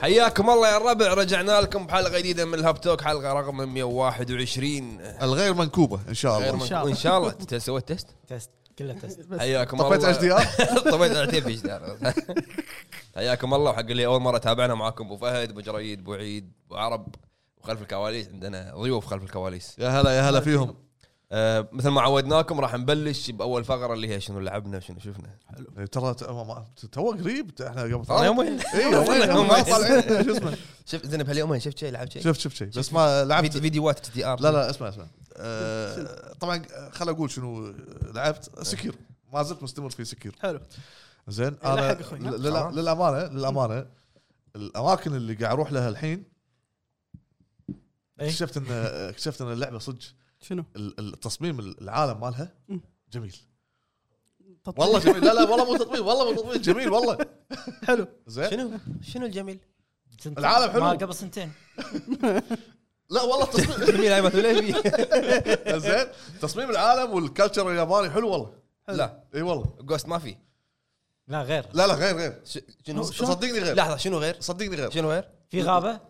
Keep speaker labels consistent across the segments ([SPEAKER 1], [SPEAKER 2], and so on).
[SPEAKER 1] حياكم الله يا الربع رجعنا لكم بحلقه جديده من الهاب توك حلقه رقم 121
[SPEAKER 2] الغير منكوبه ان شاء
[SPEAKER 1] غير
[SPEAKER 2] الله
[SPEAKER 1] منكم- ان شاء الله انت سويت تيست
[SPEAKER 3] تست كله تست
[SPEAKER 1] حياكم الله
[SPEAKER 2] طفيت اتش دي ار
[SPEAKER 1] طبيت عتيب ايش دار. حياكم الله وحق اللي اول مره تابعنا معاكم ابو فهد ابو جريد ابو عيد ابو عرب وخلف الكواليس عندنا ضيوف خلف الكواليس
[SPEAKER 2] يا هلا يا هلا فيهم
[SPEAKER 1] آه مثل ما عودناكم راح نبلش باول فقره اللي هي شنو لعبنا شنو شفنا
[SPEAKER 2] ترى ت- ما- ما- تو قريب احنا قبل
[SPEAKER 1] والله
[SPEAKER 2] ثلاث-
[SPEAKER 1] يومين
[SPEAKER 2] اي يومين، يومين ما طالعين شو اسمه
[SPEAKER 1] شفت زين بهاليومين شفت شيء لعبت شيء
[SPEAKER 2] شفت شفت شيء بس ما لعبت
[SPEAKER 1] فيدي- فيديوهات اتش دي ار
[SPEAKER 2] لا لا اسمع اسمع آه، طبعا خل اقول شنو لعبت سكير ما زلت مستمر في سكير
[SPEAKER 3] حلو
[SPEAKER 2] زين
[SPEAKER 3] لا
[SPEAKER 2] انا
[SPEAKER 3] حق أخوي.
[SPEAKER 2] لل- لل- للامانه للامانه الاماكن اللي قاعد اروح لها الحين
[SPEAKER 3] إيه.
[SPEAKER 2] اكتشفت ان اكتشفت ان اللعبه صدق
[SPEAKER 4] شنو؟
[SPEAKER 2] ال- التصميم العالم مالها
[SPEAKER 4] مم.
[SPEAKER 2] جميل
[SPEAKER 4] تطبيق.
[SPEAKER 2] والله جميل لا لا والله مو تطبيل والله مو تطبيل جميل والله
[SPEAKER 4] حلو
[SPEAKER 2] زين
[SPEAKER 1] شنو شنو الجميل؟
[SPEAKER 3] سنتين.
[SPEAKER 2] العالم حلو.
[SPEAKER 3] ما قبل سنتين
[SPEAKER 2] لا والله تصميم
[SPEAKER 1] الجميل هاي مثل ليش فيه؟
[SPEAKER 2] زين تصميم العالم والكالتشر الياباني حلو والله
[SPEAKER 1] لا
[SPEAKER 2] اي والله
[SPEAKER 1] جوست ما في
[SPEAKER 3] لا غير
[SPEAKER 2] لا لا غير غير
[SPEAKER 1] ش- شنو
[SPEAKER 2] ص- صدقني غير
[SPEAKER 1] لحظه شنو غير؟
[SPEAKER 2] صدقني غير
[SPEAKER 1] شنو غير؟
[SPEAKER 3] في غابه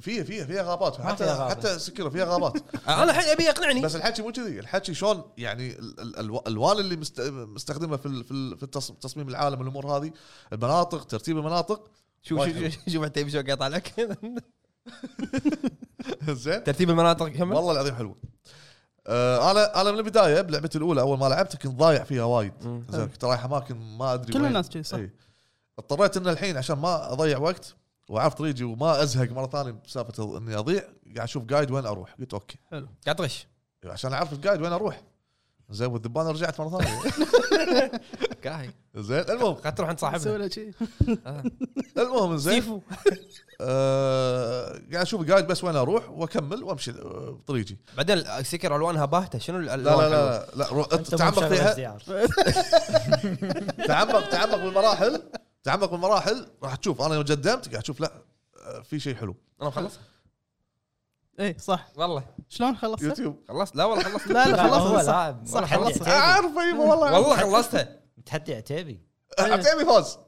[SPEAKER 2] فيها فيها فيها غابات
[SPEAKER 3] ما فيها
[SPEAKER 2] حتى
[SPEAKER 3] غابة.
[SPEAKER 2] حتى سكره فيها غابات
[SPEAKER 1] آه، انا الحين ابي يقنعني
[SPEAKER 2] بس الحكي مو كذي الحكي شلون يعني ال- ال- الو- الالوان اللي مست- مستخدمه في ال- في ال- في التص- تصميم العالم الامور هذه المناطق ترتيب المناطق
[SPEAKER 1] شوف شوف- شوف شوف حتى يبي شو قاطع لك
[SPEAKER 2] زين
[SPEAKER 1] ترتيب المناطق كمل
[SPEAKER 2] والله العظيم حلوه آه، انا انا من البدايه بلعبتي الاولى اول ما لعبتها كنت ضايع فيها وايد
[SPEAKER 1] مم.
[SPEAKER 2] زين كنت رايح اماكن ما ادري
[SPEAKER 4] كل
[SPEAKER 2] وين.
[SPEAKER 4] الناس كذي، صح.
[SPEAKER 2] إي. اضطريت ان الحين عشان ما اضيع وقت واعرف طريقي وما ازهق مره ثانيه بسالفه اني اضيع قاعد اشوف جايد وين اروح قلت اوكي
[SPEAKER 1] قاعد تغش
[SPEAKER 2] عشان اعرف الجايد وين اروح زين والذبانه رجعت مره ثانيه
[SPEAKER 1] قاعد
[SPEAKER 2] زين المهم
[SPEAKER 1] قاعد تروح عند
[SPEAKER 4] سوي
[SPEAKER 1] صاحبنا
[SPEAKER 4] له شيء
[SPEAKER 2] المهم زين
[SPEAKER 1] سيفو
[SPEAKER 2] آه، قاعد اشوف جايد بس وين اروح واكمل وامشي آه، بطريقي
[SPEAKER 1] بعدين آه، سكر الوانها باهته شنو الالوان
[SPEAKER 2] لا لا لا لا رو-
[SPEAKER 3] أنت مو
[SPEAKER 2] تعمق
[SPEAKER 3] مشغل
[SPEAKER 2] فيها
[SPEAKER 3] SDR.
[SPEAKER 2] تعمق تعمق بالمراحل تعمق بالمراحل راح تشوف انا يوم قدمت قاعد اشوف لا آه، في شيء حلو
[SPEAKER 1] انا مخلص
[SPEAKER 4] اي إيه، صح
[SPEAKER 1] والله
[SPEAKER 4] شلون خلصت؟
[SPEAKER 2] يوتيوب
[SPEAKER 1] خلصت لا والله خلصت
[SPEAKER 4] لا
[SPEAKER 3] لا
[SPEAKER 4] لا
[SPEAKER 3] هو
[SPEAKER 4] خلصت صح
[SPEAKER 3] لاعب
[SPEAKER 4] صح،
[SPEAKER 3] والله تحدي
[SPEAKER 4] خلصت.
[SPEAKER 3] عتيبي.
[SPEAKER 2] اعرف اي والله والله
[SPEAKER 1] والله خلصتها
[SPEAKER 3] تحدي عتيبي
[SPEAKER 2] عتيبي فوز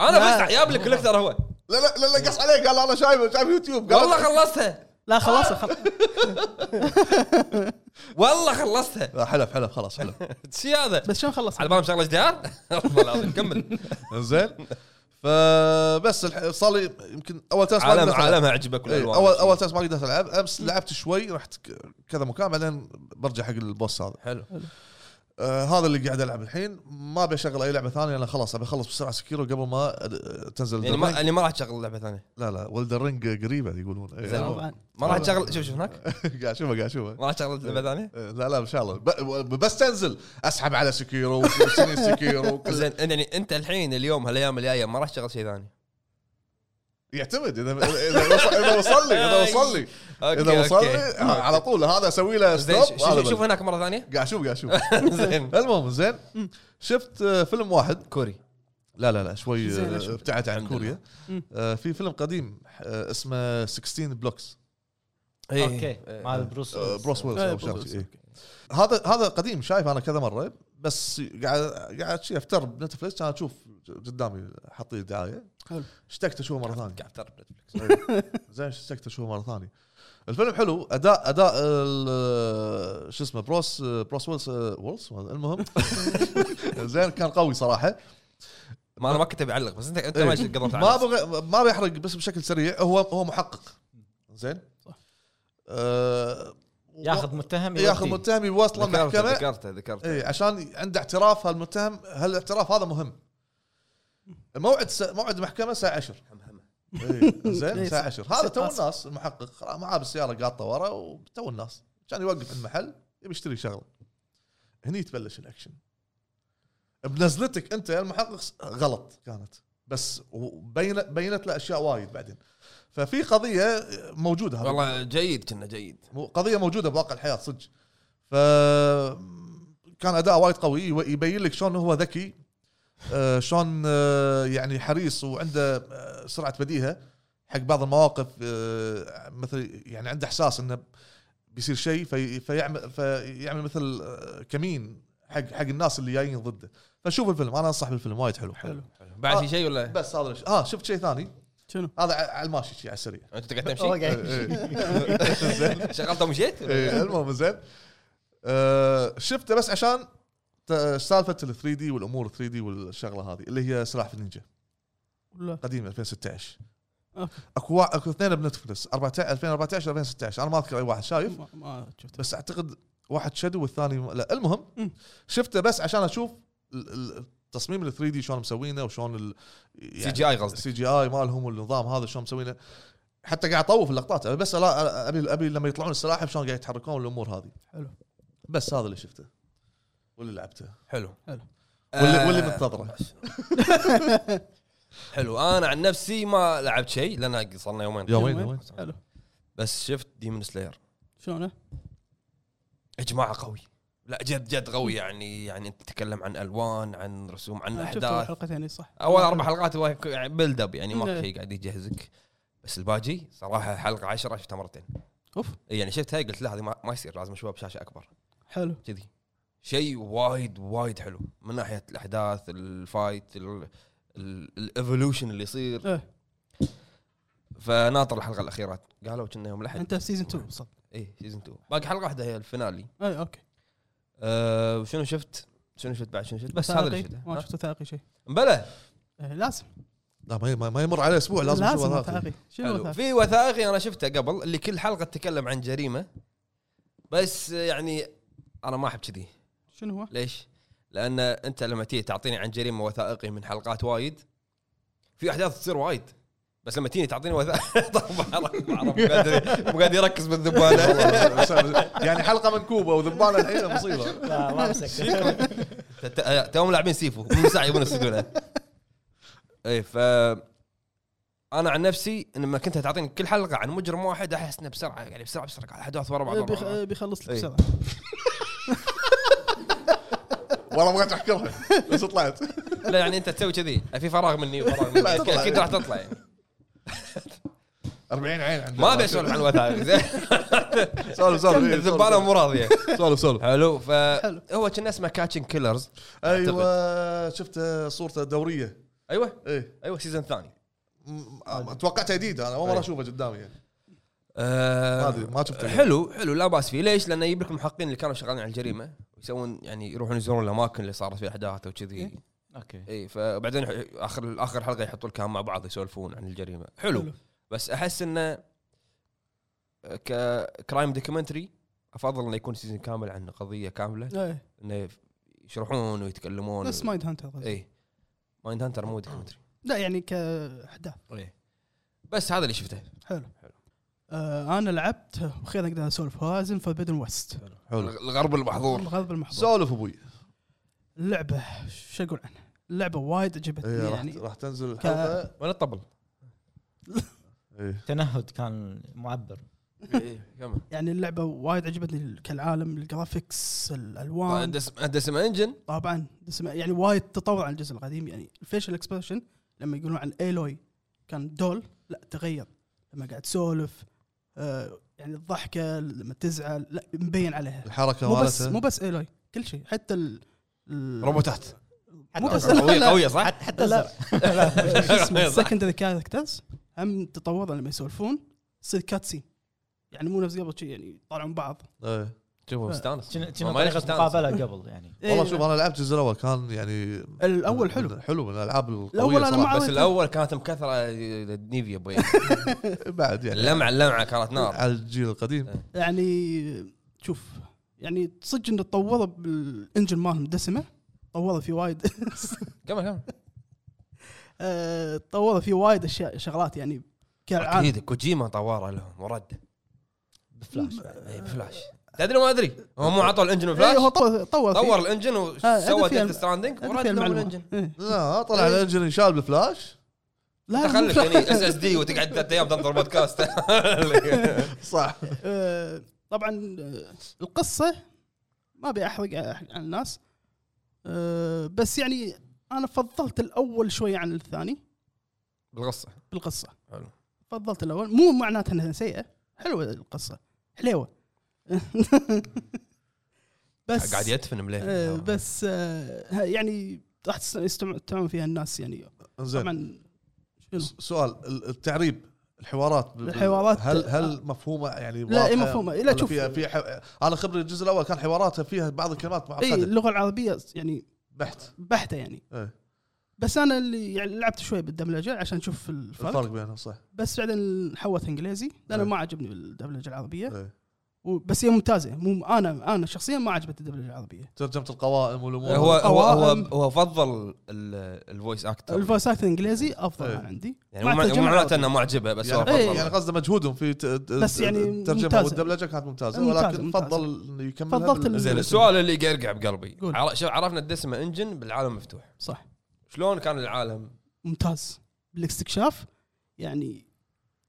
[SPEAKER 1] انا
[SPEAKER 4] لا.
[SPEAKER 1] بس جايب لك كوليكتر هو
[SPEAKER 2] لا لا لا لا قص عليه قال انا شايف شايف يوتيوب قال
[SPEAKER 1] والله خلصتها
[SPEAKER 4] لا خلصت خل-
[SPEAKER 1] والله خلصتها
[SPEAKER 2] لا، آه، حلف حلف خلاص حلف
[SPEAKER 1] شي هذا
[SPEAKER 4] بس شلون خلصت؟
[SPEAKER 1] على بالهم شغله جدار والله العظيم كمل
[SPEAKER 2] زين فبس الح- صار لي يمكن اول تاس ما
[SPEAKER 1] عالم
[SPEAKER 2] قدرت ألعب.
[SPEAKER 1] عالمها عجبك
[SPEAKER 2] إيه،
[SPEAKER 1] والالوان
[SPEAKER 2] اول اول تاس ما قدرت العب امس لعبت شوي رحت ك- كذا مكان بعدين برجع حق البوس هذا
[SPEAKER 1] حلو
[SPEAKER 2] آه هذا اللي قاعد العب الحين ما بشغل اي لعبه ثانيه انا خلاص ابي اخلص بسرعه سكيرو قبل ما آه، تنزل
[SPEAKER 1] يعني
[SPEAKER 2] Elden
[SPEAKER 1] ما
[SPEAKER 2] Ring.
[SPEAKER 1] يعني ما راح تشغل لعبه ثانيه
[SPEAKER 2] لا لا ولدر رينج قريبه يقولون إيه،
[SPEAKER 1] زين.
[SPEAKER 2] أنا
[SPEAKER 4] طبعاً.
[SPEAKER 1] ما راح تشغل شوف شوف هناك
[SPEAKER 2] قاعد اشوفه قاعد اشوفه
[SPEAKER 1] ما راح تشغل لعبه ثانيه
[SPEAKER 2] إيه، لا لا ان شاء الله ب- بس تنزل اسحب على سكيرو وسنين سكيرو وكل-
[SPEAKER 1] زين يعني انت الحين اليوم هالايام الجايه ما راح تشغل شيء ثاني
[SPEAKER 2] يعتمد اذا اذا وصل اذا وصل لي
[SPEAKER 1] آه، أوكي،
[SPEAKER 2] اذا وصل لي اذا وصل
[SPEAKER 1] أوكي.
[SPEAKER 2] لي آه، على طول هذا اسوي له
[SPEAKER 1] زين
[SPEAKER 2] ستوب
[SPEAKER 1] شوف- شوف شوف هناك مره ثانيه
[SPEAKER 2] قاعد اشوف قاعد اشوف
[SPEAKER 1] زين
[SPEAKER 2] المهم زين شفت آه، فيلم واحد
[SPEAKER 1] كوري
[SPEAKER 2] لا لا لا شوي
[SPEAKER 4] زين،
[SPEAKER 2] آه،
[SPEAKER 4] شوف.
[SPEAKER 2] ابتعد عن
[SPEAKER 1] الحمد
[SPEAKER 2] كوريا
[SPEAKER 4] لله.
[SPEAKER 2] آه، في فيلم قديم آه، اسمه آه، 16 بلوكس
[SPEAKER 1] إيه.
[SPEAKER 3] اوكي
[SPEAKER 1] إيه.
[SPEAKER 3] مال بروس ويلز.
[SPEAKER 2] آه، بروس ويلز
[SPEAKER 4] إيه،
[SPEAKER 2] أو
[SPEAKER 4] بروس
[SPEAKER 2] شيء.
[SPEAKER 4] ويلز،
[SPEAKER 2] إيه.
[SPEAKER 4] أوكي.
[SPEAKER 2] هذا هذا قديم شايف انا كذا مره بس قاعد قاعد شي افتر بنتفلكس كان اشوف قدامي حاطين دعايه
[SPEAKER 4] حلو.
[SPEAKER 2] اشتقت اشوفه مره ثانيه
[SPEAKER 1] قاعد ترى نتفلكس
[SPEAKER 2] زين اشتقت اشوفه مره ثانيه الفيلم حلو اداء اداء ال- شو اسمه بروس بروس ويلز ويلز المهم زين كان قوي صراحه
[SPEAKER 1] ما انا ما كنت بعلق بس انت انت
[SPEAKER 2] إيه.
[SPEAKER 1] ما قضيت على
[SPEAKER 2] ما
[SPEAKER 1] نفسك.
[SPEAKER 2] بغ... ما بيحرق بس بشكل سريع هو هو محقق زين
[SPEAKER 4] صح.
[SPEAKER 2] آه...
[SPEAKER 3] ياخذ متهم
[SPEAKER 2] ياخذ
[SPEAKER 3] يوديه.
[SPEAKER 2] متهم يوصله
[SPEAKER 1] ذكرته
[SPEAKER 2] محكمه
[SPEAKER 1] ذكرته ذكرته
[SPEAKER 2] اي إيه، عشان عنده اعتراف هالمتهم هالاعتراف هذا مهم موعد س... موعد المحكمه الساعه 10 إي، إيه، زين
[SPEAKER 4] إي،
[SPEAKER 2] الساعه
[SPEAKER 4] صح.
[SPEAKER 2] 10 هذا
[SPEAKER 4] صح،
[SPEAKER 2] تو
[SPEAKER 4] آسف.
[SPEAKER 2] الناس المحقق خلاص معاه بالسياره قاطه ورا وتو الناس كان يوقف عند محل يبي يشتري شغله هني تبلش الاكشن بنزلتك انت يا المحقق س- غلط كانت بس وبينت بينت له اشياء وايد بعدين ففي قضيه موجوده هذا
[SPEAKER 1] والله جيد كنا جيد
[SPEAKER 2] مو- قضيه موجوده بواقع الحياه صدق ف كان اداء وايد قوي يو- يبين لك شلون هو ذكي آه، شلون آه، يعني حريص وعنده آه، سرعه بديهه حق بعض المواقف آه، مثل يعني عنده احساس انه بيصير شيء في فيعمل فيعمل مثل آه، كمين حق حق الناس اللي جايين ضده فشوف الفيلم انا انصح بالفيلم وايد حلو
[SPEAKER 4] حلو.
[SPEAKER 1] بعد في شيء ولا
[SPEAKER 2] بس هذا الش- اه آه، شفت شيء ثاني
[SPEAKER 4] شنو؟
[SPEAKER 2] هذا ع- على الماشي شي على السريع إيه.
[SPEAKER 1] انت قاعد
[SPEAKER 3] هو
[SPEAKER 1] تمشي
[SPEAKER 3] قاعد يمشي.
[SPEAKER 2] زين
[SPEAKER 1] شغلته ومشيت
[SPEAKER 2] إيه، المهم زين آه، شفته بس عشان ت- سالفه ال 3 دي والامور 3 دي والشغله هذه اللي هي سلاحف النينجا
[SPEAKER 4] ولا
[SPEAKER 2] قديمه 2016
[SPEAKER 4] أوكي.
[SPEAKER 2] اكو وا- اكو اثنين بنتفلس 14 2014 2016 انا ما اذكر اي واحد شايف
[SPEAKER 4] ما- ما شفته
[SPEAKER 2] بس اعتقد واحد شادو والثاني م- لا المهم
[SPEAKER 4] مم.
[SPEAKER 2] شفته بس عشان اشوف ال- ال- التصميم ال 3 دي شلون مسوينه وشلون ال
[SPEAKER 1] سي جي اي قصدي
[SPEAKER 2] السي جي اي مالهم والنظام هذا شلون مسوينه حتى قاعد اطوف اللقطات أبي بس ألا- ابي ابي لما يطلعون السلاحف شلون قاعد يتحركون والامور هذه
[SPEAKER 4] حلو.
[SPEAKER 2] بس هذا اللي شفته واللي لعبته
[SPEAKER 1] حلو
[SPEAKER 4] حلو.
[SPEAKER 2] واللي
[SPEAKER 1] آه،
[SPEAKER 2] واللي منتظره
[SPEAKER 1] حلو انا عن نفسي ما لعبت شيء لان صار لنا يومين
[SPEAKER 2] يومين يومين
[SPEAKER 4] حلو
[SPEAKER 1] بس شفت ديمون سلاير
[SPEAKER 4] شلونه؟
[SPEAKER 1] اجماع قوي لا جد جد قوي يعني يعني انت تتكلم عن الوان عن رسوم عن
[SPEAKER 4] أنا آه، شفت
[SPEAKER 1] احداث
[SPEAKER 4] الحلقتين إي صح
[SPEAKER 1] اول اربع حلقات هو يعني بيلد اب يعني ما
[SPEAKER 4] إيه.
[SPEAKER 1] في شيء قاعد يجهزك بس الباجي صراحه حلقه عشرة شفتها مرتين
[SPEAKER 4] اوف
[SPEAKER 1] يعني شفت هاي قلت لا هذه ما, ما يصير لازم اشوفها بشاشه اكبر
[SPEAKER 4] حلو
[SPEAKER 1] كذي شيء وايد وايد حلو من ناحيه الاحداث الفايت الايفولوشن اللي يصير
[SPEAKER 4] ايه
[SPEAKER 1] فناطر الحلقه الاخيره قالوا كنا يوم الاحد
[SPEAKER 4] انت في سيزون 2 صح إيه،
[SPEAKER 1] اي سيزون 2 باقي حلقه واحده هي الفينالي
[SPEAKER 4] اي اوكي
[SPEAKER 1] أه شنو شفت؟ شنو شفت بعد شنو شفت؟ بس هذا اللي شفته
[SPEAKER 4] وثائقي؟ ما
[SPEAKER 1] ها؟
[SPEAKER 4] شفت وثائقي شيء
[SPEAKER 1] بلى
[SPEAKER 4] إيه، لازم
[SPEAKER 2] لا ما- ما ما يمر على اسبوع لازم
[SPEAKER 4] لازم
[SPEAKER 2] لازم
[SPEAKER 4] وثائقي شنو
[SPEAKER 1] حلو
[SPEAKER 4] وثائقي؟
[SPEAKER 1] في وثائقي انا شفته قبل اللي كل حلقه تتكلم عن جريمه بس يعني انا ما احب كذي
[SPEAKER 4] شنو هو؟
[SPEAKER 1] ليش؟ لان انت لما تيجي تعطيني عن جريمه وثائقي من حلقات وايد في احداث تصير وايد بس لما تيجي تعطيني وثائقي طبعا مو قادر مو قادر يركز بالذبانه
[SPEAKER 2] يعني حلقه منكوبه وذبانه الحين مصيبه
[SPEAKER 3] لا ما مسكت
[SPEAKER 1] ت- ت- توهم لاعبين سيفو من ساعه يبون يصيدونه اي ف انا عن نفسي إن لما كنت تعطيني كل حلقه عن مجرم واحد احس انه بسرعه يعني بسرعه بسرعه قاعد احداث ورا بعض
[SPEAKER 4] إيه،
[SPEAKER 1] ورا
[SPEAKER 4] بيخ-
[SPEAKER 1] بعض.
[SPEAKER 4] إيه، بيخلص لك
[SPEAKER 1] إيه.
[SPEAKER 4] بسرعه
[SPEAKER 2] والله بغيت احكرها بس طلعت
[SPEAKER 1] لا يعني انت تسوي كذي في فراغ مني وفراغ مني
[SPEAKER 2] لا، تطلع.
[SPEAKER 1] اكيد راح تطلع يعني
[SPEAKER 2] 40 عين عندي
[SPEAKER 1] ما ابي اسولف عن الوثائق زين
[SPEAKER 2] سولف سولف إيه، سولف.
[SPEAKER 1] الذبانه مو راضيه
[SPEAKER 2] سولف سولف
[SPEAKER 1] حلو فهو كان اسمه كاتشن كيلرز
[SPEAKER 2] ايوه شفت صورته دوريه
[SPEAKER 1] ايوه
[SPEAKER 2] ايه
[SPEAKER 1] ايوه سيزون ثاني
[SPEAKER 2] م- أم- توقعتها جديد انا اول مره
[SPEAKER 1] إيه.
[SPEAKER 2] اشوفه قدامي يعني ما
[SPEAKER 1] آه،
[SPEAKER 2] ادري ما شفته
[SPEAKER 1] حلو حلو لا باس فيه ليش؟ لانه يجيب لك المحققين اللي كانوا شغالين على الجريمه يسوون يعني يروحون يزورون الاماكن اللي صارت فيها احداث وكذي
[SPEAKER 4] إيه.
[SPEAKER 3] اوكي
[SPEAKER 1] اي فبعدين ح- اخر اخر حلقه يحطوا الكلام مع بعض يسولفون عن الجريمه حلو,
[SPEAKER 4] حلو.
[SPEAKER 1] حلو. بس آه، احس انه كرايم دوكيومنتري افضل انه يكون سيزون كامل عن قضيه كامله
[SPEAKER 4] إيه،
[SPEAKER 1] انه يشرحون ويتكلمون
[SPEAKER 4] نفس مايند هانتر قصدي.
[SPEAKER 1] اي مايند هانتر مو دوكيومنتري
[SPEAKER 4] لا يعني كاحداث
[SPEAKER 1] بس هذا اللي شفته
[SPEAKER 4] حلو
[SPEAKER 1] حلو.
[SPEAKER 4] آه انا لعبت وخير اقدر اسولف هوازن فبدن ويست
[SPEAKER 2] حلو
[SPEAKER 1] الغرب المحظور
[SPEAKER 4] الغضب المحظور
[SPEAKER 2] سولف ابوي
[SPEAKER 4] اللعبه شو اقول عنها؟ اللعبه وايد عجبتني
[SPEAKER 2] إيه، راح
[SPEAKER 4] يعني
[SPEAKER 2] راح تنزل الحلقه
[SPEAKER 1] وين الطبل؟
[SPEAKER 2] إيه.
[SPEAKER 3] تنهد كان معبر
[SPEAKER 1] إيه، كمل
[SPEAKER 4] يعني اللعبه وايد عجبتني كالعالم الجرافيكس
[SPEAKER 1] طيب،
[SPEAKER 4] الالوان
[SPEAKER 1] هندسه انجن
[SPEAKER 4] طبعا اسمه- يعني وايد تطور عن الجزء القديم يعني الفيشل اكسبريشن لما يقولون عن ايلوي كان دول لا تغير لما قاعد تسولف آه يعني الضحكه لما تزعل لا مبين عليها
[SPEAKER 2] الحركه
[SPEAKER 4] مو بس
[SPEAKER 2] مالته
[SPEAKER 4] مو بس ايلوي كل شيء حتى ال ال-
[SPEAKER 1] روبوتات
[SPEAKER 4] مو بس
[SPEAKER 1] قويه قويه صح؟
[SPEAKER 3] حتى
[SPEAKER 4] لا لا شو اسمه
[SPEAKER 1] صح.
[SPEAKER 4] السكندري كاركترز هم تطورا لما يسولفون تصير كاتسين يعني مو نفس قبل شيء يعني يطالعون بعض
[SPEAKER 2] إيه.
[SPEAKER 1] شوفوا مستانس
[SPEAKER 3] كنا
[SPEAKER 1] ما
[SPEAKER 3] طريقه
[SPEAKER 1] يختلف.
[SPEAKER 3] مقابله قبل يعني
[SPEAKER 2] والله
[SPEAKER 4] إيه،
[SPEAKER 2] شوف انا لعبت الجزء الاول كان يعني
[SPEAKER 4] الاول إيه، حلو
[SPEAKER 2] حلو من الالعاب القويه
[SPEAKER 4] الأول أنا
[SPEAKER 2] صراحه
[SPEAKER 4] ما-
[SPEAKER 1] بس الاول كانت مكثره نيفيا بوي
[SPEAKER 2] بعد يعني
[SPEAKER 1] اللمعه اللمعه كانت نار
[SPEAKER 2] على الجيل القديم
[SPEAKER 1] إيه.
[SPEAKER 4] يعني شوف يعني صدق انه تطوروا بالانجن مالهم دسمه طوروا فيه وايد
[SPEAKER 1] كمل كمل
[SPEAKER 4] آه، طوروا فيه وايد اشياء شغلات يعني كالعاده
[SPEAKER 1] اكيد كوجيما طواره لهم ورد
[SPEAKER 3] بفلاش
[SPEAKER 1] اي بفلاش تدري ما ادري هم مو عطوا الانجن
[SPEAKER 4] إيه، هو
[SPEAKER 1] بفلاش
[SPEAKER 4] طور طور فيه.
[SPEAKER 1] طور الانجن
[SPEAKER 4] آه، هذا
[SPEAKER 1] وسوى
[SPEAKER 4] فيها-
[SPEAKER 1] ديث ستراندنج
[SPEAKER 4] هذه
[SPEAKER 1] ورد
[SPEAKER 4] فيها
[SPEAKER 1] لهم
[SPEAKER 4] المعلومة.
[SPEAKER 1] الانجن
[SPEAKER 4] إيه.
[SPEAKER 2] لا طلع الانجن انشال بالفلاش
[SPEAKER 4] لا
[SPEAKER 1] تخلف
[SPEAKER 4] لا.
[SPEAKER 1] يعني اس اس دي وتقعد ثلاث ايام تنطر بودكاست
[SPEAKER 2] صح
[SPEAKER 4] آه، طبعا آه، القصه ما ابي احرق أحرق على الناس آه، بس يعني انا فضلت الاول شوي عن الثاني
[SPEAKER 1] بالقصه
[SPEAKER 4] بالقصه
[SPEAKER 1] حلو.
[SPEAKER 4] فضلت الاول مو معناته انها سيئه حلوه القصه حليوه بس
[SPEAKER 1] قاعد يدفن
[SPEAKER 4] آه،
[SPEAKER 1] مليح
[SPEAKER 4] بس آه، يعني راح تس- يستمتعون فيها الناس يعني
[SPEAKER 2] زين
[SPEAKER 4] طبعا شنو؟
[SPEAKER 2] س- سؤال ال- التعريب الحوارات بال-
[SPEAKER 4] الحوارات-
[SPEAKER 2] هل هل مفهومه يعني
[SPEAKER 4] لا، إيه
[SPEAKER 2] واضحة؟
[SPEAKER 4] مفهومة. إيه، لا،
[SPEAKER 2] ولا
[SPEAKER 4] شوف.
[SPEAKER 2] فيها في ح- انا خبري الجزء الاول كان حواراتها فيها بعض الكلمات
[SPEAKER 4] اي
[SPEAKER 2] معقده
[SPEAKER 4] اللغه العربيه إيه، يعني
[SPEAKER 2] بحت
[SPEAKER 4] بحته يعني
[SPEAKER 2] إيه.
[SPEAKER 4] بس انا اللي يعني لعبت شوي بالدبلجه عشان اشوف الفرق,
[SPEAKER 2] الفرق بينهم صح
[SPEAKER 4] بس بعدين حولت انجليزي لانه
[SPEAKER 2] إيه.
[SPEAKER 4] ما عجبني الدبلجه العربيه
[SPEAKER 2] إيه.
[SPEAKER 4] و- بس هي ممتازه مو انا انا شخصيا ما عجبت الدبلجه العربيه
[SPEAKER 2] ترجمه القوائم والامور
[SPEAKER 1] هو هو هو,
[SPEAKER 4] أوائل.
[SPEAKER 1] هو فضل ال- الفويس اكتر
[SPEAKER 4] الفويس اكت الانجليزي افضل
[SPEAKER 2] طيب. إيه.
[SPEAKER 4] أنا عندي
[SPEAKER 1] يعني
[SPEAKER 4] مع
[SPEAKER 1] مو مع- مو
[SPEAKER 4] الترجمة
[SPEAKER 1] معناته
[SPEAKER 4] العربية.
[SPEAKER 1] انه معجبه بس هو
[SPEAKER 2] يعني,
[SPEAKER 1] فضل
[SPEAKER 4] إيه.
[SPEAKER 2] يعني قصده مجهودهم في ت- ت-
[SPEAKER 4] بس يعني
[SPEAKER 2] الترجمه
[SPEAKER 4] ممتازة.
[SPEAKER 2] والدبلجه كانت ممتازه
[SPEAKER 4] ممتازة،
[SPEAKER 2] ولكن
[SPEAKER 4] ممتازة.
[SPEAKER 2] فضل انه يكمل
[SPEAKER 4] فضلت ال-
[SPEAKER 1] زين السؤال اللي يقرقع بقلبي
[SPEAKER 4] قول.
[SPEAKER 1] عر- شو- عرفنا الدسمه انجن بالعالم مفتوح
[SPEAKER 4] صح
[SPEAKER 1] شلون كان العالم
[SPEAKER 4] ممتاز بالاستكشاف يعني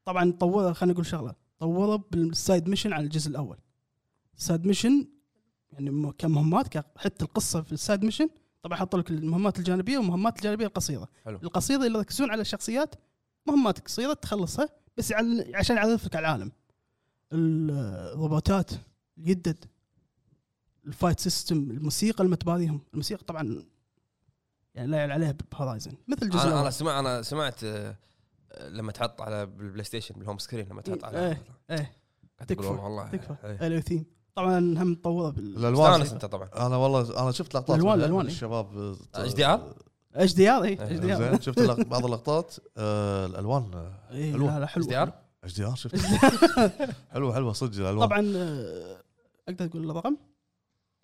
[SPEAKER 4] طبعا طورها خلينا نقول شغله طورها بالسايد ميشن على الجزء الاول السايد ميشن يعني م- كمهمات ك- حتى القصه في السايد ميشن طبعا حطوا لك المهمات الجانبيه والمهمات الجانبيه القصيره
[SPEAKER 1] حلو.
[SPEAKER 4] القصيره اللي يركزون على الشخصيات مهمات قصيره تخلصها بس على عشان يعرفك على العالم الروبوتات اليدد الفايت سيستم الموسيقى المتباريهم الموسيقى طبعا يعني لا يعلى عليها بهورايزن مثل الجزء
[SPEAKER 1] انا
[SPEAKER 4] الأول.
[SPEAKER 1] انا سمع انا سمعت آه، لما تحط على بالبلاي ستيشن بالهوم سكرين لما تحط على
[SPEAKER 4] إيه، إيه.
[SPEAKER 1] قاعد تقول
[SPEAKER 4] تكفى،
[SPEAKER 1] والله والله
[SPEAKER 4] تكفى
[SPEAKER 1] إيه.
[SPEAKER 4] الو ثيم طبعا هم مطوره بال
[SPEAKER 2] الالوان
[SPEAKER 1] استانس انت طبعا
[SPEAKER 2] انا والله انا شفت لقطات
[SPEAKER 4] الألوان-
[SPEAKER 2] منها،
[SPEAKER 4] الألوان،
[SPEAKER 2] من
[SPEAKER 4] إيه.
[SPEAKER 2] الشباب
[SPEAKER 1] اتش دي ار
[SPEAKER 4] اتش دي ار اي
[SPEAKER 1] إيه،
[SPEAKER 4] اتش دي ار
[SPEAKER 2] زين شفت لق- بعض اللقطات آه، الالوان حلوة.
[SPEAKER 4] إيه، لا لا
[SPEAKER 1] اتش دي
[SPEAKER 4] حلو
[SPEAKER 1] ار
[SPEAKER 2] اتش دي ار شفت حلوه حلوه صدق الالوان
[SPEAKER 4] طبعا آه، اقدر اقول الرقم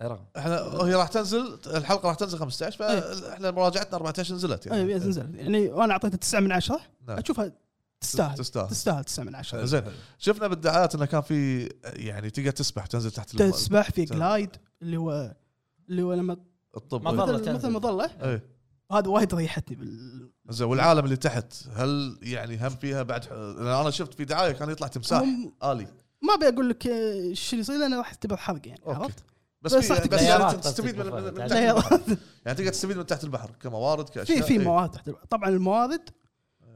[SPEAKER 1] رقم
[SPEAKER 2] احنا هي راح تنزل الحلقه راح تنزل 15
[SPEAKER 4] إيه.
[SPEAKER 2] فاحنا مراجعتنا 14 نزلت
[SPEAKER 4] اي
[SPEAKER 2] يعني
[SPEAKER 4] نزل يعني وانا اعطيته 9 من 10
[SPEAKER 2] نعم.
[SPEAKER 4] اشوفها تستاهل
[SPEAKER 2] تستاهل
[SPEAKER 4] تستاهل 9 من 10
[SPEAKER 2] زين شفنا بالدعايات انه كان في يعني تقدر تسبح تنزل تحت الم-
[SPEAKER 4] تسبح في
[SPEAKER 2] تمام.
[SPEAKER 4] جلايد اللي هو اللي هو لما
[SPEAKER 2] الطب
[SPEAKER 3] مظلة
[SPEAKER 4] مثل
[SPEAKER 3] تنزل.
[SPEAKER 4] مثل مظله
[SPEAKER 2] اي
[SPEAKER 4] هذا وايد ريحتني بال
[SPEAKER 2] زين والعالم اللي تحت هل يعني هم فيها بعد لأن انا شفت في دعايه كان يطلع تمساح
[SPEAKER 4] هم-
[SPEAKER 2] الي
[SPEAKER 4] ما ابي اقول لك آه، ايش اللي يصير لانه راح تعتبر حرق يعني
[SPEAKER 2] أوكي.
[SPEAKER 4] عرفت؟
[SPEAKER 2] بس
[SPEAKER 4] بس
[SPEAKER 2] في-
[SPEAKER 4] صح
[SPEAKER 2] بس
[SPEAKER 4] تقدر-
[SPEAKER 2] يعني تستفيد من, من, من تحت
[SPEAKER 4] لا،
[SPEAKER 2] البحر. يعني تقدر تستفيد من تحت البحر كموارد كاشياء
[SPEAKER 4] في في
[SPEAKER 2] إيه.
[SPEAKER 4] موارد تحت البحر. طبعا الموارد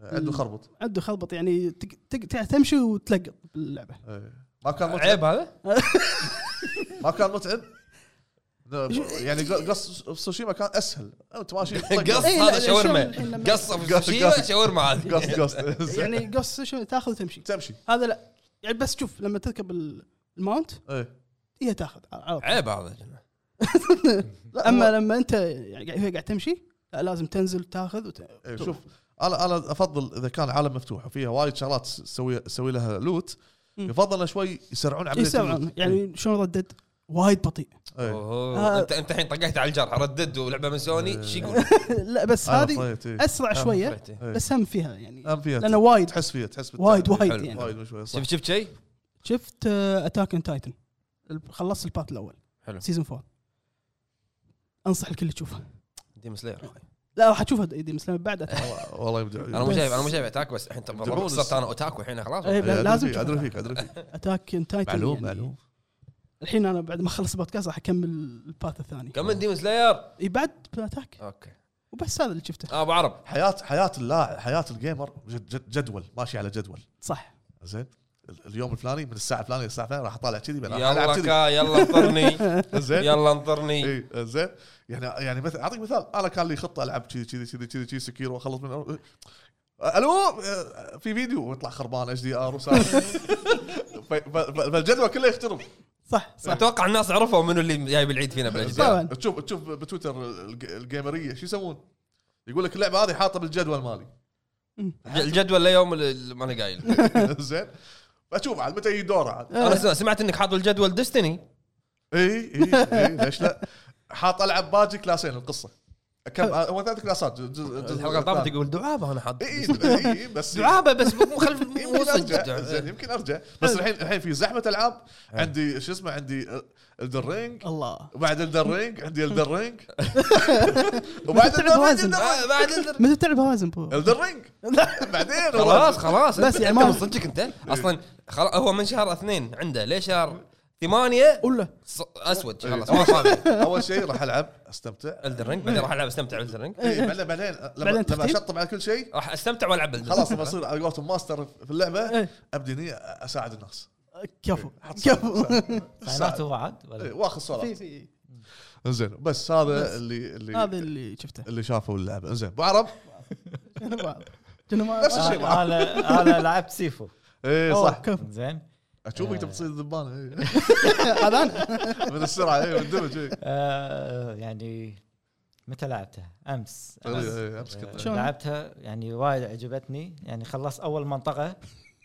[SPEAKER 2] عنده خربط
[SPEAKER 4] عنده خربط يعني تق- تق- تمشي وتلقط باللعبه
[SPEAKER 2] إيه. ما كان متعب
[SPEAKER 1] عيب هذا
[SPEAKER 2] ما كان متعب يعني قص سوشيما كان اسهل انت ماشي
[SPEAKER 1] قص
[SPEAKER 4] إيه، لا،
[SPEAKER 1] هذا
[SPEAKER 4] لا،
[SPEAKER 1] شاورما
[SPEAKER 4] شلون الحين لما-
[SPEAKER 1] قص أبو
[SPEAKER 2] قص-
[SPEAKER 1] سوشيما
[SPEAKER 2] قص.
[SPEAKER 1] شاورما عادي
[SPEAKER 2] قص قص
[SPEAKER 4] يعني قص شو تاخذ وتمشي
[SPEAKER 2] تمشي
[SPEAKER 4] هذا لا يعني بس شوف لما تركب ال- الماونت
[SPEAKER 2] ايه
[SPEAKER 4] هي تاخذ على طول.
[SPEAKER 1] عيب هذا
[SPEAKER 4] لا، اما لما انت يعني هي قاعد تمشي لا لازم تنزل تاخذ وت...
[SPEAKER 2] إيه، شوف انا انا افضل اذا كان عالم مفتوح وفيها وايد شغلات تسوي تسوي لها لوت
[SPEAKER 4] مم.
[SPEAKER 2] يفضل إنه شوي يسرعون عمليه
[SPEAKER 4] يسرعون
[SPEAKER 2] اللوت.
[SPEAKER 4] يعني شلون ردد؟ وايد بطيء
[SPEAKER 2] إيه.
[SPEAKER 1] أوه،
[SPEAKER 4] آه.
[SPEAKER 1] انت انت الحين طقيت على الجرح ردد ولعبه من سوني شو يقول
[SPEAKER 4] لا بس
[SPEAKER 2] أنا
[SPEAKER 4] هذه
[SPEAKER 2] طيت، إيه.
[SPEAKER 4] اسرع
[SPEAKER 1] آه،
[SPEAKER 4] شويه
[SPEAKER 1] فرحتي.
[SPEAKER 2] إيه.
[SPEAKER 4] بس هم فيها يعني
[SPEAKER 2] أنا فيها
[SPEAKER 4] لانه وايد
[SPEAKER 2] تحس فيها تحس بالتعب.
[SPEAKER 4] وايد وايد
[SPEAKER 1] طيب. حلو.
[SPEAKER 4] يعني
[SPEAKER 2] وايد مو شوي صح
[SPEAKER 1] شفت شفت شيء
[SPEAKER 4] شفت آه، اتاك اون تايتن خلصت البارت الاول
[SPEAKER 1] حلو.
[SPEAKER 4] سيزون 4 انصح الكل يشوفه
[SPEAKER 1] ديم سلاير أخوي.
[SPEAKER 4] لا راح اشوفها دي بس لما بعد أتاك.
[SPEAKER 2] والله- والله يبدع
[SPEAKER 1] انا مو شايف انا مو شايف اتاك بس الحين ترى
[SPEAKER 2] دعونا.
[SPEAKER 1] صرت انا اوتاكو الحين خلاص
[SPEAKER 4] إيه،
[SPEAKER 2] إيه، أدري
[SPEAKER 4] لازم
[SPEAKER 2] فيك،
[SPEAKER 4] تشوف
[SPEAKER 2] ادري
[SPEAKER 4] أتاك.
[SPEAKER 2] فيك ادري فيك
[SPEAKER 4] اتاك اون تايتن
[SPEAKER 2] معلوم
[SPEAKER 4] يعني
[SPEAKER 2] معلوم
[SPEAKER 4] الحين انا بعد ما اخلص بودكاست راح اكمل البارت الثاني
[SPEAKER 1] كم من ديم سلاير
[SPEAKER 4] اي بعد اتاك
[SPEAKER 1] اوكي
[SPEAKER 4] وبس هذا اللي شفته
[SPEAKER 1] اه ابو عرب
[SPEAKER 2] حياه حياه اللاعب حياه الجيمر جد- جد- جدول ماشي على جدول
[SPEAKER 4] صح
[SPEAKER 2] زين ال- اليوم الفلاني من الساعه الفلانيه للساعه الفلانيه راح اطالع كذي بعدين راح
[SPEAKER 1] يلا
[SPEAKER 2] العب كذي
[SPEAKER 1] كا يلا انطرني
[SPEAKER 2] زين إيه.
[SPEAKER 1] يلا انطرني
[SPEAKER 2] اي زين يعني يعني مثلا اعطيك مثال انا كان لي خطه العب كذي كذي كذي كذي كذي سكير واخلص من الو آه، في فيديو ويطلع خربان اتش دي ار فالجدول كله يخترب
[SPEAKER 4] صح صح
[SPEAKER 1] اتوقع الناس عرفوا منو اللي جايب العيد فينا بالاجزاء
[SPEAKER 4] طبعاً.
[SPEAKER 2] زين، تشوف تشوف بتويتر الج- الجيمريه شو يسوون؟ يقول لك اللعبه هذه حاطه بالجدول مالي
[SPEAKER 1] ج- الجدول ليوم ال- ال- ما انا قايل
[SPEAKER 2] زين فاشوف عاد متى يجي دوره عاد
[SPEAKER 1] انا س- سمعت انك حاط الجدول ديستني
[SPEAKER 2] اي اي اي ليش لا؟ حاط العب باجي كلاسين القصه كم آه، هو ثلاث كلاسات جزء جزء
[SPEAKER 1] الحلقه
[SPEAKER 2] الثاني.
[SPEAKER 1] طافت آه، يقول دعابه انا حاط
[SPEAKER 2] اي اي اي بس
[SPEAKER 1] دعابه بس مو خلف مو
[SPEAKER 2] يمكن ارجع زين
[SPEAKER 1] صدق آه.
[SPEAKER 2] يمكن ارجع بس الحين الحين في زحمه العاب عندي شو اسمه عندي الدرينج
[SPEAKER 4] الله
[SPEAKER 2] وبعد الدرينج عندي الدرينج وبعد
[SPEAKER 4] تلعب وزن.
[SPEAKER 2] الدرينج
[SPEAKER 1] آه، بعد ال-
[SPEAKER 4] متى تلعب هوازن برو؟
[SPEAKER 2] الدرينج بعدين
[SPEAKER 1] خلاص خلاص
[SPEAKER 4] بس
[SPEAKER 1] بس
[SPEAKER 4] يعني
[SPEAKER 1] يعني
[SPEAKER 4] ما-
[SPEAKER 1] من صدقك انت اصلا خلاص هو من شهر اثنين عنده ليه شهر ثمانية
[SPEAKER 4] ولا
[SPEAKER 1] ص- اسود خلاص ما صار
[SPEAKER 2] اول شيء راح العب استمتع
[SPEAKER 1] الدن رينج بعدين راح العب استمتع بالدن رينج
[SPEAKER 2] إي، بعدين بعدين لما
[SPEAKER 4] بعدين
[SPEAKER 2] لما
[SPEAKER 4] تختيم؟
[SPEAKER 2] اشطب على كل شيء
[SPEAKER 1] راح استمتع والعب بالدن
[SPEAKER 2] خلاص لما اصير على قولتهم ماستر في اللعبه
[SPEAKER 4] إيه.
[SPEAKER 2] ابدي إني اساعد الناس
[SPEAKER 4] كفو كفو
[SPEAKER 3] فايناته بعد ولا
[SPEAKER 2] إيه، واخذ
[SPEAKER 4] في
[SPEAKER 2] سوالف
[SPEAKER 4] في
[SPEAKER 2] زين بس
[SPEAKER 4] بس.
[SPEAKER 2] هذا اللي اللي
[SPEAKER 4] هذا اللي شفته
[SPEAKER 2] اللي شافوا اللعبه زين ابو عرب
[SPEAKER 4] أنا ما أعرف. كنا ما
[SPEAKER 2] نفس الشيء.
[SPEAKER 3] انا أنا- انا لعبت سيفو
[SPEAKER 2] اي
[SPEAKER 4] أوه،
[SPEAKER 2] إيه، صح
[SPEAKER 4] كفو.
[SPEAKER 3] زين
[SPEAKER 2] اشوفك تبي تصير ذبانه إيه.
[SPEAKER 4] هذا انا
[SPEAKER 2] من إيه. السرعه اي والدمج اي
[SPEAKER 3] آه، يعني متى لعبتها؟ امس
[SPEAKER 2] تقريباً، إيه، أمس
[SPEAKER 3] آه،
[SPEAKER 2] كنت
[SPEAKER 4] شلون؟
[SPEAKER 3] لعبتها يعني وايد عجبتني يعني خلصت اول منطقه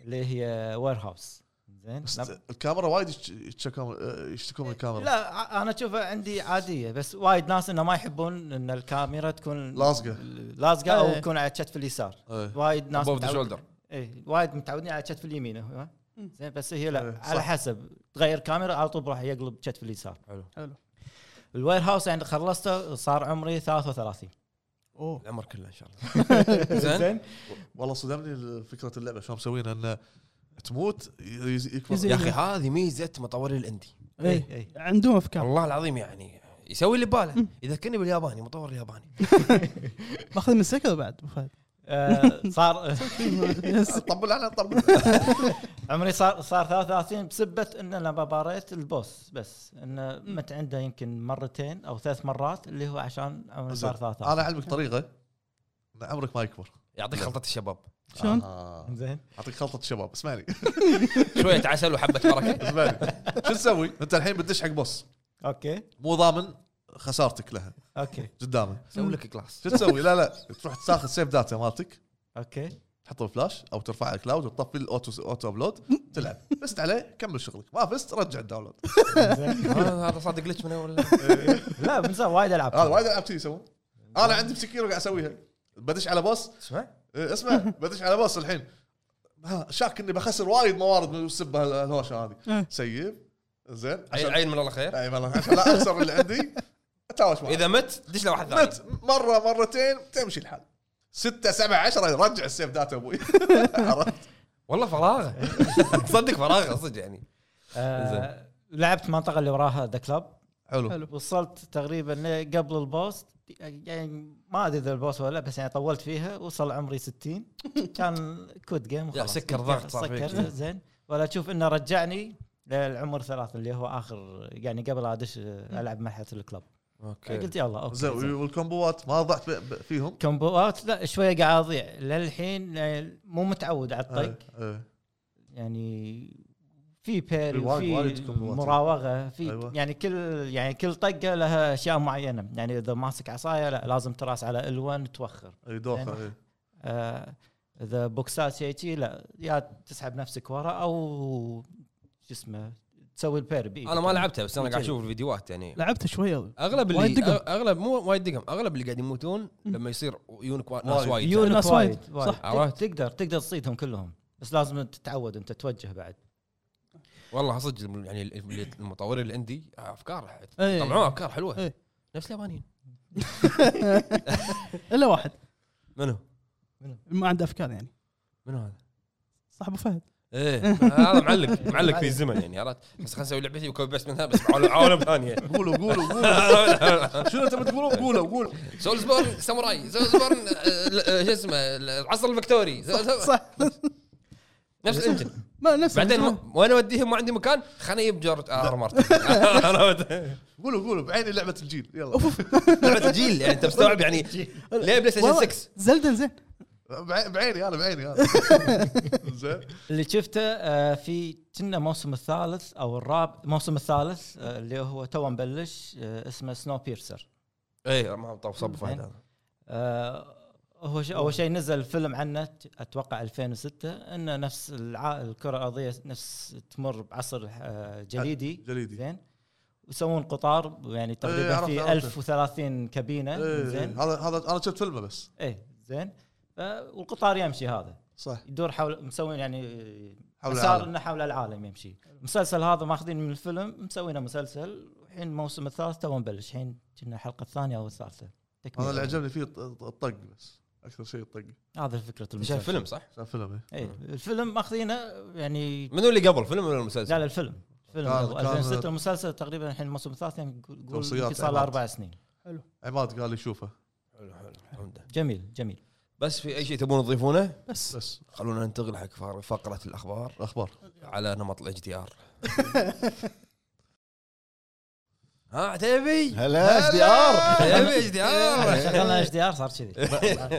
[SPEAKER 3] اللي هي وير هاوس زين نعم.
[SPEAKER 2] بس
[SPEAKER 3] لم-
[SPEAKER 2] الكاميرا وايد يتش- يتشكون آه، يشتكون من الكاميرا
[SPEAKER 3] لا ع- انا اشوفها عندي عاديه بس وايد ناس انه ما يحبون ان الكاميرا تكون
[SPEAKER 2] لازقة.
[SPEAKER 3] لازقه او
[SPEAKER 4] إيه.
[SPEAKER 3] تكون على كتف اليسار
[SPEAKER 2] إيه.
[SPEAKER 3] وايد ناس
[SPEAKER 1] Above the
[SPEAKER 3] متعود-
[SPEAKER 1] shoulder.
[SPEAKER 3] اي إيه، وايد متعودين على كتف اليمين هو. زين بس هي
[SPEAKER 2] إيه،
[SPEAKER 3] لا
[SPEAKER 2] صح.
[SPEAKER 3] على حسب تغير كاميرا على طول راح يقلب كتف اليسار
[SPEAKER 4] حلو
[SPEAKER 3] الوير هاوس يعني خلصته صار عمري 33
[SPEAKER 4] اوه
[SPEAKER 1] العمر كله ان شاء الله زين
[SPEAKER 2] والله صدمني فكره اللعبه شلون مسوينها انه تموت يز- يكبر
[SPEAKER 4] يزيد.
[SPEAKER 1] يا اخي هذه ميزه مطوري الاندي
[SPEAKER 4] اي
[SPEAKER 3] اي
[SPEAKER 4] إيه، عندهم افكار
[SPEAKER 1] والله العظيم يعني يسوي اللي بباله يذكرني بالياباني مطور الياباني
[SPEAKER 4] ماخذ من سكر بعد أبو فهد.
[SPEAKER 3] آه، صار
[SPEAKER 4] يس.
[SPEAKER 2] طبل على طبل
[SPEAKER 3] عمري صار صار 33 بسبه ان لما باريت البوس بس انه مت عنده يمكن مرتين او ثلاث مرات اللي هو عشان عمري صار 33
[SPEAKER 2] انا اعلمك طريقه ان عمرك ما يكبر
[SPEAKER 1] يعطيك خلطه الشباب
[SPEAKER 4] شلون؟
[SPEAKER 2] آه.
[SPEAKER 3] زين
[SPEAKER 2] اعطيك خلطه شباب اسمعني
[SPEAKER 1] شويه عسل وحبه بركه
[SPEAKER 2] اسمعني شو تسوي؟ انت الحين بتدش حق بوس
[SPEAKER 3] اوكي
[SPEAKER 2] مو ضامن خسارتك لها
[SPEAKER 3] اوكي
[SPEAKER 2] قدامه
[SPEAKER 1] سوي لك كلاس
[SPEAKER 2] شو تسوي؟ لا لا تروح تاخذ سيف داتا مالتك
[SPEAKER 3] اوكي
[SPEAKER 2] تحطه فلاش او ترفعه على الكلاود وتطفي الاوتو اوتو ابلود تلعب فزت عليه كمل شغلك ما فزت رجع الداونلود
[SPEAKER 3] زين.
[SPEAKER 1] هذا صادق لك من اول
[SPEAKER 3] لا من زمان وايد
[SPEAKER 2] هذا
[SPEAKER 3] العب
[SPEAKER 2] وايد العاب كذي يسوون انا عندي بسكيرو قاعد اسويها بدش على بوس
[SPEAKER 1] اسمع
[SPEAKER 2] إيه، اسمع بدش على باص الحين ها، شاك اني بخسر وايد موارد من السب هالهوشه هذه
[SPEAKER 4] إيه.
[SPEAKER 2] سيب زين
[SPEAKER 1] عين
[SPEAKER 2] عشان
[SPEAKER 1] عين من الله خير
[SPEAKER 2] اي والله عشان لا اخسر اللي عندي اتهاوش معه
[SPEAKER 1] اذا مت دش له واحد ثاني
[SPEAKER 2] مت مره مرتين تمشي الحال ستة سبعة عشرة رجع السيف داتا ابوي عرفت
[SPEAKER 1] والله فراغه تصدق فراغه صدق يعني
[SPEAKER 3] آه، لعبت المنطقه اللي وراها ذا كلاب
[SPEAKER 2] حلو
[SPEAKER 3] وصلت تقريبا قبل البوس يعني ما ادري اذا البوس ولا لا بس يعني طولت فيها وصل عمري 60 كان كود جيم
[SPEAKER 1] لا،
[SPEAKER 3] وخلاص
[SPEAKER 1] سكر ضغط صار فيك.
[SPEAKER 3] سكر زين ولا اشوف انه رجعني للعمر ثلاث اللي هو اخر يعني قبل ادش العب مرحله الكلب
[SPEAKER 1] اوكي
[SPEAKER 3] قلت يلا اوكي
[SPEAKER 2] زين
[SPEAKER 3] زين.
[SPEAKER 2] والكومبوات ما ضعت ب- ب- فيهم
[SPEAKER 3] كومبوات لا شويه قاعد اضيع للحين يعني مو متعود على الطق
[SPEAKER 2] إيه، إيه.
[SPEAKER 3] يعني في بيري
[SPEAKER 2] في وايد-
[SPEAKER 3] وفي
[SPEAKER 2] وايد كومبوات.
[SPEAKER 3] مراوغه في
[SPEAKER 2] أيوة.
[SPEAKER 3] أيوة. يعني كل يعني كل طقه لها اشياء معينه يعني اذا ماسك عصايه لا لازم تراس على ال1 توخر
[SPEAKER 2] اي دوخه إيه.
[SPEAKER 3] آه، اذا بوكسات شيء شي لا يا تسحب نفسك ورا او شو اسمه تسوي البيري بإيدك.
[SPEAKER 1] انا ما لعبتها بس انا قاعد اشوف الفيديوهات يعني
[SPEAKER 4] لعبت شويه
[SPEAKER 1] اغلب
[SPEAKER 4] وايد
[SPEAKER 1] اللي
[SPEAKER 4] دقم.
[SPEAKER 1] أغ- اغلب مو وايد دقم اغلب اللي قاعد يموتون لما يصير عيونك وا- ناس
[SPEAKER 2] وايد.
[SPEAKER 1] وايد
[SPEAKER 3] يونك
[SPEAKER 4] ناس
[SPEAKER 3] وايد
[SPEAKER 4] وايد،
[SPEAKER 3] وايد.
[SPEAKER 4] صح.
[SPEAKER 3] تق-
[SPEAKER 1] عرفت.
[SPEAKER 3] تقدر تقدر تصيدهم كلهم بس لازم تتعود انت توجه بعد
[SPEAKER 1] والله صدق يعني ال- اللي- المطورين اللي عندي افكار
[SPEAKER 4] إيه.
[SPEAKER 1] طلعوا افكار حلوه
[SPEAKER 4] إيه.
[SPEAKER 1] نفس اليابانيين
[SPEAKER 4] الا واحد
[SPEAKER 1] منو؟
[SPEAKER 4] ما عنده افكار يعني
[SPEAKER 1] منو هذا؟
[SPEAKER 4] صح ابو فهد
[SPEAKER 1] ايه هذا معلق معلق في الزمن يعني عرفت بس خلنا نسوي لعبتي وكوبي بيست منها بس عالم عالم ثانيه
[SPEAKER 2] قولوا قولوا قولوا شنو تبي تقولون قولوا قولوا
[SPEAKER 1] سولزبورن ساموراي سولزبورن آه، ل- آه، شو اسمه العصر الفكتوري سول- سول-
[SPEAKER 4] صح
[SPEAKER 1] نفس الانجن
[SPEAKER 4] ما نفس
[SPEAKER 1] بعدين ما- وانا اوديهم ما عندي مكان خليني اجيب جورج ار مارتن
[SPEAKER 2] قولوا قولوا بعيني لعبه الجيل يلا
[SPEAKER 1] لعبه جيل يعني انت مستوعب يعني ليه بلاي ستيشن 6
[SPEAKER 4] زلدن زين
[SPEAKER 2] بع- بعيني انا بعيني انا زين
[SPEAKER 3] اللي شفته آه، في كنا موسم الثالث او الرابع موسم الثالث آه، اللي هو تو مبلش آه، اسمه سنو بيرسر
[SPEAKER 1] اي ما إيه، طب صب فهد هذا.
[SPEAKER 3] آه، هو ش- اول شيء نزل فيلم عنه ت- اتوقع 2006 انه نفس الع... الكره الارضيه نفس تمر بعصر آه، جليدي
[SPEAKER 2] جليدي
[SPEAKER 3] زين ويسوون قطار يعني
[SPEAKER 2] إيه،
[SPEAKER 3] تقريبا
[SPEAKER 2] عرفت-
[SPEAKER 3] في
[SPEAKER 2] عرفت.
[SPEAKER 3] 1030 كابينه
[SPEAKER 2] إيه،
[SPEAKER 3] زين
[SPEAKER 2] هذا هذا انا شفت فيلمه بس
[SPEAKER 3] ايه زين ف- والقطار يمشي هذا
[SPEAKER 2] صح
[SPEAKER 3] يدور حول مسوين يعني
[SPEAKER 2] حول
[SPEAKER 3] مسار
[SPEAKER 2] العالم.
[SPEAKER 3] انه حول العالم يمشي المسلسل هذا ماخذين من الفيلم مسوينه مسلسل الحين الموسم الثالث تو مبلش الحين كنا الحلقه الثانيه او الثالثه تكملة.
[SPEAKER 2] انا اللي عجبني فيه الط- الطق بس اكثر شيء الطق
[SPEAKER 3] هذا فكره المسلسل
[SPEAKER 1] شايف فيلم صح؟
[SPEAKER 2] شاف فيلم إيه.
[SPEAKER 3] اي الفيلم ماخذينه يعني
[SPEAKER 1] منو اللي قبل فيلم ولا
[SPEAKER 3] لا
[SPEAKER 1] المسلسل؟
[SPEAKER 3] لا الفيلم فيلم
[SPEAKER 2] كان-
[SPEAKER 3] قبل
[SPEAKER 2] كان-
[SPEAKER 3] 2006 المسلسل تقريبا الحين الموسم الثالث يعني قول- قول
[SPEAKER 2] توصيات
[SPEAKER 3] يمكن صار له
[SPEAKER 2] إعلانات.
[SPEAKER 3] اربع سنين
[SPEAKER 2] عماد قال لي شوفه
[SPEAKER 1] حلو حلو الحمد.
[SPEAKER 3] جميل جميل
[SPEAKER 1] بس في اي شيء تبون تضيفونه؟
[SPEAKER 4] بس
[SPEAKER 2] بس
[SPEAKER 1] خلونا ننتقل حق فار- فقره الاخبار
[SPEAKER 2] الاخبار
[SPEAKER 1] على نمط الاتش دي ار ها تبي
[SPEAKER 5] هلا اتش دي ار
[SPEAKER 1] تبي اتش دي
[SPEAKER 2] إيه.
[SPEAKER 1] ار
[SPEAKER 3] شغلنا اتش دي ار صار كذي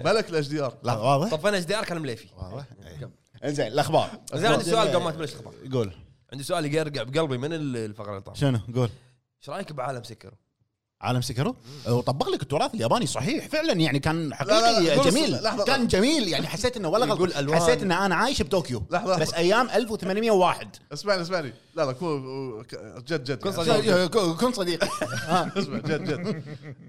[SPEAKER 2] ملك الاتش دي ار
[SPEAKER 5] لا واضح
[SPEAKER 1] طفينا اتش دي ار كان مليفي
[SPEAKER 5] واضح إيه. انزين الاخبار
[SPEAKER 1] زين عندي سؤال قبل ما تبلش الاخبار
[SPEAKER 5] قول
[SPEAKER 1] عندي سؤال يرقع بقلبي من ال- الفقره اللي طافت
[SPEAKER 5] شنو قول
[SPEAKER 1] ايش رايك بعالم سكر؟
[SPEAKER 5] عالم سكرو وطبق لك التراث الياباني صحيح فعلا يعني كان
[SPEAKER 2] لا،
[SPEAKER 5] حقيقي
[SPEAKER 2] لا، قول
[SPEAKER 5] جميل
[SPEAKER 2] الصورة. لحظة.
[SPEAKER 5] كان جميل يعني حسيت انه ولا
[SPEAKER 1] يقول
[SPEAKER 5] غلط
[SPEAKER 1] ألوان.
[SPEAKER 5] حسيت ان انا عايش بطوكيو
[SPEAKER 2] لحظة.
[SPEAKER 5] بس ايام 1801
[SPEAKER 2] اسمعني اسمعني لا لا كو جد جد
[SPEAKER 1] كن
[SPEAKER 2] يعني.
[SPEAKER 1] صديق.
[SPEAKER 5] يا- كن- كن صديقي آه.
[SPEAKER 2] اسمع جد جد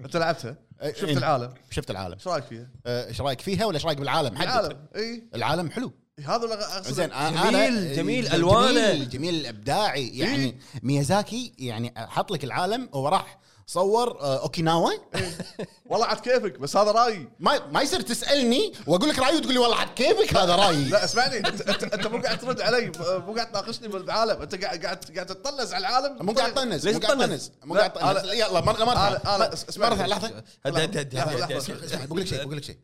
[SPEAKER 2] انت لعبتها شفت
[SPEAKER 5] إيه.
[SPEAKER 2] العالم
[SPEAKER 5] شفت العالم
[SPEAKER 2] ايش رايك فيها؟
[SPEAKER 5] آه، ايش رايك فيها ولا ايش رايك بالعالم حدد
[SPEAKER 2] العالم اي
[SPEAKER 5] العالم حلو
[SPEAKER 2] هذا ولا أقصد-
[SPEAKER 5] زين أنا-
[SPEAKER 1] جميل،
[SPEAKER 5] أنا-
[SPEAKER 1] جميل، ألوانه.
[SPEAKER 5] جميل جميل ابداعي يعني ميازاكي يعني حط لك العالم وراح صور آه، اوكيناوا
[SPEAKER 2] والله عاد كيفك بس هذا رايي
[SPEAKER 5] ما ما يصير تسالني واقول لك رايي وتقول لي والله عاد كيفك هذا رايي
[SPEAKER 2] لا اسمعني انت انت, انت مو قاعد ترد علي مو قاعد تناقشني بالعالم انت قاعد قاعد قاعد تطلز على العالم طيب.
[SPEAKER 5] مو قاعد طنز
[SPEAKER 1] ليش
[SPEAKER 5] مو قاعد
[SPEAKER 1] تطنز؟
[SPEAKER 5] طنز مو قاعد
[SPEAKER 2] لا،
[SPEAKER 5] طنز
[SPEAKER 2] أنا-
[SPEAKER 5] يلا مره مره
[SPEAKER 2] أنا- أنا- اسمعني.
[SPEAKER 5] مره لحظه
[SPEAKER 1] هدي هدي هدي
[SPEAKER 5] لحظه
[SPEAKER 1] هدي-
[SPEAKER 5] لحظه
[SPEAKER 1] هدي
[SPEAKER 5] اسمع، بقول لك شيء بقول لك شيء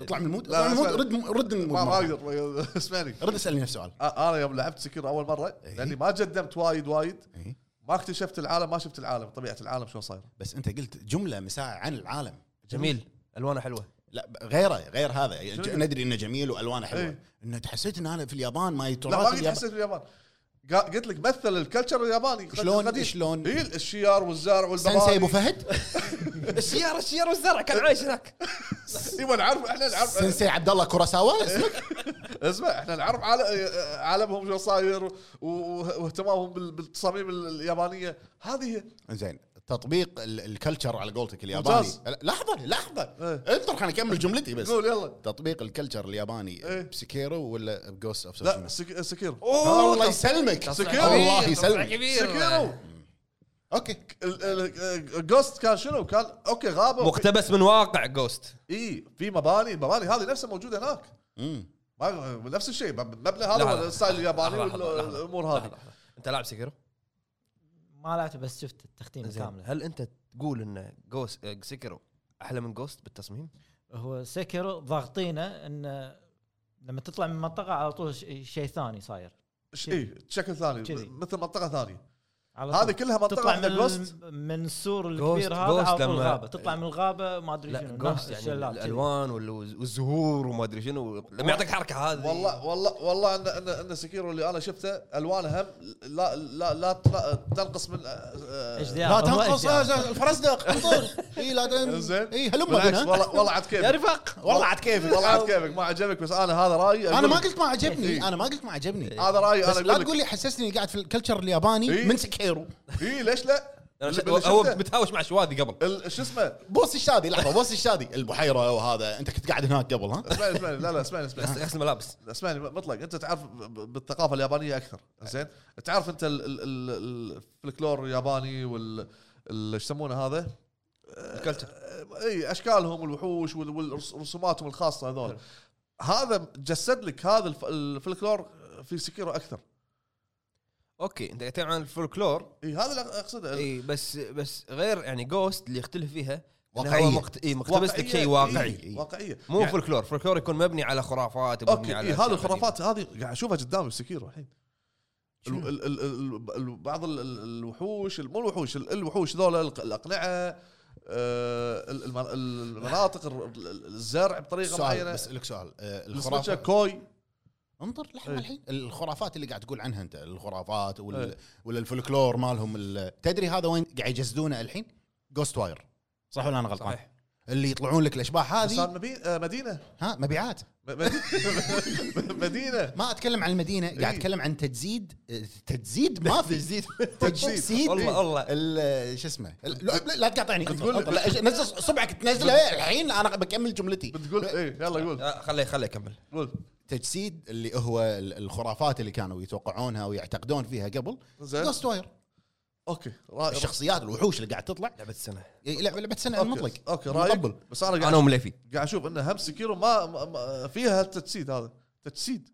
[SPEAKER 5] اطلع من المود
[SPEAKER 2] لا،
[SPEAKER 5] اطلع من المود
[SPEAKER 2] اسمع.
[SPEAKER 5] رد رد المود
[SPEAKER 2] ما ما
[SPEAKER 5] مرة.
[SPEAKER 2] اقدر اسمعني
[SPEAKER 5] رد اسالني نفس السؤال
[SPEAKER 2] انا يوم لعبت سكر اول مره لاني ما جدمت وايد وايد
[SPEAKER 5] إيه.
[SPEAKER 2] ما اكتشفت العالم ما شفت العالم طبيعه العالم شلون صاير
[SPEAKER 5] بس انت قلت جمله مساعة عن العالم
[SPEAKER 1] جميل الوانه حلوه
[SPEAKER 5] لا ب- غيره غير هذا يعني
[SPEAKER 2] شنو؟
[SPEAKER 5] ندري انه جميل والوانه حلوه
[SPEAKER 2] إيه.
[SPEAKER 5] انه حسيت ان انا في اليابان ما
[SPEAKER 2] لا ما
[SPEAKER 5] تراث
[SPEAKER 2] قد
[SPEAKER 5] اليابان
[SPEAKER 2] حسيت باليابان قا- قلت لك مثل الكلتشر الياباني
[SPEAKER 5] شلون-
[SPEAKER 2] القديم.
[SPEAKER 5] شلون؟
[SPEAKER 2] اي الشيار والزرع
[SPEAKER 5] سنسي ابو
[SPEAKER 2] والبغالي
[SPEAKER 5] فهد
[SPEAKER 1] السياره السياره والزرع كان عايش هناك
[SPEAKER 2] ايوه نعرف احنا نعرف
[SPEAKER 5] سنسي عبد الله كوراساوا
[SPEAKER 2] إيه.
[SPEAKER 5] اسمك
[SPEAKER 2] اسمع احنا نعرف عال- عالمهم شو صاير و- و- واهتمامهم بال- بالتصاميم اليابانيه هذه هي.
[SPEAKER 5] زين تطبيق ال- الكلتشر على قولتك الياباني
[SPEAKER 2] ممتاز.
[SPEAKER 5] لحظه لحظه
[SPEAKER 2] إيه.
[SPEAKER 5] انطر خليني اكمل جملتي بس
[SPEAKER 2] قول يلا
[SPEAKER 5] تطبيق الكلتشر الياباني
[SPEAKER 2] إيه.
[SPEAKER 5] بسكيرو ولا بجوست اوف
[SPEAKER 2] لا
[SPEAKER 5] سوشيما؟
[SPEAKER 2] سك- سكيرو
[SPEAKER 5] آه، الله يسلمك
[SPEAKER 2] سكيرو.
[SPEAKER 5] الله يسلمك
[SPEAKER 1] كبير
[SPEAKER 2] سكيرو
[SPEAKER 5] اوكي
[SPEAKER 2] جوست كان شنو كان اوكي غابه وفي-
[SPEAKER 1] مقتبس من واقع جوست
[SPEAKER 2] اي في مباني المباني هذه نفسها موجوده هناك
[SPEAKER 5] مم.
[SPEAKER 2] ما- نفس الشيء مبنى
[SPEAKER 1] لا،
[SPEAKER 2] هذا
[SPEAKER 1] لا.
[SPEAKER 2] الستايل الياباني
[SPEAKER 1] لحظة، لحظة، لحظة.
[SPEAKER 2] والامور هذه
[SPEAKER 1] انت لاعب سكر
[SPEAKER 3] ما لعبت بس شفت التختيم
[SPEAKER 1] زين
[SPEAKER 3] كامله
[SPEAKER 1] هل انت تقول ان جوست آه، سكر احلى من جوست بالتصميم؟
[SPEAKER 3] هو سكر ضاغطينه انه لما تطلع من منطقه على طول ش- شيء ثاني صاير
[SPEAKER 2] ش- اي شكل إيه، ثاني
[SPEAKER 3] كذي.
[SPEAKER 2] مثل منطقه ثانيه
[SPEAKER 3] على
[SPEAKER 2] هذه
[SPEAKER 3] طول.
[SPEAKER 2] كلها منطقه
[SPEAKER 3] تطلع
[SPEAKER 2] من
[SPEAKER 3] من
[SPEAKER 2] جوست
[SPEAKER 3] الم- من السور
[SPEAKER 1] Ghost-
[SPEAKER 3] الكبير هذا
[SPEAKER 1] Ghost
[SPEAKER 3] على طول
[SPEAKER 1] لما-
[SPEAKER 3] الغابه تطلع من الغابه ما ادري
[SPEAKER 1] لا
[SPEAKER 3] شنو
[SPEAKER 1] جوست
[SPEAKER 3] ناس-
[SPEAKER 1] يعني
[SPEAKER 3] شلال كذي.
[SPEAKER 1] الالوان وال- والزهور وما ادري شنو لما يعطيك حركه هذه
[SPEAKER 2] والله والله والله ان ان ان سكيرو اللي انا شفته الوانها هم لا لا لا تن- تنقص من آه،
[SPEAKER 3] HDR.
[SPEAKER 5] لا
[SPEAKER 3] هو
[SPEAKER 5] تنقص
[SPEAKER 3] HDR.
[SPEAKER 5] آه، زين، الفرزدق اي لا تن-
[SPEAKER 2] زين.
[SPEAKER 5] اي هلم
[SPEAKER 2] بالعكس
[SPEAKER 5] بنا.
[SPEAKER 2] والله والله عاد
[SPEAKER 5] يا
[SPEAKER 2] كيفك
[SPEAKER 5] رفاق والله عاد كيفك
[SPEAKER 2] والله عاد كيفك ما عجبك بس انا هذا رايي
[SPEAKER 5] انا
[SPEAKER 2] أقول
[SPEAKER 5] ما
[SPEAKER 2] لك.
[SPEAKER 5] قلت ما
[SPEAKER 2] إيه.
[SPEAKER 5] عجبني انا ما قلت ما عجبني
[SPEAKER 2] هذا رايي
[SPEAKER 5] بس
[SPEAKER 2] انا
[SPEAKER 5] لا
[SPEAKER 2] اقول لك
[SPEAKER 5] تقول لي حسسني قاعد في الكلتشر الياباني
[SPEAKER 2] إيه.
[SPEAKER 5] من سكيرو
[SPEAKER 2] اي إيه، ليش لا؟
[SPEAKER 1] أنا شفت-
[SPEAKER 2] اللي
[SPEAKER 1] هو
[SPEAKER 2] شفته. آه.
[SPEAKER 1] بتهاوش مع شواذي قبل
[SPEAKER 2] ال- شو اسمه؟
[SPEAKER 5] بوس الشادي لحظه بوس الشادي البحيره وهذا انت كنت قاعد هناك قبل ها
[SPEAKER 2] اسمعني اسمعني لا لا اسمعني
[SPEAKER 1] بس
[SPEAKER 2] اسمعني
[SPEAKER 1] غسل الملابس
[SPEAKER 2] اسمعني مطلق انت تعرف ب- ب- بالثقافه اليابانيه اكثر زين تعرف انت ال- ال- ال- الفلكلور الياباني وال ال- ايش يسمونه هذا؟
[SPEAKER 1] الكلتشر.
[SPEAKER 2] آه، اي اشكالهم والوحوش وال- والرس- ورسوماتهم الخاصه هذول هذا جسد لك هذا الف- الفلكلور في سكيرو اكثر
[SPEAKER 1] اوكي انت قاعد تتكلم عن الفولكلور
[SPEAKER 2] اي إيه، هذا اللي اقصده
[SPEAKER 1] اي بس بس غير يعني جوست اللي يختلف فيها إنه هو
[SPEAKER 5] واقعية.
[SPEAKER 1] مقت- إي مقتبس لك
[SPEAKER 2] واقعية.
[SPEAKER 1] شيء
[SPEAKER 2] إي،
[SPEAKER 1] واقعي
[SPEAKER 2] واقعيه
[SPEAKER 1] مو
[SPEAKER 2] يعني-
[SPEAKER 1] فولكلور فولكلور يكون مبني على خرافات مبني
[SPEAKER 2] اوكي
[SPEAKER 1] على
[SPEAKER 2] إيه
[SPEAKER 1] أشياء
[SPEAKER 2] هذه الخرافات هذه قاعد اشوفها قدامي بسكيرو الحين ال-
[SPEAKER 5] شنو؟
[SPEAKER 2] ال- ال- ال- ال- بعض ال- ال- الوحوش مو الوحوش ال- الوحوش ذولا الق- الاقنعه آه، ال- الم- ال- المناطق ال- ال- الزرع بطريقه
[SPEAKER 5] سؤال
[SPEAKER 2] معينه
[SPEAKER 5] بسالك سؤال آه،
[SPEAKER 2] الخرافه
[SPEAKER 5] الخرافه
[SPEAKER 2] كوي
[SPEAKER 5] انظر لحظه
[SPEAKER 2] إيه.
[SPEAKER 5] الحين الخرافات اللي قاعد تقول عنها انت الخرافات وال...
[SPEAKER 2] إيه.
[SPEAKER 5] ولا الفلكلور مالهم ال... تدري هذا وين قاعد يجسدونه الحين؟ جوست واير صح ولا انا غلطان؟
[SPEAKER 1] صحيح.
[SPEAKER 5] اللي يطلعون لك الاشباح
[SPEAKER 2] صار
[SPEAKER 5] هذه
[SPEAKER 2] مبي- آه، مدينه
[SPEAKER 5] ها مبيعات
[SPEAKER 2] م- م- مدينه
[SPEAKER 5] ما اتكلم عن المدينه قاعد
[SPEAKER 2] إيه.
[SPEAKER 5] اتكلم عن تجسيد آه، تجسيد ما في تجسيد تجسيد
[SPEAKER 1] والله- والله.
[SPEAKER 5] ال- شو اسمه ال- لا, لا- لا تقاطعني
[SPEAKER 2] بتقول-
[SPEAKER 5] أطلع- أطلع. نزل صبعك تنزله الحين انا بكمل جملتي
[SPEAKER 2] بتقول ايه يلا قول
[SPEAKER 1] آه، خليه خليه يكمل
[SPEAKER 2] قول
[SPEAKER 5] تجسيد اللي هو ال- الخرافات اللي كانوا يتوقعونها ويعتقدون فيها قبل
[SPEAKER 2] زين
[SPEAKER 5] جوست واير
[SPEAKER 2] اوكي رأي-
[SPEAKER 5] الشخصيات الوحوش اللي قاعد تطلع
[SPEAKER 1] لعبه السنه
[SPEAKER 5] لعبه لعبة سنه
[SPEAKER 2] أوكي.
[SPEAKER 5] المطلق
[SPEAKER 2] اوكي رايك
[SPEAKER 5] يعني مطبل.
[SPEAKER 2] بس انا
[SPEAKER 1] انا
[SPEAKER 2] قاعد
[SPEAKER 1] ومليفي
[SPEAKER 2] قاعد اشوف انه هم سكيرو ما ما- ما- فيها التجسيد هذا تجسيد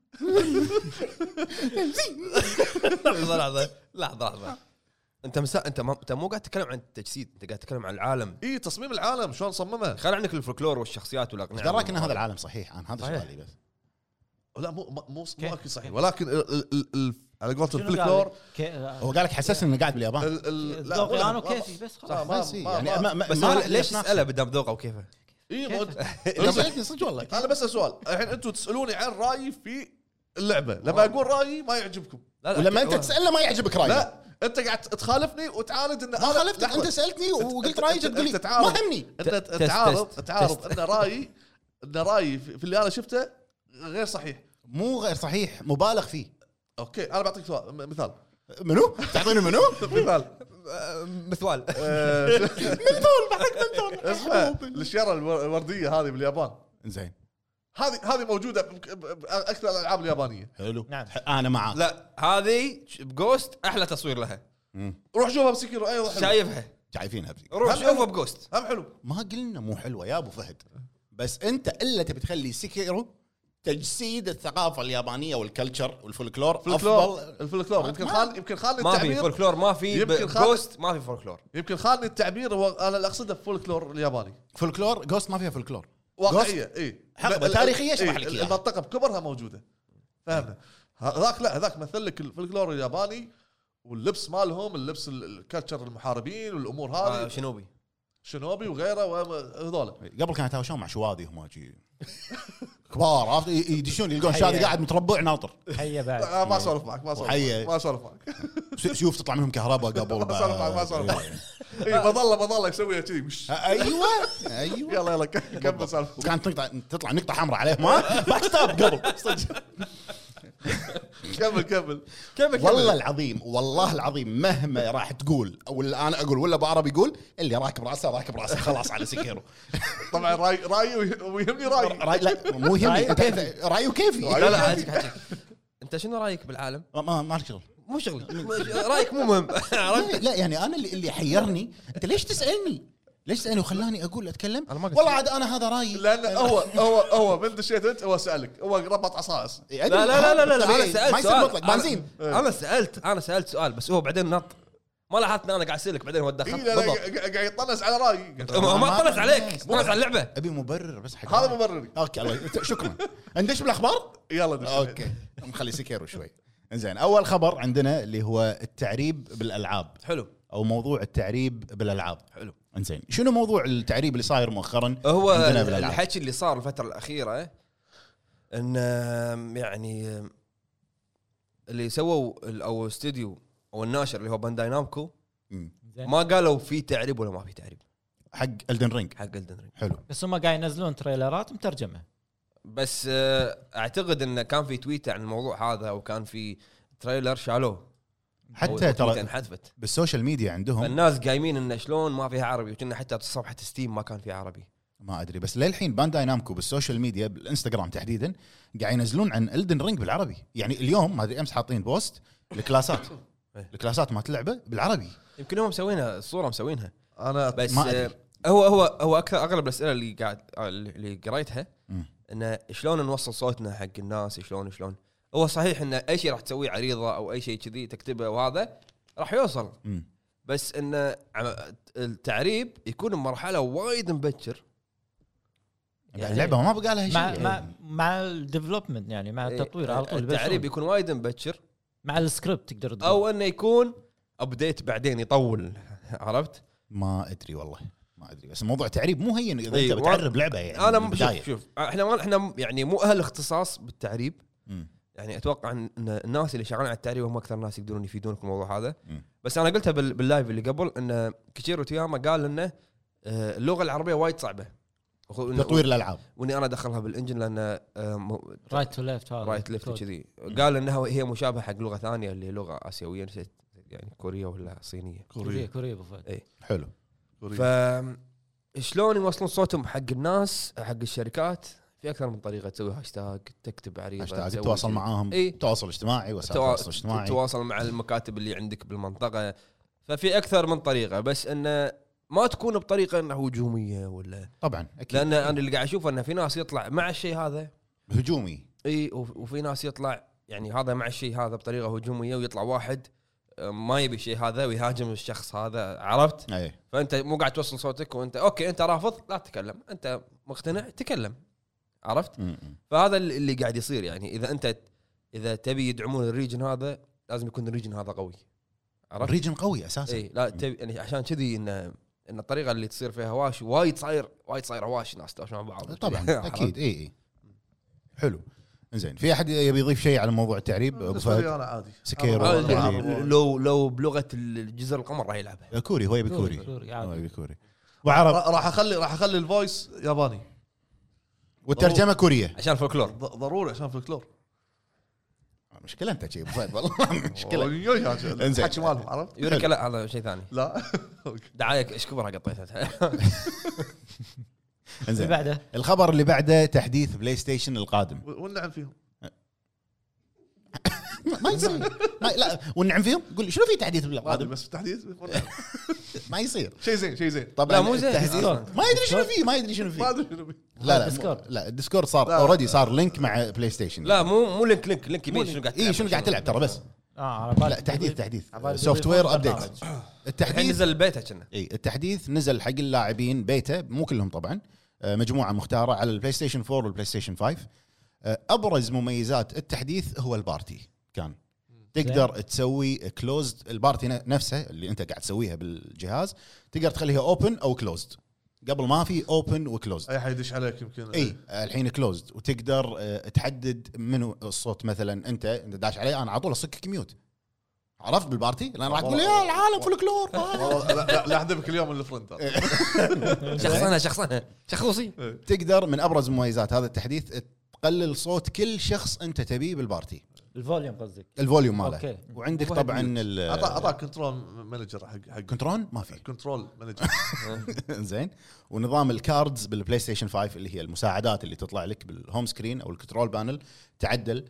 [SPEAKER 1] لحظه لحظه لحظه لحظه انت مسا... انت ما... انت مو قاعد تتكلم عن التجسيد انت قاعد تتكلم عن العالم
[SPEAKER 2] اي تصميم العالم شلون صممه
[SPEAKER 1] خل عنك الفولكلور والشخصيات نعم.
[SPEAKER 5] ايش
[SPEAKER 2] نعم.
[SPEAKER 1] والاقنعه
[SPEAKER 5] دراك ان هذا العالم صحيح انا هذا
[SPEAKER 1] صحيح.
[SPEAKER 5] سؤالي بس
[SPEAKER 2] لا مو مو مو اكيد صحيح
[SPEAKER 3] كيف؟
[SPEAKER 2] ولكن ال- ال- ال- على قولتهم
[SPEAKER 3] شنو قال؟ إيه،
[SPEAKER 2] فلكلور
[SPEAKER 3] كي-
[SPEAKER 5] هو قال لك حسسني انه قاعد باليابان
[SPEAKER 2] ال- ال- لا،
[SPEAKER 3] ذوقي انا
[SPEAKER 2] ما-
[SPEAKER 3] وكيفي بس
[SPEAKER 2] صح،
[SPEAKER 3] خلاص
[SPEAKER 2] ما-
[SPEAKER 5] بس إيه،
[SPEAKER 2] ما-
[SPEAKER 5] يعني
[SPEAKER 2] ما-
[SPEAKER 5] ما- ما-
[SPEAKER 1] بس
[SPEAKER 5] ما-
[SPEAKER 1] أنا ليش
[SPEAKER 5] يتناقش.
[SPEAKER 1] اساله بدام ذوقه وكيفه؟
[SPEAKER 2] إيه، ما-
[SPEAKER 5] أنا سألتني صدق والله
[SPEAKER 2] انا بس سؤال الحين انتم تسالوني عن رايي في اللعبه لما اقول رايي ما يعجبكم
[SPEAKER 1] لا لا
[SPEAKER 5] ولما
[SPEAKER 1] أكيد
[SPEAKER 5] انت
[SPEAKER 1] هو-
[SPEAKER 5] تساله ما يعجبك رايك
[SPEAKER 2] لا انت قاعد تخالفني وتعاند ان
[SPEAKER 5] طيب. ما خالفتك انت سالتني وقلت رايك تقول لي ما يهمني
[SPEAKER 2] انت
[SPEAKER 1] ت- تست-
[SPEAKER 2] تعارض
[SPEAKER 1] تست-
[SPEAKER 2] تعارض
[SPEAKER 1] تست.
[SPEAKER 2] ان رايي ان رايي في في اللي انا شفته غير صحيح
[SPEAKER 5] مو غير صحيح مبالغ فيه
[SPEAKER 2] اوكي انا بعطيك سؤال م- مثال
[SPEAKER 5] منو؟ تعطيني منو؟
[SPEAKER 2] مثال
[SPEAKER 1] آه، مثوال
[SPEAKER 2] آه،
[SPEAKER 5] منثول بعدك منثول
[SPEAKER 2] اسمع الشيره الور- الورديه هذه باليابان
[SPEAKER 5] زين
[SPEAKER 2] هذه هذه موجوده بك- ب- باكثر الالعاب اليابانيه
[SPEAKER 5] حلو
[SPEAKER 3] نعم.
[SPEAKER 5] انا معاك
[SPEAKER 1] لا هذه ش- بجوست احلى تصوير لها
[SPEAKER 5] مم.
[SPEAKER 2] روح شوفها بسكيرو ايضا حلو
[SPEAKER 1] شايفها
[SPEAKER 5] شايفينها بذي.
[SPEAKER 1] روح
[SPEAKER 2] هم-
[SPEAKER 1] شوفها بجوست
[SPEAKER 2] هم حلو
[SPEAKER 5] ما قلنا مو حلوه يا ابو فهد بس انت الا تبي تخلي سكيرو تجسيد الثقافه اليابانيه والكلتشر والفولكلور
[SPEAKER 2] فلكلور
[SPEAKER 5] افضل
[SPEAKER 2] الفلكلور يمكن
[SPEAKER 5] ما-
[SPEAKER 2] خال يمكن خالني
[SPEAKER 1] ما في
[SPEAKER 2] التعبير
[SPEAKER 1] فولكلور ما في ب-
[SPEAKER 2] يمكن خالد-
[SPEAKER 1] جوست ما في فولكلور
[SPEAKER 2] يمكن خالني التعبير هو انا اللي اقصده فولكلور الياباني
[SPEAKER 5] فولكلور جوست ما فيها فولكلور
[SPEAKER 2] واقعيه اي
[SPEAKER 5] حقبة تاريخية يشرح لك إياها.
[SPEAKER 2] المنطقه إيه، بكبرها موجوده فهمنا هذاك لا هذاك مثل لك الفلكلور الياباني واللبس مالهم اللبس ال- الكلتشر المحاربين والامور
[SPEAKER 1] آه،
[SPEAKER 2] هذه
[SPEAKER 1] شنوبي
[SPEAKER 2] شنوبي وغيره وهذول
[SPEAKER 5] قبل كانوا يتهاوشون مع شوادي هم شي كبار عرفت ي- يدشون يلقون شادي
[SPEAKER 2] أيوة.
[SPEAKER 3] حيا.
[SPEAKER 5] قاعد متربع ناطر
[SPEAKER 3] هيا بعد
[SPEAKER 2] آه، ما اسولف معك ما اسولف
[SPEAKER 5] وحية.
[SPEAKER 2] معك، ما اسولف معك
[SPEAKER 5] س- سيوف تطلع منهم كهرباء قبل
[SPEAKER 2] ما اسولف معك ما
[SPEAKER 5] بعد.
[SPEAKER 2] اسولف معك إي، إيه، بظل بظل اسويها كذي مش-
[SPEAKER 5] ايوه ايوه
[SPEAKER 2] يلا يلا ك- كمل سالفه
[SPEAKER 5] وكانت تقطع تطلع نقطه حمراء عليهم ما باك ستاب قبل صدق
[SPEAKER 2] كمل كمل
[SPEAKER 5] والله العظيم والله العظيم مهما راح تقول او اللي انا اقول ولا ابو عربي يقول اللي راكب راسه راكب راسه خلاص على سكيرو
[SPEAKER 2] طبعا راي راي ويه- ويهمني راي
[SPEAKER 5] راي لا مو يهمني انت أنت- رايه كيفي
[SPEAKER 1] طيب. لا لا حاجيك حاجيك انت شنو رايك بالعالم؟
[SPEAKER 5] ما- ما ما لك شغل
[SPEAKER 1] مو شغلي رايك مو مهم عرفت؟
[SPEAKER 5] لا يعني انا اللي اللي حيرني انت ليش تسالني؟ ليش تسالني وخلاني اقول اتكلم؟
[SPEAKER 1] أنا ما قلت.
[SPEAKER 5] والله عاد انا هذا رايي
[SPEAKER 2] لان هو هو هو من دشيت انت هو سالك هو ربط عصائص
[SPEAKER 5] يعني
[SPEAKER 1] لا لا لا لا, لا,
[SPEAKER 5] طبيعي،
[SPEAKER 1] انا سالت
[SPEAKER 5] ما يصير
[SPEAKER 1] سؤال
[SPEAKER 5] مطلق بنزين
[SPEAKER 1] أنا- انا سالت انا سالت سؤال بس هو بعدين نط ما لاحظت ان انا قاعد اسالك بعدين هو
[SPEAKER 2] اي
[SPEAKER 1] تدخل
[SPEAKER 2] إيه، لا، لا،
[SPEAKER 1] بالضبط
[SPEAKER 2] قاعد قاعد يطنز على رايي
[SPEAKER 1] ما ما طلعت عليك
[SPEAKER 5] ما-
[SPEAKER 1] طلعت على اللعبه
[SPEAKER 5] ابي مبرر بس حق
[SPEAKER 2] هذا مبرري
[SPEAKER 5] اوكي الله شكرا ندش بالاخبار؟
[SPEAKER 2] يلا دش
[SPEAKER 5] اوكي نخلي سكيرو شوي زين اول خبر عندنا اللي هو التعريب بالالعاب
[SPEAKER 1] حلو
[SPEAKER 5] او موضوع التعريب بالالعاب
[SPEAKER 1] حلو
[SPEAKER 5] انزين شنو موضوع التعريب اللي صاير مؤخرا
[SPEAKER 1] هو
[SPEAKER 5] عندنا بالالعاب
[SPEAKER 1] الحكي اللي صار الفتره الاخيره ان آم، يعني آم، اللي سووا ال- او استوديو او الناشر اللي هو بانداي نامكو
[SPEAKER 5] مم.
[SPEAKER 3] زين.
[SPEAKER 1] ما قالوا في تعريب ولا ما في تعريب
[SPEAKER 5] حق الدن رينج
[SPEAKER 1] حق الدن رينج
[SPEAKER 5] حلو
[SPEAKER 3] بس هم قاعد ينزلون تريلرات مترجمه
[SPEAKER 1] بس آه، اعتقد انه كان في تويت عن الموضوع هذا وكان في تريلر شالوه أو
[SPEAKER 5] حتى
[SPEAKER 1] تويتة
[SPEAKER 5] ترى
[SPEAKER 1] انحذفت
[SPEAKER 5] بالسوشيال ميديا عندهم
[SPEAKER 1] الناس قايمين انه شلون ما فيها عربي وكنا حتى صفحه ستيم ما كان فيها عربي
[SPEAKER 5] ما ادري بس للحين بانداي نامكو بالسوشيال ميديا بالانستغرام تحديدا قاعد ينزلون عن الدن رينج بالعربي يعني اليوم ما ادري امس حاطين بوست الكلاسات
[SPEAKER 1] إيه.
[SPEAKER 5] الكلاسات مالت اللعبه بالعربي
[SPEAKER 1] يمكن هم مسوينها الصوره مسوينها
[SPEAKER 2] انا
[SPEAKER 1] بس
[SPEAKER 5] ما أدري.
[SPEAKER 1] آه، هو هو هو اكثر اغلب الاسئله اللي قاعد آه، اللي قريتها
[SPEAKER 5] مم.
[SPEAKER 1] انه شلون نوصل صوتنا حق الناس شلون شلون هو صحيح انه اي شيء راح تسويه عريضه او اي شيء كذي تكتبه وهذا راح يوصل
[SPEAKER 5] مم.
[SPEAKER 1] بس انه عم- التعريب يكون بمرحله وايد مبكر
[SPEAKER 3] يعني-
[SPEAKER 5] اللعبه ما بقى لها شيء
[SPEAKER 3] مع
[SPEAKER 5] يعني.
[SPEAKER 3] مع مع الديفلوبمنت يعني
[SPEAKER 5] آه،
[SPEAKER 3] مع
[SPEAKER 5] إيه.
[SPEAKER 3] التطوير على طول
[SPEAKER 1] إيه، التعريب
[SPEAKER 3] التعريب
[SPEAKER 1] يكون وايد مبكر
[SPEAKER 3] مع السكريبت تقدر تقول
[SPEAKER 1] او انه يكون ابديت بعدين يطول عرفت؟
[SPEAKER 5] ما ادري والله ما ادري بس موضوع تعريب مو هين اذا
[SPEAKER 1] إي،
[SPEAKER 5] انت
[SPEAKER 1] و-
[SPEAKER 5] بتعرب لعبه يعني
[SPEAKER 1] انا
[SPEAKER 5] من
[SPEAKER 1] م-
[SPEAKER 5] البداية.
[SPEAKER 1] شوف شوف احنا ما احنا يعني مو اهل اختصاص بالتعريب
[SPEAKER 5] مم.
[SPEAKER 1] يعني اتوقع ان إن الناس اللي شغالين على التعريب هم اكثر ناس يقدرون يفيدونك بالموضوع هذا
[SPEAKER 5] مم.
[SPEAKER 1] بس انا قلتها بال- باللايف اللي قبل ان كيشيرو توياما قال انه آه، اللغه العربيه وايد صعبه وخ- وإن-
[SPEAKER 5] تطوير الالعاب
[SPEAKER 1] واني انا ادخلها بالانجن لان
[SPEAKER 3] رايت تو ليفت
[SPEAKER 5] آه،
[SPEAKER 3] هذا
[SPEAKER 1] آه، رايت ليفت
[SPEAKER 3] الكود.
[SPEAKER 1] كذي قال انها هي مشابهه حق لغه ثانيه اللي هي لغه اسيويه نسيت يعني كوريه ولا صينيه
[SPEAKER 3] كوريا كوريا ابو فهد
[SPEAKER 5] حلو
[SPEAKER 1] ف شلون يوصلون صوتهم حق الناس حق الشركات في اكثر من طريقه تسوي هاشتاج تكتب عريضه
[SPEAKER 5] هاشتاج
[SPEAKER 1] تسوي
[SPEAKER 5] تواصل
[SPEAKER 1] كذي.
[SPEAKER 5] معاهم
[SPEAKER 1] إي.
[SPEAKER 5] تواصل اجتماعي وسائل
[SPEAKER 1] إيه. توا-
[SPEAKER 5] التواصل الاجتماعي
[SPEAKER 1] تتواصل مع المكاتب اللي عندك بالمنطقه ففي اكثر من طريقه بس انه ما تكون بطريقه انها هجوميه ولا
[SPEAKER 5] طبعا اكيد
[SPEAKER 1] لان انا اللي قاعد اشوفه انه في ناس يطلع مع الشيء هذا
[SPEAKER 5] هجومي
[SPEAKER 1] اي وف- وفي ناس يطلع يعني هذا مع الشيء هذا بطريقه هجوميه ويطلع واحد آه، ما يبي شيء هذا ويهاجم الشخص هذا عرفت؟
[SPEAKER 5] اي
[SPEAKER 1] فانت مو قاعد توصل صوتك وانت اوكي انت رافض لا تتكلم انت مقتنع تكلم عرفت؟
[SPEAKER 5] م- م.
[SPEAKER 1] فهذا اللي اللي قاعد يصير يعني اذا انت اذا تبي يدعمون الريجن هذا لازم يكون الريجن هذا قوي عرفت؟
[SPEAKER 5] ريجن قوي اساسا
[SPEAKER 1] اي لا تبي يعني عشان كذي ان ان الطريقه اللي تصير فيها هواش وايد صاير وايد صاير هواش ناس تهاوش مع بعض
[SPEAKER 5] طبعا
[SPEAKER 1] عرفت؟
[SPEAKER 5] اكيد اي اي إيه، حلو زين في احد يبي يضيف شيء على موضوع التعريب ابو
[SPEAKER 2] بالنسبه لي
[SPEAKER 5] فهد
[SPEAKER 2] انا عادي أنا-
[SPEAKER 5] سكيرو.
[SPEAKER 1] هذا
[SPEAKER 5] طبعاً.
[SPEAKER 1] يعني لو لو بلغه الجزر القمر راح يلعبها
[SPEAKER 5] كوري هو يبي كوري
[SPEAKER 3] كوري
[SPEAKER 5] هو
[SPEAKER 3] عادي.
[SPEAKER 5] يبي كوري وعرب
[SPEAKER 2] راح اخلي راح اخلي الفويس ياباني
[SPEAKER 5] والترجمه كوريه
[SPEAKER 1] عشان الفولكلور
[SPEAKER 2] ض- ضروري عشان فلكلور
[SPEAKER 5] مشكله انت شيء ابو فهد والله مشكله إنزين.
[SPEAKER 2] الحكي مالهم عرفت؟
[SPEAKER 1] يوريكا لا هذا شيء ثاني
[SPEAKER 2] لا
[SPEAKER 1] دعايك ايش كبرها قطيتها
[SPEAKER 3] اللي
[SPEAKER 5] انزين
[SPEAKER 3] بعده
[SPEAKER 5] الخبر اللي بعده تحديث بلاي ستيشن القادم
[SPEAKER 2] و- والنعم فيهم
[SPEAKER 5] ما يصير ما لا والنعم فيهم قول شنو في تحديث
[SPEAKER 2] عادي
[SPEAKER 5] بالقادم
[SPEAKER 2] بس بالتحديد
[SPEAKER 5] ما يصير
[SPEAKER 2] شيء زين شيء زين
[SPEAKER 5] طبعا
[SPEAKER 1] لا مو زين
[SPEAKER 5] التحديث-
[SPEAKER 1] أصلاً.
[SPEAKER 5] ما يدري شنو فيه ما يدري شنو
[SPEAKER 2] ما
[SPEAKER 5] فيه
[SPEAKER 2] ادري شنو بي.
[SPEAKER 5] لا لا
[SPEAKER 3] الديسكورد.
[SPEAKER 5] مو- لا الديسكورد صار
[SPEAKER 2] لا.
[SPEAKER 5] اوريدي صار لينك مع بلاي ستيشن
[SPEAKER 1] لا مو مو لينك لينك لينك يبين شنو قاعد
[SPEAKER 5] اي إيه، شنو قاعد تلعب ترى بس
[SPEAKER 3] اه على بالي
[SPEAKER 5] لا تحديث تحديث
[SPEAKER 3] عبالي
[SPEAKER 5] سوفت وير
[SPEAKER 3] بيضيفون
[SPEAKER 5] ابديت
[SPEAKER 1] الحين
[SPEAKER 5] التحديث
[SPEAKER 1] نزل بيتها كنا
[SPEAKER 5] اي التحديث نزل حق اللاعبين بيتا مو كلهم طبعا آه، مجموعه مختاره على البلاي ستيشن 4 والبلاي ستيشن 5 آه، ابرز مميزات التحديث هو البارتي كان تقدر تسوي كلوزد البارتي ن- نفسها اللي انت قاعد تسويها بالجهاز تقدر تخليها اوبن او كلوزد قبل ما في اوبن وكلوزد
[SPEAKER 2] اي حد يدش عليك يمكن
[SPEAKER 5] اي آه، الحين كلوزد وتقدر آه، تحدد منو الصوت مثلا انت انت داش علي انا على طول اصكك ميوت عرفت بالبارتي لان راح تقول يا العالم فولكلور
[SPEAKER 2] والله لا- لا- لا احذفك اليوم اللي فرنت
[SPEAKER 1] شخصنها شخصنها شخصوصي
[SPEAKER 5] تقدر من ابرز مميزات هذا التحديث تقلل صوت كل شخص انت تبيه بالبارتي
[SPEAKER 3] الفوليوم قصدك
[SPEAKER 5] الفوليوم ماله
[SPEAKER 3] اوكي
[SPEAKER 5] وعندك
[SPEAKER 1] واحد
[SPEAKER 5] طبعا ال-
[SPEAKER 2] اعطاك كنترول مانجر حق حق
[SPEAKER 5] كنترول ما في
[SPEAKER 2] كنترول مانجر
[SPEAKER 5] زين ونظام الكاردز بالبلاي ستيشن 5 اللي هي المساعدات اللي تطلع لك بالهوم سكرين او الكنترول بانل تعدل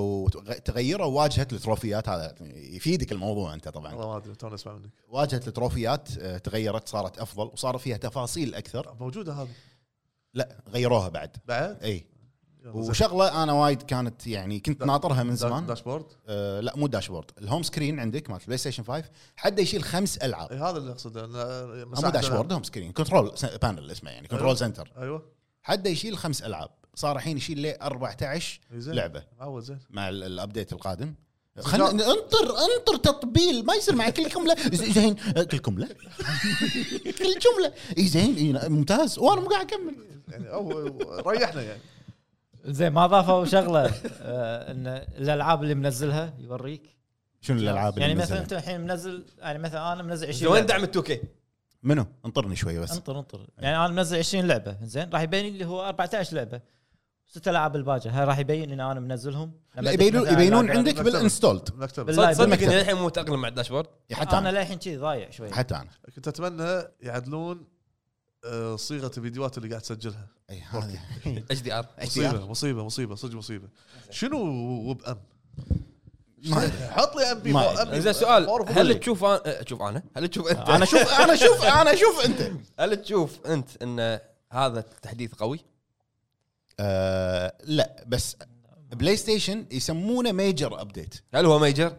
[SPEAKER 5] وتغيره واجهه التروفيات هذا يفيدك الموضوع انت طبعا
[SPEAKER 2] والله ما ادري توني اسمع منك
[SPEAKER 5] واجهه التروفيات آه، تغيرت صارت افضل وصار فيها تفاصيل اكثر
[SPEAKER 2] موجوده هذه
[SPEAKER 5] لا غيروها بعد
[SPEAKER 2] بعد
[SPEAKER 5] اي
[SPEAKER 2] يلا، زين.
[SPEAKER 5] وشغله انا وايد كانت يعني كنت
[SPEAKER 2] دا-
[SPEAKER 5] ناطرها من
[SPEAKER 2] دا-
[SPEAKER 5] زمان
[SPEAKER 2] داشبورد
[SPEAKER 5] آه لا مو داشبورد الهوم سكرين عندك مالت بلاي ستيشن 5 حد يشيل خمس العاب
[SPEAKER 2] اي هذا اللي اقصده انه
[SPEAKER 5] آه، مو داشبورد هوم سكرين كنترول س- بانل اسمه يعني كنترول سنتر
[SPEAKER 2] ايوه
[SPEAKER 5] حد يشيل خمس العاب صار الحين يشيل لي 14
[SPEAKER 2] إي زين.
[SPEAKER 5] لعبه
[SPEAKER 2] معود زين
[SPEAKER 5] مع ال- الابديت القادم
[SPEAKER 2] زين.
[SPEAKER 5] خلنا انطر انطر تطبيل ما يصير مع كل جمله ز- زين آه، كل جمله كل جمله اي زين إي ممتاز وانا مو قاعد اكمل
[SPEAKER 2] يعني او ريحنا يعني
[SPEAKER 3] زين ما ضافوا شغله آه، ان الالعاب اللي منزلها يوريك
[SPEAKER 5] شنو الالعاب
[SPEAKER 3] يعني
[SPEAKER 5] اللي
[SPEAKER 3] مثلا
[SPEAKER 5] مثلا
[SPEAKER 3] انت الحين منزل يعني مثلا انا منزل 20
[SPEAKER 1] وين
[SPEAKER 3] لعبة.
[SPEAKER 1] دعم التوكي
[SPEAKER 5] منو انطرني شويه بس
[SPEAKER 3] انطر انطر
[SPEAKER 1] إيه.
[SPEAKER 3] يعني انا منزل 20 لعبه زين راح يبين لي هو 14 لعبه ست العاب الباجه هاي راح يبين ان انا منزلهم
[SPEAKER 5] لا، يبينون
[SPEAKER 3] مثلاً
[SPEAKER 5] يبينون
[SPEAKER 3] ألعاب-
[SPEAKER 5] عندك بالانستولد
[SPEAKER 2] مكتبه
[SPEAKER 3] بال-
[SPEAKER 1] صدق
[SPEAKER 3] لا،
[SPEAKER 1] صدق
[SPEAKER 5] بالمكتب.
[SPEAKER 1] إني الحين مو متاقلم مع الداشبورد
[SPEAKER 5] حتى
[SPEAKER 3] انا
[SPEAKER 5] انا
[SPEAKER 3] للحين شي ضايع شوي
[SPEAKER 5] حتى انا
[SPEAKER 2] كنت اتمنى يعدلون آه، صيغه الفيديوهات اللي قاعد تسجلها
[SPEAKER 5] اي هذه
[SPEAKER 1] اتش دي ار
[SPEAKER 2] مصيبه مصيبه مصيبه صدق مصيبه شنو وب ام
[SPEAKER 5] ما أدري.
[SPEAKER 2] حط لي ام بي
[SPEAKER 5] ما أدري.
[SPEAKER 1] زين سؤال هل تشوف انا شوف انا هل تشوف انت
[SPEAKER 5] انا اشوف انا اشوف انا اشوف انت
[SPEAKER 1] هل تشوف انت ان هذا التحديث قوي؟
[SPEAKER 5] آه لا بس بلاي ستيشن يسمونه ميجر ابديت
[SPEAKER 1] هل هو ميجر؟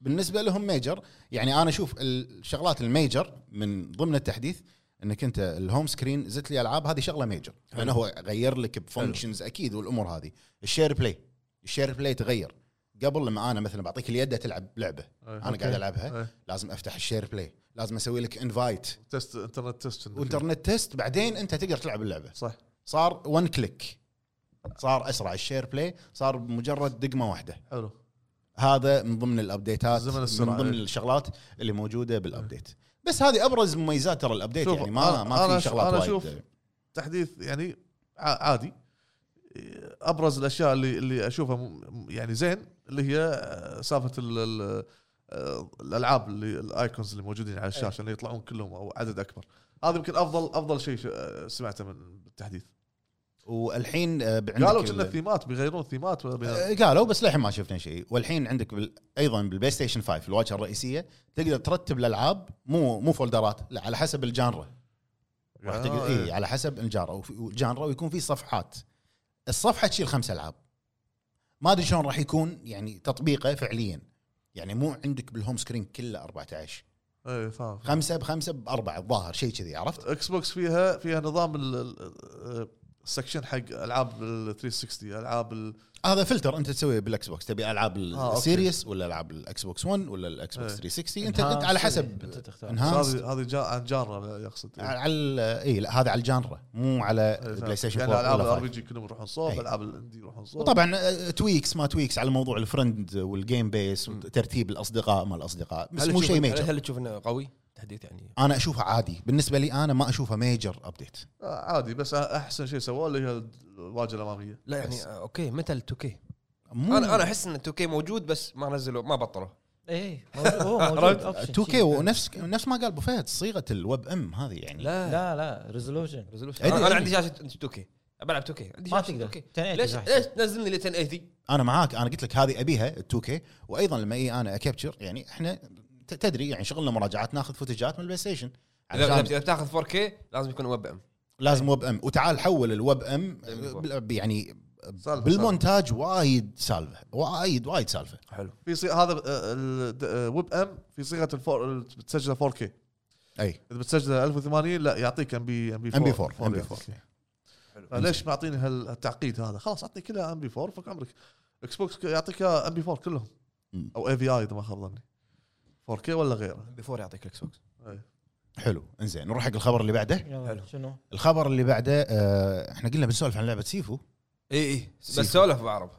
[SPEAKER 5] بالنسبه لهم ميجر يعني انا اشوف الشغلات الميجر من ضمن التحديث انك انت الهوم سكرين زدت لي العاب هذه شغله ميجر لانه هو غير لك بفانكشنز اكيد والامور هذه الشير بلاي الشير بلاي تغير قبل لما انا مثلا بعطيك اليد تلعب لعبه انا قاعد العبها لازم افتح الشير بلاي لازم اسوي لك انفايت
[SPEAKER 2] تست انترنت تست
[SPEAKER 5] وانترنت تيست بعدين انت تقدر تلعب اللعبه
[SPEAKER 2] صح
[SPEAKER 5] صار ون كليك صار اسرع الشير بلاي صار بمجرد دقمه واحده
[SPEAKER 2] حلو
[SPEAKER 5] هذا من ضمن الابديتات
[SPEAKER 2] زمن
[SPEAKER 5] من
[SPEAKER 2] السرعة.
[SPEAKER 5] ضمن الشغلات اللي موجوده بالابديت بس هذه ابرز مميزات ترى الابديت
[SPEAKER 2] شوف،
[SPEAKER 5] يعني ما
[SPEAKER 2] أنا-
[SPEAKER 5] ما
[SPEAKER 2] أنا
[SPEAKER 5] في
[SPEAKER 2] أش-
[SPEAKER 5] شغلات
[SPEAKER 2] أنا
[SPEAKER 5] وايد
[SPEAKER 2] أشوف تحديث يعني ع- عادي ابرز الاشياء اللي اللي اشوفها م- يعني زين اللي هي آه، سالفه ال- ال- آه، الالعاب اللي الايكونز اللي موجودين على
[SPEAKER 5] إيه.
[SPEAKER 2] الشاشه اللي يطلعون كلهم او عدد اكبر هذا يمكن افضل افضل شيء ش- آه، سمعته من التحديث
[SPEAKER 5] والحين آه، ب- عندك
[SPEAKER 2] قالوا كنا
[SPEAKER 5] ال-
[SPEAKER 2] الثيمات بيغيرون الثيمات ولا بي-
[SPEAKER 5] آه، قالوا بس للحين ما شفنا شيء والحين عندك بال... ايضا بالبلاي ستيشن 5 الواجهه الرئيسيه تقدر ترتب الالعاب مو مو فولدرات لا على حسب الجانرا راح تقدر
[SPEAKER 2] آه،
[SPEAKER 5] اي على حسب الجانرا وفي- والجانرا ويكون في صفحات الصفحه تشيل خمس العاب ما ادري شلون راح يكون يعني تطبيقه فعليا يعني مو عندك بالهوم سكرين كله 14
[SPEAKER 2] اي آه، إيه، فاهم
[SPEAKER 5] خمسه بخمسه باربعه الظاهر شيء كذي عرفت؟
[SPEAKER 2] اكس بوكس فيها فيها نظام ال- ال- آه، السكشن حق العاب ال 360 العاب ال...
[SPEAKER 5] هذا فلتر انت تسويه بالاكس بوكس تبي العاب
[SPEAKER 2] آه، أوكي.
[SPEAKER 5] السيريس ولا العاب الاكس بوكس 1 ولا الاكس بوكس
[SPEAKER 2] إيه.
[SPEAKER 5] 360 انت انت على حسب
[SPEAKER 3] انت تختار
[SPEAKER 5] انهانس
[SPEAKER 2] هذه هذه جا... عن جانرا
[SPEAKER 5] آه،
[SPEAKER 2] يقصد إيه.
[SPEAKER 5] على اي لا هذا على الجانرا مو على بلاي ستيشن
[SPEAKER 2] يعني
[SPEAKER 5] 4
[SPEAKER 2] العاب
[SPEAKER 5] ولا
[SPEAKER 2] الار
[SPEAKER 5] 5.
[SPEAKER 2] بي جي كلهم يروحون صوب
[SPEAKER 5] إيه.
[SPEAKER 2] العاب الاندي يروحون صوب
[SPEAKER 5] وطبعا آه، تويكس ما تويكس على موضوع الفرند والجيم بيس وترتيب الاصدقاء ما الاصدقاء بس
[SPEAKER 1] هل
[SPEAKER 5] مو
[SPEAKER 1] تشوف-
[SPEAKER 5] شيء
[SPEAKER 1] هل-
[SPEAKER 5] ميجر
[SPEAKER 1] هل تشوف انه قوي تحديث يعني
[SPEAKER 5] انا اشوفه عادي بالنسبه لي انا ما اشوفه ميجر ابديت
[SPEAKER 2] آه، عادي بس احسن شيء سووه اللي هي الواجهه الاماميه
[SPEAKER 1] لا يعني
[SPEAKER 5] بس.
[SPEAKER 1] آه، اوكي متى 2 كي
[SPEAKER 5] مو
[SPEAKER 1] انا انا احس ان 2 كي موجود بس ما نزلوا ما بطلوا
[SPEAKER 3] اي هو إيه، موجود
[SPEAKER 1] عرفت؟
[SPEAKER 3] option
[SPEAKER 5] 2
[SPEAKER 3] شيء.
[SPEAKER 5] كي آه، ونفس نفس ما قال ابو فهد صيغه الويب ام هذه يعني
[SPEAKER 1] لا لا
[SPEAKER 3] لا لا ريزولوشن
[SPEAKER 1] resolution.
[SPEAKER 5] أدري،
[SPEAKER 1] انا
[SPEAKER 5] أدري.
[SPEAKER 1] أنا عندي شاشه 2 كي بلعب 2 كي عندي
[SPEAKER 3] ما
[SPEAKER 1] شاشة
[SPEAKER 3] تقدر
[SPEAKER 1] 2K.
[SPEAKER 3] 1080
[SPEAKER 1] ليش
[SPEAKER 3] أحسن.
[SPEAKER 1] ليش تنزلني ل 1080
[SPEAKER 5] انا معاك انا قلت لك هذه ابيها 2 كي وايضا لما اي انا اكابتشر يعني احنا ت- تدري يعني شغلنا مراجعات ناخذ فوتجات من البلاي ستيشن
[SPEAKER 1] اذا
[SPEAKER 5] علشان
[SPEAKER 1] إذا بتاخذ 4 كي لازم يكون ويب ام
[SPEAKER 5] لازم ويب ام وتعال حول الويب ام
[SPEAKER 1] أيوة.
[SPEAKER 5] بال- يعني
[SPEAKER 2] سالفة،
[SPEAKER 5] بالمونتاج وايد سالفه وايد وايد سالفه
[SPEAKER 1] حلو
[SPEAKER 2] في صي... هذا آه، الويب ام في صيغه الفور بتسجله 4K
[SPEAKER 5] اي
[SPEAKER 2] اذا بتسجله 1080 لا يعطيك ام بي ام بي
[SPEAKER 5] ام بي 4 ام بي
[SPEAKER 2] 4
[SPEAKER 5] 4
[SPEAKER 2] ليش معطيني هالتعقيد هذا خلاص اعطني كلها ام بي 4 فك عمرك اكس بوكس يعطيك ام بي 4 كلهم
[SPEAKER 5] مم.
[SPEAKER 2] او اي في اي اذا ما خاب ظني 4K ولا غيره
[SPEAKER 1] بيفور يعطيك الاكس بوكس
[SPEAKER 5] حلو انزين نروح حق الخبر اللي بعده
[SPEAKER 3] يلا، شنو؟
[SPEAKER 5] الخبر اللي بعده آه، احنا قلنا بنسولف عن لعبه سيفو
[SPEAKER 1] اي اي
[SPEAKER 5] سيفو.
[SPEAKER 1] إيه، بس سولف بعرب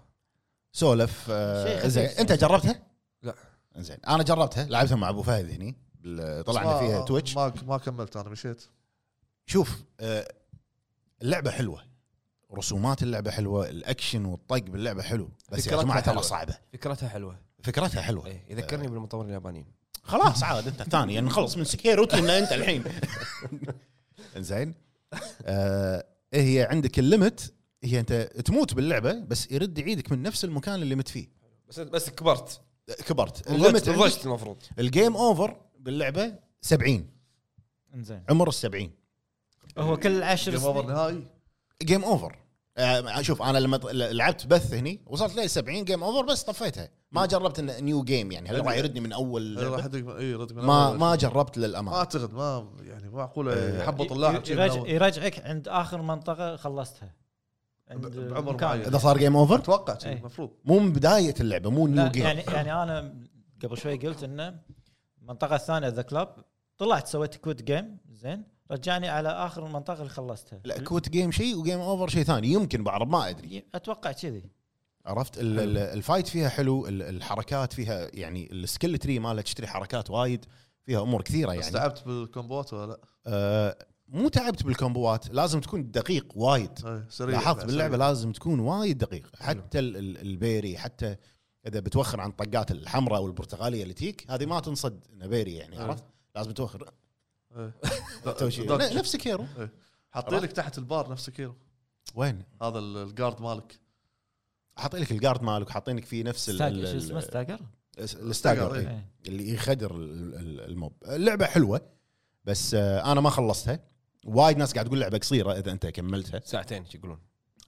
[SPEAKER 5] سولف
[SPEAKER 3] شيء
[SPEAKER 5] آه،
[SPEAKER 3] خفيف
[SPEAKER 5] زين
[SPEAKER 3] يعني.
[SPEAKER 5] انت جربتها؟
[SPEAKER 1] لا.
[SPEAKER 5] زين انا جربتها لعبتها مع ابو فهد هني بال- طلعنا
[SPEAKER 2] ما-
[SPEAKER 5] فيها تويتش
[SPEAKER 2] ما ما كملت انا مشيت
[SPEAKER 5] شوف آه، اللعبه حلوه رسومات اللعبه حلوه الاكشن والطق باللعبه حلو بس يا
[SPEAKER 1] فكرتها
[SPEAKER 5] جماعه ترى
[SPEAKER 1] حلوة.
[SPEAKER 5] صعبه
[SPEAKER 1] فكرتها حلوه
[SPEAKER 5] فكرتها حلوه
[SPEAKER 1] اي يذكرني إيه، بالمطورين اليابانيين
[SPEAKER 5] خلاص عاد انت ثاني يعني نخلص من سكيروتي ان انت الحين زين آه هي عندك الليمت هي انت تموت باللعبه بس يرد يعيدك من نفس المكان اللي مت فيه آه،
[SPEAKER 1] بس بس كبرت
[SPEAKER 5] كبرت
[SPEAKER 1] بلغت
[SPEAKER 5] الليمت
[SPEAKER 1] بلغت
[SPEAKER 5] عندك-
[SPEAKER 1] المفروض
[SPEAKER 5] الجيم اوفر باللعبه 70
[SPEAKER 3] انزين
[SPEAKER 5] عمر ال 70
[SPEAKER 3] هو كل عشر
[SPEAKER 2] جيم اوفر
[SPEAKER 3] سنين
[SPEAKER 2] نهائي إيه،
[SPEAKER 5] جيم اوفر آه، شوف انا لما ط- لعبت بث هني وصلت لي 70 جيم اوفر بس طفيتها ما جربت انه نيو جيم يعني هل راح يردني من اول
[SPEAKER 2] إيه، راح
[SPEAKER 5] لعبة؟
[SPEAKER 2] يدق اي ردك من
[SPEAKER 5] ما
[SPEAKER 2] أول.
[SPEAKER 5] ما جربت
[SPEAKER 2] ما
[SPEAKER 5] للامان
[SPEAKER 2] اعتقد ما يعني ما معقوله
[SPEAKER 5] إيه.
[SPEAKER 2] يحبط
[SPEAKER 3] ي-
[SPEAKER 2] اللاعب شي من
[SPEAKER 3] يرجع
[SPEAKER 2] أول.
[SPEAKER 3] يرجعك عند اخر منطقه خلصتها عند
[SPEAKER 2] ب- بعمر
[SPEAKER 3] مكان.
[SPEAKER 2] معين.
[SPEAKER 5] اذا صار جيم اوفر
[SPEAKER 2] اتوقع شي
[SPEAKER 3] إيه.
[SPEAKER 2] المفروض
[SPEAKER 5] مو من بدايه اللعبه مو نيو
[SPEAKER 3] لا
[SPEAKER 5] جيم
[SPEAKER 3] يعني يعني انا قبل شوي قلت انه المنطقه الثانيه ذا كلاب طلعت سويت كوت جيم زين رجعني على اخر المنطقه اللي خلصتها
[SPEAKER 5] لا كوت جيم شيء وجيم اوفر شيء ثاني يمكن بعرب ما ادري
[SPEAKER 3] اتوقع كذي
[SPEAKER 5] عرفت ال- ال- الفايت فيها حلو ال- الحركات فيها يعني السكيل تري مالها تشتري حركات وايد فيها امور كثيره
[SPEAKER 2] يعني
[SPEAKER 5] يعني
[SPEAKER 2] استعبت بالكومبوات ولا لا؟
[SPEAKER 5] آه مو تعبت بالكومبوات لازم تكون دقيق وايد
[SPEAKER 2] إيه، سريع
[SPEAKER 5] لاحظت
[SPEAKER 2] لا،
[SPEAKER 5] باللعبه
[SPEAKER 2] سريع.
[SPEAKER 5] لازم تكون وايد دقيق حتى ال- ال- البيري حتى اذا بتوخر عن طقات الحمراء والبرتقاليه اللي تيك هذه ما تنصد إنها بيري يعني
[SPEAKER 2] إيه.
[SPEAKER 5] عرفت لازم توخر
[SPEAKER 2] إيه.
[SPEAKER 5] تو شي.
[SPEAKER 2] دوك.
[SPEAKER 5] ن- نفس كيرو
[SPEAKER 2] حاطين لك تحت البار نفس كيلو
[SPEAKER 5] وين
[SPEAKER 2] هذا ال- الجارد مالك
[SPEAKER 5] حاطين لك الجارد مالك وحاطين لك فيه نفس ال-
[SPEAKER 3] ستاجر
[SPEAKER 5] ال-
[SPEAKER 3] شو اسمه
[SPEAKER 5] ال-
[SPEAKER 3] ستاجر؟
[SPEAKER 5] الستاجر إيه.
[SPEAKER 3] إيه.
[SPEAKER 5] اللي يخدر ال- ال- الموب اللعبه حلوه بس آه، انا ما خلصتها وايد ناس قاعد تقول لعبه قصيره اذا انت كملتها
[SPEAKER 1] ساعتين شو يقولون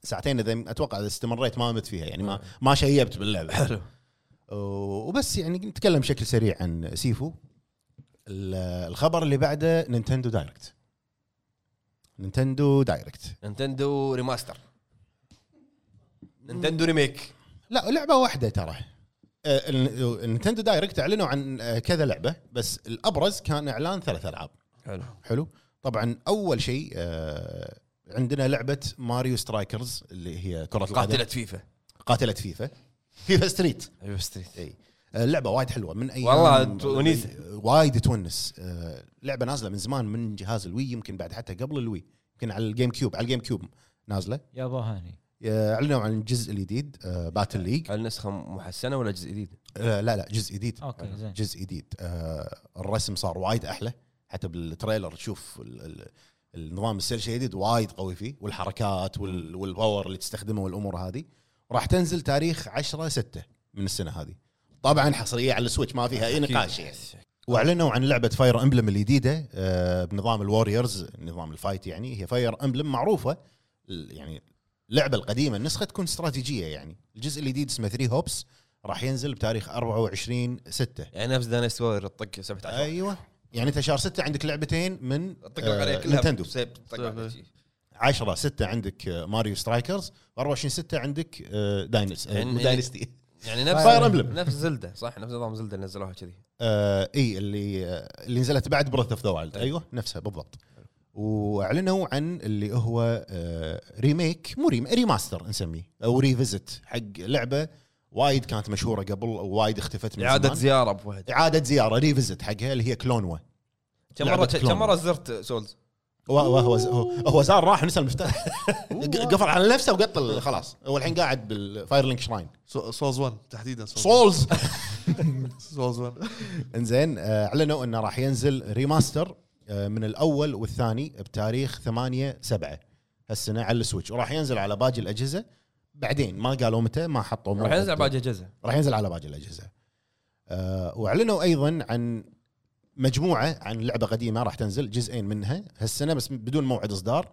[SPEAKER 5] ساعتين اذا اتوقع اذا استمريت ما مت فيها يعني
[SPEAKER 1] آه.
[SPEAKER 5] ما ما شيبت باللعبه
[SPEAKER 1] نعم. حلو
[SPEAKER 5] وبس يعني نتكلم بشكل سريع عن سيفو ال- الخبر اللي بعده نينتندو دايركت نينتندو دايركت
[SPEAKER 1] نينتندو ريماستر نينتندو ريميك
[SPEAKER 5] لا لعبه واحده ترى آه، ال- نينتندو دايركت اعلنوا عن آه، كذا لعبه بس الابرز كان اعلان ثلاث العاب
[SPEAKER 1] حلو
[SPEAKER 5] حلو طبعا اول شيء آه، عندنا لعبه ماريو سترايكرز اللي هي كره القدم
[SPEAKER 1] قاتلة فيفا
[SPEAKER 5] قاتله فيفا فيفا ستريت
[SPEAKER 1] ايوه ستريت
[SPEAKER 5] اي اللعبه وايد حلوه من اي
[SPEAKER 1] والله تونسة.
[SPEAKER 5] وايد تونس آه، لعبه نازله من زمان من جهاز الوي يمكن بعد حتى قبل الوي يمكن على الجيم كيوب على الجيم كيوب نازله
[SPEAKER 3] يا ابو هاني
[SPEAKER 5] آه، اعلنوا عن الجزء الجديد آه، باتل ليج
[SPEAKER 1] هل نسخة محسنة ولا جزء جديد؟
[SPEAKER 5] آه، لا لا جزء جديد
[SPEAKER 3] اوكي زين
[SPEAKER 5] جزء جديد آه، الرسم صار وايد احلى حتى بالتريلر تشوف ال- ال- النظام السيل شيدد وايد قوي فيه والحركات وال- والباور اللي تستخدمه والامور هذه راح تنزل تاريخ 10 6 من السنه هذه طبعا حصريه على السويتش ما فيها اي نقاش يعني
[SPEAKER 1] إيه.
[SPEAKER 5] واعلنوا عن لعبه فاير امبلم الجديده آه، بنظام الوريورز نظام الفايت يعني هي فاير امبلم معروفه ال- يعني اللعبه القديمه النسخه تكون استراتيجيه يعني الجزء الجديد اسمه 3 هوبس راح ينزل بتاريخ 24 6
[SPEAKER 1] يعني نفس دانيس وير الطق 17
[SPEAKER 5] أيوة. ايوه يعني انت شهر 6 عندك لعبتين من
[SPEAKER 1] طقك عليه
[SPEAKER 5] آه،
[SPEAKER 1] كلها
[SPEAKER 5] نينتندو
[SPEAKER 1] طيب. بس- طقك عليه شي.
[SPEAKER 5] 10 6 عندك آه، ماريو سترايكرز و24 6 عندك آه، داينس آه،
[SPEAKER 1] يعني-
[SPEAKER 5] داينستي
[SPEAKER 1] يعني نفس
[SPEAKER 5] Fire Emblem.
[SPEAKER 1] نفس زلده صح نفس نظام زلده اللي نزلوها كذي
[SPEAKER 5] آه، اي اللي آه، اللي نزلت بعد بريث اوف ذا وايلد
[SPEAKER 1] أي.
[SPEAKER 5] ايوه نفسها بالضبط واعلنوا عن اللي هو آه، ريميك مو ريم ريماستر نسميه او ريفيزت حق لعبه وايد كانت مشهوره قبل وايد اختفت من
[SPEAKER 1] اعاده
[SPEAKER 5] زمان.
[SPEAKER 1] زياره ابو فهد
[SPEAKER 5] اعاده زياره ريفيزت حقها اللي هي كلونوا
[SPEAKER 1] كم
[SPEAKER 5] لعبة
[SPEAKER 1] مره كم
[SPEAKER 5] كلون.
[SPEAKER 1] مره زرت سولز
[SPEAKER 5] هو هو هو, هو زار راح نسى المفتاح قفل على نفسه وقطل خلاص هو الحين قاعد بالفاير لينك شراين
[SPEAKER 2] سو- سولز 1 تحديدا سولز
[SPEAKER 5] سولز إيه،
[SPEAKER 2] سولز 1
[SPEAKER 5] انزين آه، اعلنوا انه راح ينزل ريماستر آه، من الاول والثاني بتاريخ 8 7 هالسنه على السويتش وراح ينزل على باقي الاجهزه بعدين ما قالوا متى ما حطوا
[SPEAKER 1] راح
[SPEAKER 5] موعد.
[SPEAKER 1] ينزل باقي اجهزه
[SPEAKER 5] راح ينزل على باقي الاجهزه آه، واعلنوا ايضا عن مجموعه عن لعبه قديمه راح تنزل جزئين منها هالسنه بس بدون موعد اصدار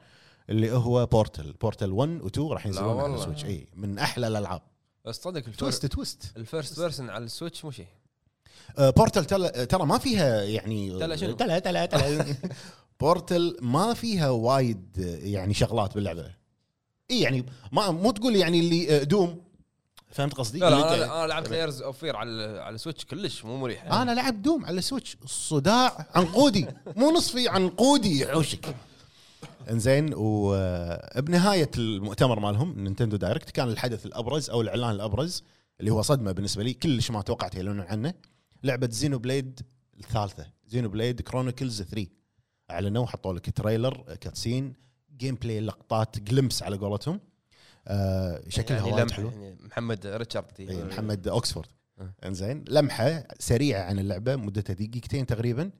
[SPEAKER 5] اللي هو بورتل بورتل 1 و 2 راح ينزلون على
[SPEAKER 1] والله.
[SPEAKER 5] السويتش اي من احلى الالعاب
[SPEAKER 1] بس صدق الفر-
[SPEAKER 5] تويست تويست
[SPEAKER 1] الفيرست بيرسون على السويتش مو شيء
[SPEAKER 5] آه، بورتل تل- ترى ما فيها يعني
[SPEAKER 1] تلا شنو؟
[SPEAKER 5] تلا تلا تلا بورتل ما فيها وايد آه، يعني شغلات باللعبه اي يعني ما مو تقول يعني اللي آه، دوم فهمت قصدي؟
[SPEAKER 1] لا لا
[SPEAKER 5] اللي-
[SPEAKER 1] انا, أنا لعبت لايرز اوف فير على على السويتش كلش مو مريحه
[SPEAKER 5] انا لعب دوم على السويتش صداع عنقودي مو نصفي عنقودي يحوشك انزين وبنهايه المؤتمر مالهم نينتندو دايركت كان الحدث الابرز او الاعلان الابرز اللي هو صدمه بالنسبه لي كلش ما توقعت يعلنون عنه لعبه زينو بليد الثالثه زينو بليد كرونيكلز 3 اعلنوا حطوا لك تريلر كاتسين جيم بلاي لقطات جلمس على قولتهم آه شكلها
[SPEAKER 1] يعني
[SPEAKER 5] وايد
[SPEAKER 1] لمح-
[SPEAKER 5] حلو
[SPEAKER 1] يعني محمد ريتشارد
[SPEAKER 5] اي إيه، محمد اوكسفورد
[SPEAKER 1] أه.
[SPEAKER 5] انزين لمحه سريعه عن اللعبه مدتها دقيقتين تقريبا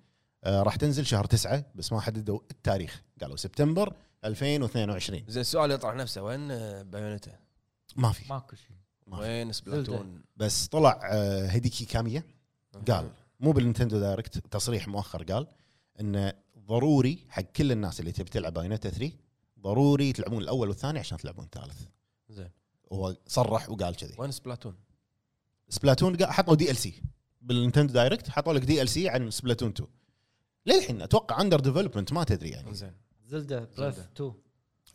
[SPEAKER 5] آه راح تنزل شهر تسعة بس ما حددوا التاريخ قالوا سبتمبر 2022
[SPEAKER 1] زين السؤال يطرح نفسه وين آه، بايونيتا؟
[SPEAKER 5] ما في
[SPEAKER 3] ماكو شيء
[SPEAKER 5] ما في.
[SPEAKER 1] وين سبلاتون؟
[SPEAKER 5] بس طلع آه هديكي كامية قال مو بالنينتندو دايركت تصريح مؤخر قال انه ضروري حق كل الناس اللي تبي تلعب بايونيتا 3 ضروري تلعبون الاول والثاني عشان تلعبون الثالث
[SPEAKER 1] زين
[SPEAKER 5] هو صرح وقال كذي
[SPEAKER 1] وين سبلاتون؟
[SPEAKER 5] سبلاتون قا- حطوا دي ال سي بالنينتندو دايركت حطوا لك دي ال سي عن سبلاتون 2 للحين اتوقع اندر ديفلوبمنت ما تدري يعني
[SPEAKER 1] زين
[SPEAKER 3] زلده بريث 2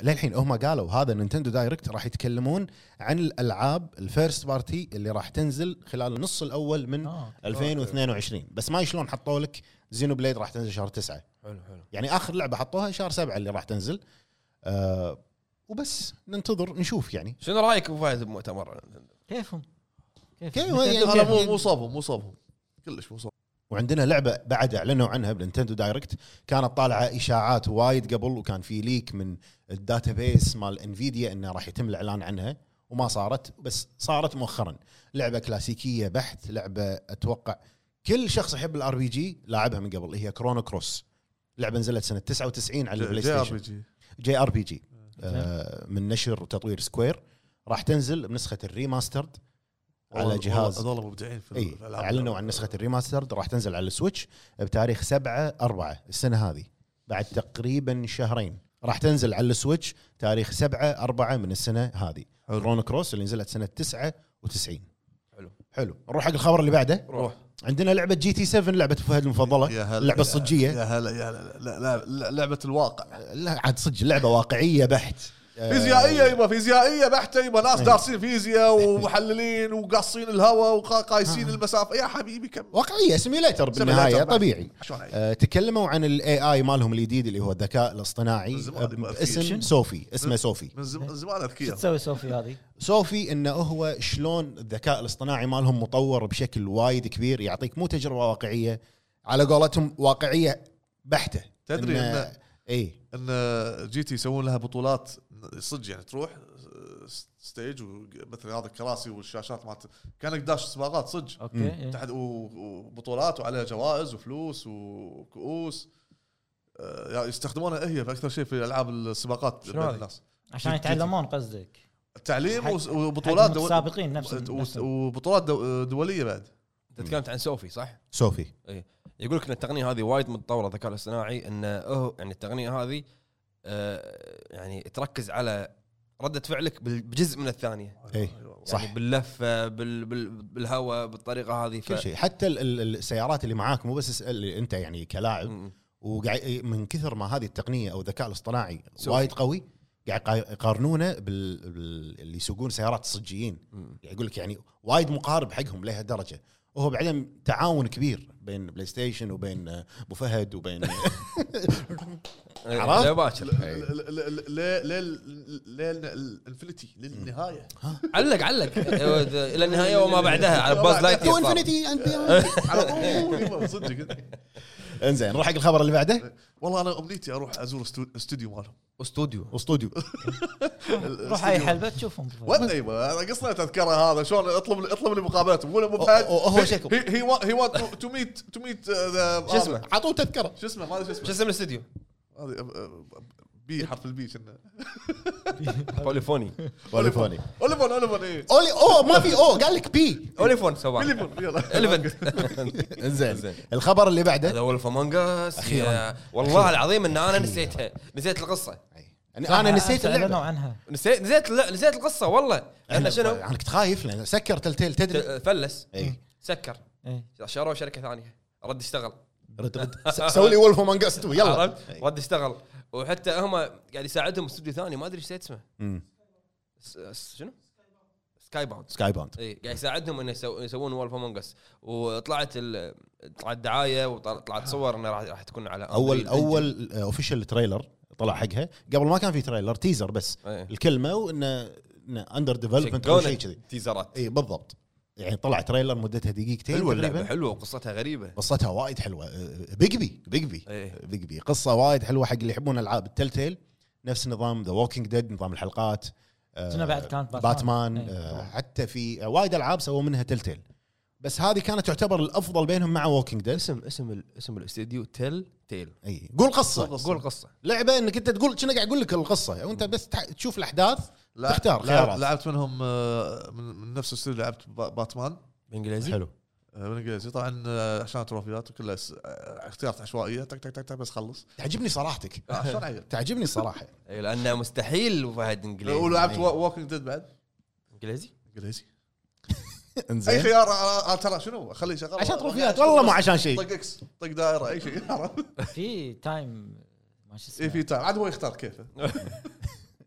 [SPEAKER 5] للحين هم قالوا هذا نينتندو دايركت راح يتكلمون عن الالعاب الفيرست بارتي اللي راح تنزل خلال النص الاول من
[SPEAKER 3] آه.
[SPEAKER 5] 2022 بس ما شلون حطوا لك زينو بليد راح تنزل شهر 9
[SPEAKER 1] حلو حلو
[SPEAKER 5] يعني اخر لعبه حطوها شهر 7 اللي راح تنزل آه وبس ننتظر نشوف يعني
[SPEAKER 1] شنو رايك ابو فهد بمؤتمر؟
[SPEAKER 3] كيفهم؟ كيف
[SPEAKER 5] كيف
[SPEAKER 2] انا يعني مو مو صابهم مو صابهم كلش مو صابهم
[SPEAKER 5] وعندنا لعبه بعد اعلنوا عنها بنتندو دايركت كانت طالعه اشاعات وايد قبل وكان في ليك من الداتابيس مال انفيديا انه راح يتم الاعلان عنها وما صارت بس صارت مؤخرا لعبه كلاسيكيه بحت لعبه اتوقع كل شخص يحب الار بي جي لاعبها من قبل هي كرونو كروس لعبه نزلت سنه 99 على البلاي
[SPEAKER 2] جي آه. ار بي
[SPEAKER 5] ستيشن
[SPEAKER 2] جي
[SPEAKER 5] جي ار بي جي آه، من نشر وتطوير سكوير راح تنزل بنسخه الريماسترد على جهاز
[SPEAKER 2] هذول مبدعين في
[SPEAKER 5] اي
[SPEAKER 2] الألعاب.
[SPEAKER 5] اعلنوا إيه، عن نسخه الريماسترد راح تنزل على السويتش بتاريخ 7 4 السنه هذه بعد تقريبا شهرين راح تنزل على السويتش تاريخ 7 4 من السنه هذه
[SPEAKER 2] حلو.
[SPEAKER 5] رون كروس اللي نزلت سنه 99
[SPEAKER 1] حلو.
[SPEAKER 5] حلو نروح حق الخبر اللي بعده
[SPEAKER 1] روح
[SPEAKER 5] عندنا لعبه جي تي 7 لعبه فهد المفضله
[SPEAKER 2] يا هلا
[SPEAKER 5] اللعبه الصجيه
[SPEAKER 2] يا هلا يا هلا لا- لا- لا- لعبه الواقع
[SPEAKER 5] لا عاد صدق لعبه واقعيه بحت آه،
[SPEAKER 2] فيزيائيه يبا فيزيائيه بحته يبا ناس
[SPEAKER 3] إيه.
[SPEAKER 2] دارسين فيزياء ومحللين وقاصين الهواء وقايسين
[SPEAKER 3] آه.
[SPEAKER 2] المسافه يا حبيبي كم
[SPEAKER 5] واقعيه سيميليتر بالنهايه
[SPEAKER 2] سيميليتر بعد.
[SPEAKER 5] طبيعي
[SPEAKER 2] شلون هي؟
[SPEAKER 5] آه، تكلموا عن الاي اي مالهم الجديد اللي هو الذكاء الاصطناعي
[SPEAKER 2] من زمان يبغى
[SPEAKER 5] آه،
[SPEAKER 2] فيه.
[SPEAKER 5] اسم
[SPEAKER 2] شنو؟
[SPEAKER 5] سوفي اسمه سوفي
[SPEAKER 2] من زم- من زمان
[SPEAKER 3] شو
[SPEAKER 2] اذكياء
[SPEAKER 3] تسوي صوفي هذه؟
[SPEAKER 5] سوفي انه هو شلون الذكاء الاصطناعي مالهم مطور بشكل وايد كبير يعطيك مو تجربه واقعيه على قولتهم واقعيه بحته
[SPEAKER 2] تدري إنه-
[SPEAKER 5] اي
[SPEAKER 2] ان جي تي يسوون لها بطولات صدق يعني تروح ستيج ومثل هذا الكراسي والشاشات مالت كانك داش سباقات صدق
[SPEAKER 3] اوكي إيه.
[SPEAKER 2] تحت و- وبطولات وعليها جوائز وفلوس وكؤوس آه، يعني يستخدمونها هي في اكثر شيء في العاب السباقات
[SPEAKER 1] شنو
[SPEAKER 2] بين
[SPEAKER 1] هذه؟
[SPEAKER 2] الناس
[SPEAKER 3] عشان
[SPEAKER 2] جد- جد.
[SPEAKER 3] يتعلمون قصدك
[SPEAKER 2] التعليم
[SPEAKER 3] حق-
[SPEAKER 2] وس-
[SPEAKER 3] حق
[SPEAKER 2] وبطولات دول-
[SPEAKER 3] السابقين نفسهم
[SPEAKER 2] وس-
[SPEAKER 3] نفسهم.
[SPEAKER 2] وبطولات دو- دوليه بعد
[SPEAKER 1] انت تكلمت عن سوفي صح؟
[SPEAKER 5] سوفي
[SPEAKER 1] يقول لك ان التقنيه هذه وايد متطوره الذكاء الاصطناعي انه هو- يعني التقنيه هذه آه، يعني تركز على رده فعلك بال- بجزء من الثانيه
[SPEAKER 5] إي.
[SPEAKER 2] أيوة.
[SPEAKER 5] صح.
[SPEAKER 1] يعني باللفه بال بال بالهواء بالطريقه هذه ف-
[SPEAKER 5] كل شيء حتى ال- ال- السيارات اللي معاك مو بس اسأل اللي انت يعني كلاعب
[SPEAKER 1] م- م.
[SPEAKER 5] إيه، وقاعد من كثر ما هذه التقنيه او الذكاء الاصطناعي
[SPEAKER 1] سوفي.
[SPEAKER 5] وايد قوي قاعد يقا- يقارنونه بال... بال... اللي يسوقون سيارات الصجيين يعني يقول لك يعني وايد مقارب حقهم لهالدرجه وهو بعدين تعاون كبير بين بلاي ستيشن وبين آه، ابو فهد وبين
[SPEAKER 1] إيه،
[SPEAKER 5] عرفت؟
[SPEAKER 1] لا باكر
[SPEAKER 2] للانفنتي للنهايه
[SPEAKER 1] علق علق إيه، الى النهايه وما بعدها على باز لايت
[SPEAKER 5] تو
[SPEAKER 1] يصار.
[SPEAKER 5] انفنتي and beyond.
[SPEAKER 2] على طول يبا، صدق
[SPEAKER 5] انزين نروح حق الخبر اللي بعده
[SPEAKER 2] والله انا امنيتي اروح ازور استو- استوديو مالهم
[SPEAKER 1] استوديو
[SPEAKER 5] استوديو
[SPEAKER 3] روح اي حلبه تشوفهم
[SPEAKER 2] وين ايوه انا قصنا تذكره هذا شلون اطلب اطلب لي مقابلته مو مو
[SPEAKER 5] أو- أو- هو شكو.
[SPEAKER 2] هي هي وانت تو ميت تو ميت
[SPEAKER 1] شو اسمه؟
[SPEAKER 5] عطوه تذكره
[SPEAKER 2] uh, آه، شو اسمه ما ادري شو
[SPEAKER 1] شو
[SPEAKER 2] اسمه
[SPEAKER 1] اسم الاستوديو؟
[SPEAKER 2] هذه، أب- أب- أب- بي حرف البي كنا
[SPEAKER 1] بوليفوني
[SPEAKER 5] اوليفوني
[SPEAKER 2] اوليفون اوليفون اي
[SPEAKER 5] اولي او ما في او قال لك بي
[SPEAKER 1] اوليفون سواء
[SPEAKER 2] اوليفون يلا
[SPEAKER 1] اليفنت
[SPEAKER 5] انزين الخبر اللي
[SPEAKER 1] هذا
[SPEAKER 5] بعده
[SPEAKER 1] ولف امونج اس
[SPEAKER 5] أخيراً.
[SPEAKER 1] والله العظيم ان انا نسيتها نسيت القصه
[SPEAKER 5] يعني انا نسيت
[SPEAKER 3] اعلنوا
[SPEAKER 5] اللعبه
[SPEAKER 3] عنها
[SPEAKER 1] نسيت نسيت لا، نسيت القصه والله احنا شنو؟
[SPEAKER 5] انا كنت خايف لان سكر تلتيل تدري
[SPEAKER 1] ت- فلس
[SPEAKER 5] اي
[SPEAKER 1] سكر
[SPEAKER 3] إيه.
[SPEAKER 1] شروه شركه ثانيه رد اشتغل
[SPEAKER 5] رد رد س- سوي لي ولف امونج اس 2 يلا إيه.
[SPEAKER 1] عرفت؟ رد اشتغل وحتى هم قاعد يساعدهم استوديو ثاني ما ادري ايش نسيت اسمه
[SPEAKER 5] مم.
[SPEAKER 1] س- س- شنو؟ سكاي باوند
[SPEAKER 5] سكاي باوند
[SPEAKER 1] اي إيه، قاعد يساعدهم انه يسو- يسوون وولف امونج اس وطلعت ال- طلعت دعايه وطلعت صور انه راح راح تكون على
[SPEAKER 5] اول
[SPEAKER 1] Unreal Engine.
[SPEAKER 5] اول اوفيشال تريلر آه، طلع حقها قبل ما كان في تريلر تيزر بس
[SPEAKER 1] إيه.
[SPEAKER 5] الكلمه وانه اندر ديفلوبمنت او
[SPEAKER 1] شقونه
[SPEAKER 5] شيء كذي
[SPEAKER 1] تيزرات
[SPEAKER 5] اي بالضبط يعني طلع تريلر مدتها دقيقتين
[SPEAKER 1] حلوه اللعبه
[SPEAKER 5] تقريبا
[SPEAKER 1] حلوه وقصتها غريبه
[SPEAKER 5] قصتها وايد حلوه أه، بيجبي بيجبي
[SPEAKER 1] إيه.
[SPEAKER 5] بيجبي قصه وايد حلوه حق اللي يحبون العاب التلتيل نفس نظام ذا ووكينج ديد نظام الحلقات آه،
[SPEAKER 3] شنو بعد كانت باتمان؟
[SPEAKER 5] باتمان
[SPEAKER 3] إيه.
[SPEAKER 5] آه، حتى في آه، وايد العاب سووا منها تلتيل بس هذه كانت تعتبر الافضل بينهم مع ووكينج ديد
[SPEAKER 1] اسم اسم ال- اسم الاستديو تل تيل
[SPEAKER 5] اي قول قصه
[SPEAKER 1] قول قصه
[SPEAKER 5] لعبه انك انت تقول شنو قاعد اقول لك القصه وانت بس تع- تشوف الاحداث
[SPEAKER 2] لا-
[SPEAKER 5] تختار
[SPEAKER 2] لعب-
[SPEAKER 5] خيارات.
[SPEAKER 2] لعبت منهم آه، من من نفس الاستوديو لعبت با- باتمان
[SPEAKER 1] بالانجليزي
[SPEAKER 5] حلو
[SPEAKER 2] آه، بالانجليزي طبعا آه، عشان تروفيات وكلها س- آه، اختيارات عشوائيه تك تك تك تك بس خلص
[SPEAKER 5] تعجبني صراحتك
[SPEAKER 2] آه، شلون عيل آه،
[SPEAKER 5] تعجبني صراحه
[SPEAKER 1] اي لانه إيه، مستحيل إيه. وفهد انجليزي
[SPEAKER 2] ولعبت
[SPEAKER 1] إي.
[SPEAKER 2] ووكينج ديد بعد
[SPEAKER 1] انجليزي
[SPEAKER 2] انجليزي اي
[SPEAKER 5] انزين
[SPEAKER 2] خيار آه، آه، ترى شنو خليه شغال يعني
[SPEAKER 5] عشان تروفيات والله ما عشان شيء
[SPEAKER 2] طق اكس طق دائره اي شيء
[SPEAKER 3] إيه، في تايم ما شو اسمه
[SPEAKER 2] اي في تايم عاد هو يختار كيفه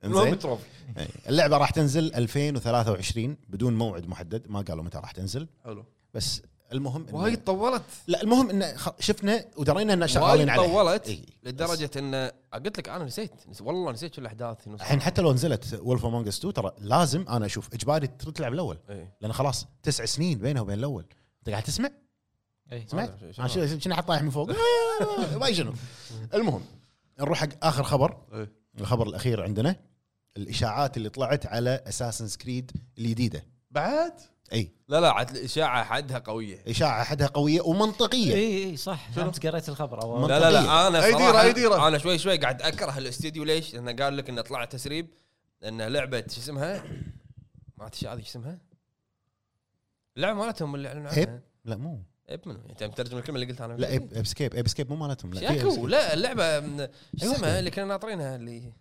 [SPEAKER 1] المهم
[SPEAKER 5] انزين
[SPEAKER 1] تروفي
[SPEAKER 5] إي. اللعبه راح تنزل 2023 بدون موعد محدد ما قالوا متى راح تنزل
[SPEAKER 2] حلو
[SPEAKER 5] بس المهم إن-
[SPEAKER 1] وايد طولت
[SPEAKER 5] لا المهم ان خ- شفنا ودرينا ان
[SPEAKER 1] وايد
[SPEAKER 5] شغالين عليه إيه.
[SPEAKER 1] طولت
[SPEAKER 5] إي.
[SPEAKER 1] لدرجه ان قلت لك انا نسيت نس- والله نسيت شو الاحداث نص-
[SPEAKER 5] الحين حتى لو نزلت وولف امونج اس 2 ترى لازم انا اشوف اجباري تلعب الاول
[SPEAKER 1] إي.
[SPEAKER 5] لان خلاص تسع سنين بينها وبين الاول انت قاعد تسمع
[SPEAKER 3] إيه.
[SPEAKER 5] سمعت؟
[SPEAKER 1] هذا شيء-
[SPEAKER 5] انا شنو- شنو حط طايح من فوق ما شنو المهم نروح حق اخر خبر
[SPEAKER 2] إيه.
[SPEAKER 5] الخبر الاخير عندنا الاشاعات اللي طلعت على اساسن سكريد الجديده
[SPEAKER 2] بعد
[SPEAKER 5] اي
[SPEAKER 1] لا لا عاد الاشاعه حدها قويه
[SPEAKER 5] اشاعه احدها قويه ومنطقيه
[SPEAKER 3] اي اي إيه، صح امس قريت الخبر
[SPEAKER 5] من-
[SPEAKER 3] اول
[SPEAKER 1] لا لا لا انا
[SPEAKER 2] أي
[SPEAKER 1] صراحة
[SPEAKER 2] ديرة، أي ديرة.
[SPEAKER 1] انا شوي شوي قاعد اكره الاستديو ليش؟ لانه قال لك انه طلع تسريب انه لعبه شو اسمها؟ ما أعرف شو هذه شو اسمها؟ اللعبه مالتهم اللي اعلنوا عنها
[SPEAKER 5] إيب؟ لا مو
[SPEAKER 1] ايب منو؟ يعني انت مترجم الكلمه اللي قلتها انا
[SPEAKER 5] لا إب- ابسكيب ابسكيب مو مالتهم لا في
[SPEAKER 1] شاكو
[SPEAKER 5] إبسكيب.
[SPEAKER 1] لا اللعبه من- شو
[SPEAKER 5] أي
[SPEAKER 2] أيوة.
[SPEAKER 1] اسمها
[SPEAKER 5] واحدة.
[SPEAKER 1] اللي كنا ناطرينها اللي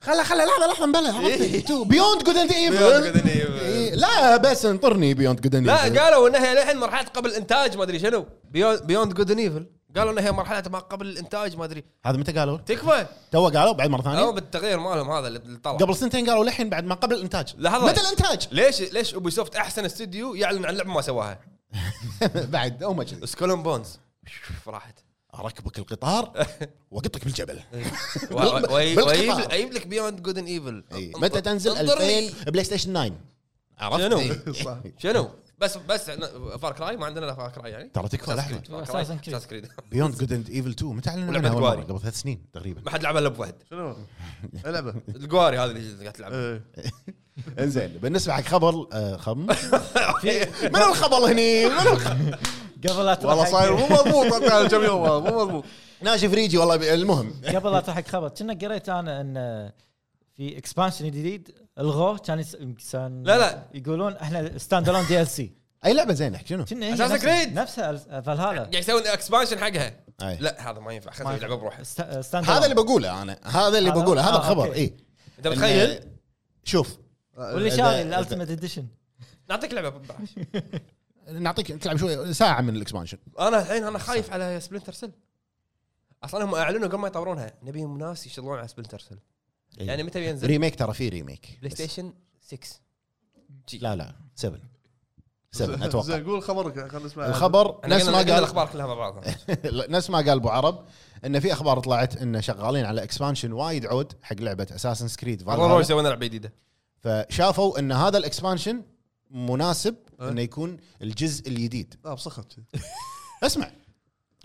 [SPEAKER 5] خلا خلا لحظه لحظه مبلا
[SPEAKER 1] إيه.
[SPEAKER 5] تو بيوند جود اند
[SPEAKER 1] Beyond Good and Evil.
[SPEAKER 5] ايفل إيه، لا بس انطرني بيوند جود اند
[SPEAKER 1] لا قالوا انها للحين مرحله قبل الانتاج ما ادري شنو بيوند جود ايفل قالوا انها مرحله ما قبل الانتاج ما ادري
[SPEAKER 5] هذا متى قالوا؟
[SPEAKER 1] تكفى
[SPEAKER 5] تو قالوا بعد مره
[SPEAKER 1] او
[SPEAKER 5] ثانيه
[SPEAKER 1] بالتغيير مالهم هذا اللي طلع
[SPEAKER 5] قبل سنتين قالوا لحين بعد ما قبل الانتاج
[SPEAKER 1] لحظة.
[SPEAKER 5] متى الانتاج؟
[SPEAKER 1] ليش ليش اوبي سوفت احسن استديو يعلن عن لعبه ما سواها؟
[SPEAKER 5] بعد او ما كذي
[SPEAKER 1] سكولن بونز شوف راحت
[SPEAKER 5] اركبك القطار واقطك بالجبل إيه.
[SPEAKER 1] و- و- وي-
[SPEAKER 5] بالقطار.
[SPEAKER 1] ويجيب اجيب لك بيوند جود اند ايفل
[SPEAKER 5] إي. متى تنزل 2000 بلاي ستيشن 9 عرفت؟ إيه.
[SPEAKER 1] شنو؟
[SPEAKER 5] إي.
[SPEAKER 2] صح
[SPEAKER 1] شنو؟ بس بس فار كراي ما عندنا الا فار كراي يعني
[SPEAKER 5] ترى تكفى لحظه
[SPEAKER 3] Assassin's Creed.
[SPEAKER 1] اساس كريد
[SPEAKER 5] بيوند جود اند ايفل 2 متى اعلنوا
[SPEAKER 1] ولعبة
[SPEAKER 5] عنها أول مرة؟
[SPEAKER 1] جواري.
[SPEAKER 5] قبل ثلاث سنين تقريبا
[SPEAKER 1] ما حد لعبها الا ابو فهد
[SPEAKER 2] شنو العبه
[SPEAKER 1] القواري هذه اللي قاعد تلعب
[SPEAKER 2] إيه.
[SPEAKER 5] انزين بالنسبه حق خبر آه، خم من الخبر هني من الخ-
[SPEAKER 3] قبل لا تروح
[SPEAKER 2] والله
[SPEAKER 3] حق-
[SPEAKER 2] صاير مو مضبوط أنت كم يوم هذا، مو مضبوط
[SPEAKER 5] ناشف ريجي والله بي- المهم
[SPEAKER 3] قبل لا تروح حق خبر كنا قريت انا ان في اكسبانشن جديد الغوه كان يس- كان
[SPEAKER 1] لا لا.
[SPEAKER 3] يقولون احنا ستاند الون دي ال سي
[SPEAKER 5] اي لعبه زينه شنو؟
[SPEAKER 3] كنا هي
[SPEAKER 1] Assassin's
[SPEAKER 3] نفس-
[SPEAKER 1] Creed.
[SPEAKER 3] نفسها ال- فالهالا
[SPEAKER 1] قاعد يسوون اكسبانشن حقها
[SPEAKER 5] أي.
[SPEAKER 1] لا هذا ما ينفع خلي اللعبه بروحه
[SPEAKER 3] ست- ستاند
[SPEAKER 5] هذا
[SPEAKER 3] alone.
[SPEAKER 5] اللي بقوله انا هذا اللي
[SPEAKER 3] هذا-
[SPEAKER 5] بقوله هذا
[SPEAKER 3] آه،
[SPEAKER 5] الخبر
[SPEAKER 3] أوكي.
[SPEAKER 5] اي
[SPEAKER 1] انت متخيل؟
[SPEAKER 5] إن- شوف
[SPEAKER 3] واللي
[SPEAKER 5] آه، إذا-
[SPEAKER 3] شاري
[SPEAKER 5] إذا-
[SPEAKER 3] الالتيميت اديشن
[SPEAKER 1] نعطيك لعبه ببلاش
[SPEAKER 5] نعطيك تلعب شوي ساعه من الاكسبانشن
[SPEAKER 1] انا الحين انا خايف على سبلنتر سيل اصلا هم اعلنوا قبل ما يطورونها نبيهم ناس يشتغلون على سبلنتر سيل
[SPEAKER 5] إيه.
[SPEAKER 1] يعني متى بينزل؟
[SPEAKER 5] ريميك ترى في ريميك
[SPEAKER 1] بلاي
[SPEAKER 5] بس.
[SPEAKER 1] ستيشن 6
[SPEAKER 5] لا لا 7 7 اتوقع
[SPEAKER 2] زين قول خبرك خلينا نسمع
[SPEAKER 5] الخبر
[SPEAKER 1] احنا
[SPEAKER 5] نفس ما إيه،
[SPEAKER 1] قلنا
[SPEAKER 5] قال
[SPEAKER 1] الاخبار كلها مع بعض
[SPEAKER 5] نفس ما قال ابو عرب ان في اخبار طلعت ان شغالين على اكسبانشن وايد عود حق لعبه اساسن سكريد
[SPEAKER 1] مره روح سوينا لعبه جديده
[SPEAKER 5] فشافوا ان هذا الاكسبانشن مناسب
[SPEAKER 2] أه.
[SPEAKER 5] انه يكون الجزء الجديد
[SPEAKER 2] لا بصخت
[SPEAKER 5] اسمع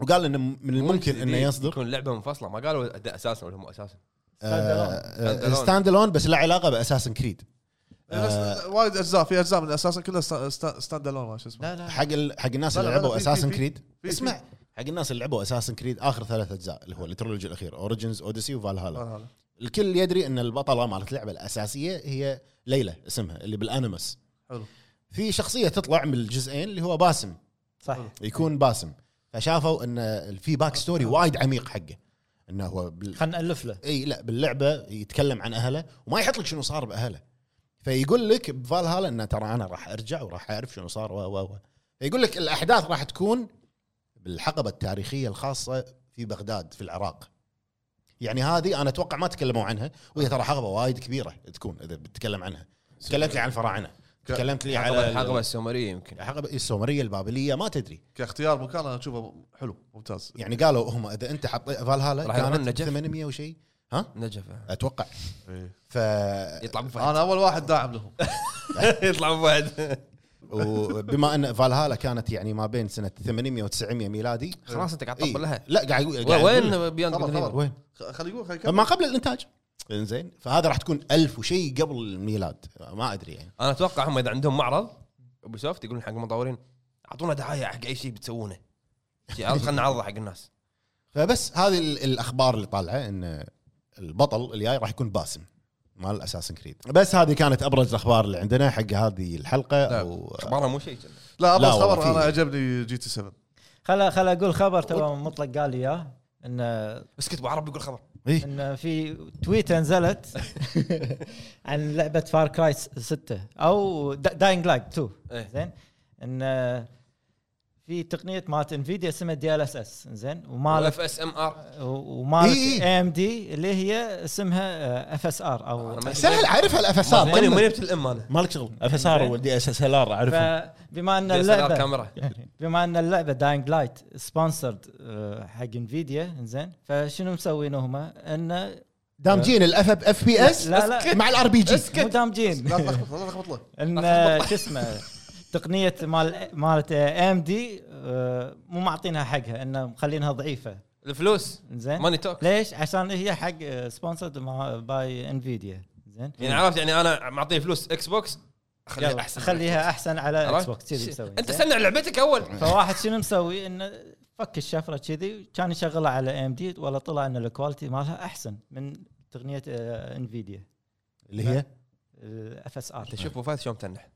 [SPEAKER 5] وقال انه من الممكن انه يصدر
[SPEAKER 1] تكون لعبه منفصله ما قالوا ده اساسا ولا مو اساسا
[SPEAKER 5] آه،
[SPEAKER 1] Standalone.
[SPEAKER 5] ستاند الون آه، بس له علاقه باساسن كريد آه،
[SPEAKER 2] بس وايد اجزاء في اجزاء من اساسا كلها ستا- ستا- ستاند الون ما شو اسمه
[SPEAKER 3] لا
[SPEAKER 5] حق ال... حق الناس
[SPEAKER 2] لا،
[SPEAKER 5] اللي
[SPEAKER 2] لا،
[SPEAKER 5] لعبوا
[SPEAKER 2] لا، في- في-
[SPEAKER 5] اساسن
[SPEAKER 2] في-
[SPEAKER 5] كريد
[SPEAKER 2] في-
[SPEAKER 5] اسمع
[SPEAKER 2] في.
[SPEAKER 5] حق الناس اللي لعبوا اساسن كريد اخر ثلاث اجزاء اللي هو الترولوجي الاخير اوريجنز اوديسي وفالهالا
[SPEAKER 2] هذا.
[SPEAKER 5] الكل يدري ان البطله مالت اللعبه الاساسيه هي ليلى اسمها اللي بالانيمس
[SPEAKER 2] حلو
[SPEAKER 5] في شخصيه تطلع من الجزئين اللي هو باسم
[SPEAKER 3] صح
[SPEAKER 5] يكون باسم فشافوا ان في باك ستوري وايد عميق حقه انه هو بال...
[SPEAKER 3] خلينا نالف له
[SPEAKER 5] اي لا باللعبه يتكلم عن اهله وما يحط لك شنو صار باهله فيقول لك بفالهالا انه ترى انا راح ارجع وراح اعرف شنو صار و و و فيقول لك الاحداث راح تكون بالحقبه التاريخيه الخاصه في بغداد في العراق يعني هذه انا اتوقع ما تكلموا عنها وهي ترى حقبه وايد كبيره تكون اذا بتتكلم عنها تكلمت لي عن الفراعنه تكلمت لي على
[SPEAKER 1] حقبه حقبه
[SPEAKER 5] الحقبه
[SPEAKER 1] السومريه يمكن
[SPEAKER 5] الحقبه السومريه البابليه ما تدري
[SPEAKER 2] كاختيار مكان انا اشوفه حلو ممتاز
[SPEAKER 5] يعني قالوا هم اذا انت حطيت فالهالا
[SPEAKER 1] راح يروحون
[SPEAKER 5] كانت
[SPEAKER 1] نجف.
[SPEAKER 5] 800 وشيء ها
[SPEAKER 1] نجفه
[SPEAKER 5] اتوقع
[SPEAKER 2] إيه.
[SPEAKER 5] ف
[SPEAKER 1] يطلع مو
[SPEAKER 2] انا اول واحد داعم لهم
[SPEAKER 5] آه.
[SPEAKER 1] يطلع مو
[SPEAKER 5] وبما ان فالهالا كانت يعني ما بين سنه 800 و900 ميلادي
[SPEAKER 1] خلاص انت قاعد
[SPEAKER 5] إيه.
[SPEAKER 1] تطبل لها
[SPEAKER 5] لا قاعد يقول قاعد يقول-
[SPEAKER 1] وين بياند
[SPEAKER 2] خبر،
[SPEAKER 1] جود
[SPEAKER 2] خبر.
[SPEAKER 5] وين
[SPEAKER 2] خ- خلي يقول خلي يكمل.
[SPEAKER 5] ما قبل الانتاج زين فهذا راح تكون ألف وشيء قبل الميلاد ما ادري يعني
[SPEAKER 1] انا اتوقع هم اذا عندهم معرض اوبي سوفت يقولون حق المطورين اعطونا دعايه حق اي شيء بتسوونه شيء عرض- خلنا نعرضه حق الناس
[SPEAKER 5] فبس هذه ال- الاخبار اللي طالعه ان البطل الجاي راح يكون باسم مال الاساسن كريد بس هذه كانت ابرز الاخبار اللي عندنا حق هذه الحلقه
[SPEAKER 2] نعم.
[SPEAKER 5] او
[SPEAKER 1] اخبارها مو شيء جدا.
[SPEAKER 2] لا ابرز
[SPEAKER 5] لا، والله
[SPEAKER 2] خبر
[SPEAKER 5] في-
[SPEAKER 2] انا عجبني جي تي 7
[SPEAKER 3] خلا خلا اقول خبر تو مطلق قال لي آه، اياه انه
[SPEAKER 1] اسكت ابو عرب يقول خبر
[SPEAKER 5] إيه.
[SPEAKER 3] ان في تويتر نزلت عن لعبه فار كراي 6 او داينج لايت 2
[SPEAKER 1] إيه.
[SPEAKER 3] زين ان في تقنيه مالت انفيديا اسمها دي ال اس اس زين ومالت
[SPEAKER 1] اف اس ام ار
[SPEAKER 3] ومالت
[SPEAKER 5] إيه،
[SPEAKER 3] اي ام دي اللي هي اسمها اف اس ار او
[SPEAKER 5] سهل عارفها الاف اس ار
[SPEAKER 1] ماني ماني جبت الام انا
[SPEAKER 6] مالك شغل اف اس ار والدي اس اس ال ار اعرفهم
[SPEAKER 3] فبما ان
[SPEAKER 1] DSLR
[SPEAKER 3] اللعبه
[SPEAKER 1] كاميرا
[SPEAKER 3] بما ان اللعبه داينج لايت سبونسرد آه، حق انفيديا زين فشنو مسوين هم؟ انه
[SPEAKER 5] دامجين الاف اف بي اس
[SPEAKER 3] لا، لا.
[SPEAKER 5] مع الار بي جي
[SPEAKER 3] مو دامجين
[SPEAKER 2] لا تلخبط لا تلخبط له
[SPEAKER 3] ان شو اسمه تقنيه مال مالت ام دي آه، مو معطينها حقها انه مخلينها ضعيفه
[SPEAKER 1] الفلوس
[SPEAKER 3] زين
[SPEAKER 1] ماني توك
[SPEAKER 3] ليش؟ عشان هي حق سبونسرد باي انفيديا زين
[SPEAKER 1] يعني عرفت يعني انا معطيه فلوس اكس بوكس اخليها
[SPEAKER 3] يلا،
[SPEAKER 1] احسن
[SPEAKER 3] خليها احسن على
[SPEAKER 1] عرفت؟
[SPEAKER 3] اكس بوكس كذي
[SPEAKER 1] شي-
[SPEAKER 3] مسوي
[SPEAKER 1] انت
[SPEAKER 3] زين؟
[SPEAKER 1] سنع لعبتك اول
[SPEAKER 3] فواحد شنو مسوي انه فك الشفره كذي كان يشغلها على ام دي ولا طلع ان الكواليتي مالها احسن من آه، تقنيه انفيديا
[SPEAKER 5] اللي هي
[SPEAKER 3] الاف اس ار
[SPEAKER 1] انت شوف وفاة شلون تنح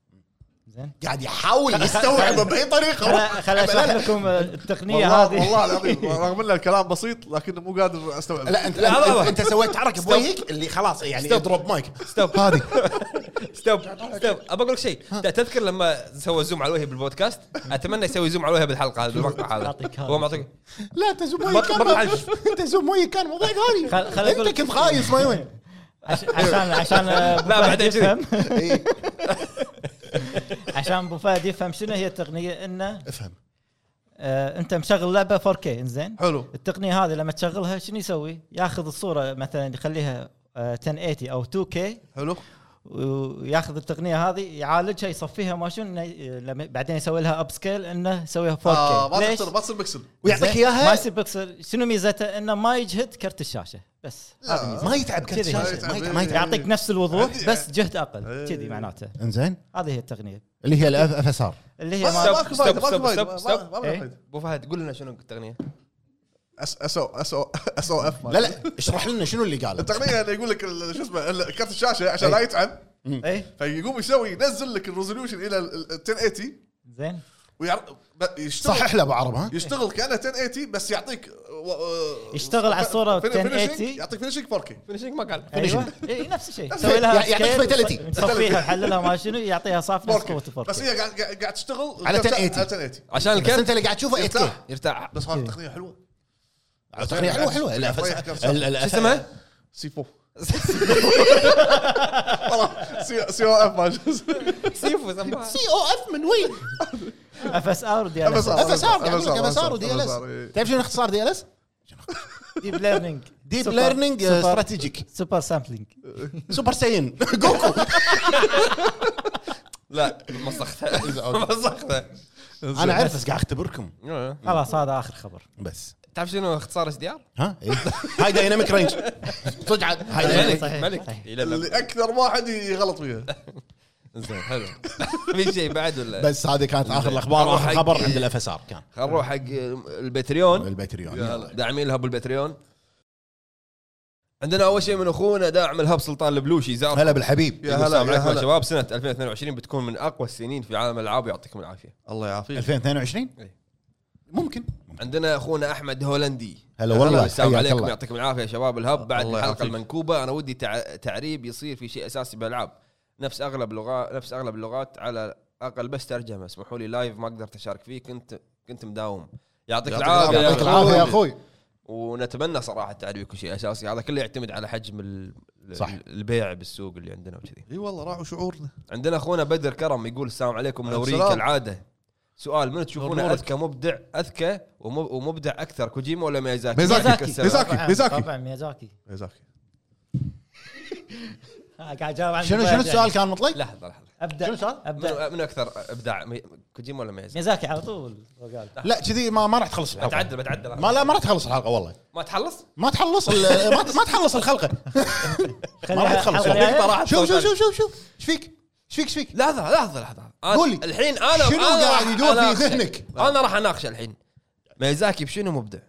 [SPEAKER 3] زين
[SPEAKER 5] قاعد يحاول يستوعبه باي طريقه
[SPEAKER 3] خل خل اشرح لكم التقنيه
[SPEAKER 2] والله
[SPEAKER 3] هذه
[SPEAKER 2] والله العظيم رغم ان الكلام بسيط لكنه مو قادر استوعب
[SPEAKER 5] لا انت
[SPEAKER 1] لا،
[SPEAKER 5] لا
[SPEAKER 1] لحظة.
[SPEAKER 5] انت, انت سويت حركه بوجهك اللي خلاص يعني اضرب مايك
[SPEAKER 1] ستوب
[SPEAKER 5] هذه
[SPEAKER 1] ستوب ستوب ابى اقول لك شيء ت- تذكر لما سوى زوم على وجهي بالبودكاست اتمنى يسوي زوم على وجهي بالحلقه هذه بالمقطع هذا
[SPEAKER 3] أعطيك هذا.
[SPEAKER 1] هو معطيك
[SPEAKER 5] لا انت زوم
[SPEAKER 1] ما-
[SPEAKER 5] مايك
[SPEAKER 1] ما
[SPEAKER 5] كان
[SPEAKER 1] تعرف.
[SPEAKER 5] انت زوم مايك كان موضوع
[SPEAKER 3] خل- خل
[SPEAKER 5] ثاني
[SPEAKER 3] أقول
[SPEAKER 5] انت
[SPEAKER 3] لك.
[SPEAKER 5] كنت خايس ما وين
[SPEAKER 3] عش- عشان عشان آه، أبو
[SPEAKER 1] لا،
[SPEAKER 3] فهد
[SPEAKER 1] بعدين كذي.
[SPEAKER 3] يفهم. عشان ابو فهد يفهم شنو هي التقنيه انه
[SPEAKER 5] افهم
[SPEAKER 3] آه، انت مشغل لعبه 4K انزين
[SPEAKER 2] حلو
[SPEAKER 3] التقنيه هذه لما تشغلها شنو يسوي؟ ياخذ الصوره مثلا يخليها آه، 1080 او 2K
[SPEAKER 2] حلو
[SPEAKER 3] وياخذ التقنيه هذه يعالجها يصفيها ما شنو إنه ي- لما- بعدين يسوي لها اب سكيل انه يسويها 4K
[SPEAKER 2] آه، ما
[SPEAKER 3] ليش؟
[SPEAKER 2] تصير ما تصير بكسل
[SPEAKER 5] ويعطيك
[SPEAKER 3] زين؟ ما
[SPEAKER 5] اياها
[SPEAKER 3] يصير بكسل شنو ميزته انه ما يجهد كرت الشاشه بس هذه
[SPEAKER 2] آه،
[SPEAKER 3] ميزته.
[SPEAKER 5] ما يتعب كرت
[SPEAKER 3] كذي.
[SPEAKER 5] الشاشه ما يتعب ما يتعب
[SPEAKER 3] يعطيك نفس الوضوح بس جهد اقل كذي معناته
[SPEAKER 5] انزين
[SPEAKER 3] هذه هي التقنيه
[SPEAKER 5] اللي هي الاف اف اس ار
[SPEAKER 3] اللي هي
[SPEAKER 2] ما-
[SPEAKER 3] ما
[SPEAKER 2] ماكو فايده
[SPEAKER 1] stop,
[SPEAKER 2] ماكو
[SPEAKER 1] stop,
[SPEAKER 2] فايده
[SPEAKER 1] stop,
[SPEAKER 2] ما-
[SPEAKER 1] stop.
[SPEAKER 2] ما- ما
[SPEAKER 3] إيه.
[SPEAKER 2] له فايده
[SPEAKER 1] ابو فهد قول لنا شنو التقنيه
[SPEAKER 2] اس اس او اس او اس او اف
[SPEAKER 5] لا لا اشرح لنا شنو اللي قاله
[SPEAKER 2] التقنيه اللي يقول لك ال- شو اسمه ال- كرت الشاشه
[SPEAKER 5] إيه.
[SPEAKER 2] عشان لا يتعب
[SPEAKER 3] ايه
[SPEAKER 2] فيقوم يسوي ينزل لك الريزوليوشن الى ال- ال 1080
[SPEAKER 3] زين
[SPEAKER 2] ويعر... ب- يشتغل
[SPEAKER 5] صحح له ابو عرب ها
[SPEAKER 2] يشتغل كانه 1080 بس يعطيك و... و-
[SPEAKER 3] يشتغل على الصورة
[SPEAKER 2] fin- finishing،
[SPEAKER 3] 1080.
[SPEAKER 2] يعطيك فينشنج 4K
[SPEAKER 1] فينشنج ما قال
[SPEAKER 3] ايوه اي نفس الشيء
[SPEAKER 2] نفس
[SPEAKER 3] يسوي لها
[SPEAKER 5] الشيء. يعطيك
[SPEAKER 3] سكيل،
[SPEAKER 5] فيتاليتي.
[SPEAKER 3] يصفيها يحللها ما شنو يعطيها صافي نفس قوه
[SPEAKER 2] 4K بس
[SPEAKER 3] الفرق
[SPEAKER 2] هي قاعد قاعد قاعد تشتغل
[SPEAKER 5] على
[SPEAKER 2] كرت-
[SPEAKER 5] 1080.
[SPEAKER 2] 1080
[SPEAKER 1] عشان
[SPEAKER 5] بس
[SPEAKER 1] الكرت
[SPEAKER 5] انت اللي قاعد تشوفه إيه، 8
[SPEAKER 2] يرتاح.
[SPEAKER 5] كي
[SPEAKER 1] يرتاح
[SPEAKER 2] بس هذه تقنيه حلوه
[SPEAKER 5] تقنيه حلوه حلوه
[SPEAKER 2] شو
[SPEAKER 5] لا
[SPEAKER 2] اسمها؟
[SPEAKER 1] شو اسمها؟
[SPEAKER 5] اسمها
[SPEAKER 2] سي 4 سي او اف ما شو اسمه.
[SPEAKER 1] سيفو سماها.
[SPEAKER 5] سي او اف من وين؟ يعني
[SPEAKER 3] اف اس ار ودي
[SPEAKER 5] اف اس ار
[SPEAKER 2] FSR
[SPEAKER 5] اف اس ار ودي ال اس
[SPEAKER 2] FSR إيه.
[SPEAKER 5] تعرف شنو اختصار دي ال اس؟
[SPEAKER 3] ديب ليرنينج
[SPEAKER 5] ديب ليرنينج استراتيجيك
[SPEAKER 3] سوبر سامبلينج
[SPEAKER 5] سوبر ساين جوكو
[SPEAKER 1] لا مسختها مسختها
[SPEAKER 5] انا اعرف بس قاعد اختبركم
[SPEAKER 3] خلاص هذا اخر خبر
[SPEAKER 5] بس
[SPEAKER 1] تعرف شنو اختصار اس دي ار؟
[SPEAKER 5] ها إيه. هاي دايناميك رينج صدق عاد هاي
[SPEAKER 1] ملك
[SPEAKER 5] دايناميك
[SPEAKER 3] صحيح.
[SPEAKER 1] ملك
[SPEAKER 3] صحيح.
[SPEAKER 1] يلمم.
[SPEAKER 2] اللي اكثر واحد يغلط فيها
[SPEAKER 1] زين حلو في شيء بعد ولا
[SPEAKER 5] بس هذه كانت اخر الاخبار
[SPEAKER 1] والله
[SPEAKER 5] واخر خبر
[SPEAKER 1] حق-
[SPEAKER 5] عند الاف اس ار كان
[SPEAKER 1] خل نروح حق البتريون
[SPEAKER 5] الباتريون
[SPEAKER 1] يلا،
[SPEAKER 5] يلا.
[SPEAKER 1] داعمين الهب البتريون عندنا اول شيء من اخونا داعم الهب سلطان البلوشي زار
[SPEAKER 5] هلا بالحبيب
[SPEAKER 2] يا
[SPEAKER 1] يقول
[SPEAKER 2] هلا،
[SPEAKER 1] السلام
[SPEAKER 2] يا
[SPEAKER 1] عليكم يا
[SPEAKER 2] هلا.
[SPEAKER 1] شباب سنه 2022 بتكون من اقوى السنين في عالم الالعاب ويعطيكم العافيه
[SPEAKER 2] الله يعافيك
[SPEAKER 5] 2022
[SPEAKER 1] إيه.
[SPEAKER 5] ممكن ممكن.
[SPEAKER 1] عندنا اخونا احمد هولندي
[SPEAKER 5] هلا والله،
[SPEAKER 1] السلام
[SPEAKER 5] حياك
[SPEAKER 1] عليكم
[SPEAKER 5] الله.
[SPEAKER 1] يعطيكم العافيه يا شباب الهب بعد
[SPEAKER 2] الله
[SPEAKER 1] الحلقه
[SPEAKER 2] يعافيك.
[SPEAKER 1] المنكوبه انا ودي تع... تعريب يصير في شيء اساسي بالالعاب نفس اغلب لغات نفس اغلب اللغات على الاقل بس ترجمه اسمحوا لي لايف ما قدرت اشارك فيه كنت كنت مداوم يعطيك العافيه يا
[SPEAKER 5] يعطيك العافيه يا
[SPEAKER 1] أخوي.
[SPEAKER 5] اخوي
[SPEAKER 1] ونتمنى صراحه تعريب كل شيء اساسي هذا كله يعتمد على حجم ال...
[SPEAKER 5] صح.
[SPEAKER 1] صح. البيع بالسوق اللي عندنا وكذي
[SPEAKER 2] اي والله راعوا شعورنا
[SPEAKER 1] عندنا اخونا بدر كرم يقول السلام عليكم
[SPEAKER 2] عليكم
[SPEAKER 1] منورين
[SPEAKER 2] السلام.
[SPEAKER 1] كالعاده سؤال من تشوفونه
[SPEAKER 2] نورك.
[SPEAKER 1] اذكى مبدع اذكى ومب- ومبدع اكثر كوجيما ولا ميازاكي؟
[SPEAKER 2] ميازاكي.
[SPEAKER 1] يعطيك السلام.
[SPEAKER 2] ميازاكي. ميزاكي.
[SPEAKER 3] طبعا ميازاكي
[SPEAKER 2] زاكي
[SPEAKER 3] ها، آه، قاعد اجاوب عن
[SPEAKER 5] شنو شنو السؤال كان مطلق؟
[SPEAKER 1] لحظه لحظه
[SPEAKER 3] ابدا
[SPEAKER 5] شنو السؤال؟
[SPEAKER 3] ابدا
[SPEAKER 1] من, من اكثر ابداع مي- كوجيما ولا ميازاكي؟
[SPEAKER 3] ميازاكي على طول هو قال
[SPEAKER 5] لا كذي ما ما راح تخلص الحلقه
[SPEAKER 1] بتعدل بتعدل
[SPEAKER 5] ما إيه. لا ما راح تخلص الحلقه والله
[SPEAKER 1] ما تحلص؟
[SPEAKER 5] ما تخلص ال- ما ما تخلص الحلقه ما
[SPEAKER 3] خليها
[SPEAKER 5] راح تخلص
[SPEAKER 3] حلقة جاية.
[SPEAKER 1] نقطة راحت
[SPEAKER 5] شوف شوف شوف شوف شوف ايش فيك؟ ايش فيك ايش فيك؟
[SPEAKER 1] لحظه لحظه لحظه أنا-
[SPEAKER 5] قولي.
[SPEAKER 1] الحين انا
[SPEAKER 5] شنو
[SPEAKER 1] أنا
[SPEAKER 5] قاعد
[SPEAKER 1] راح
[SPEAKER 5] يدور في
[SPEAKER 1] أناقشك.
[SPEAKER 5] ذهنك؟
[SPEAKER 1] انا راح اناقشه الحين ميازاكي بشنو مبدع؟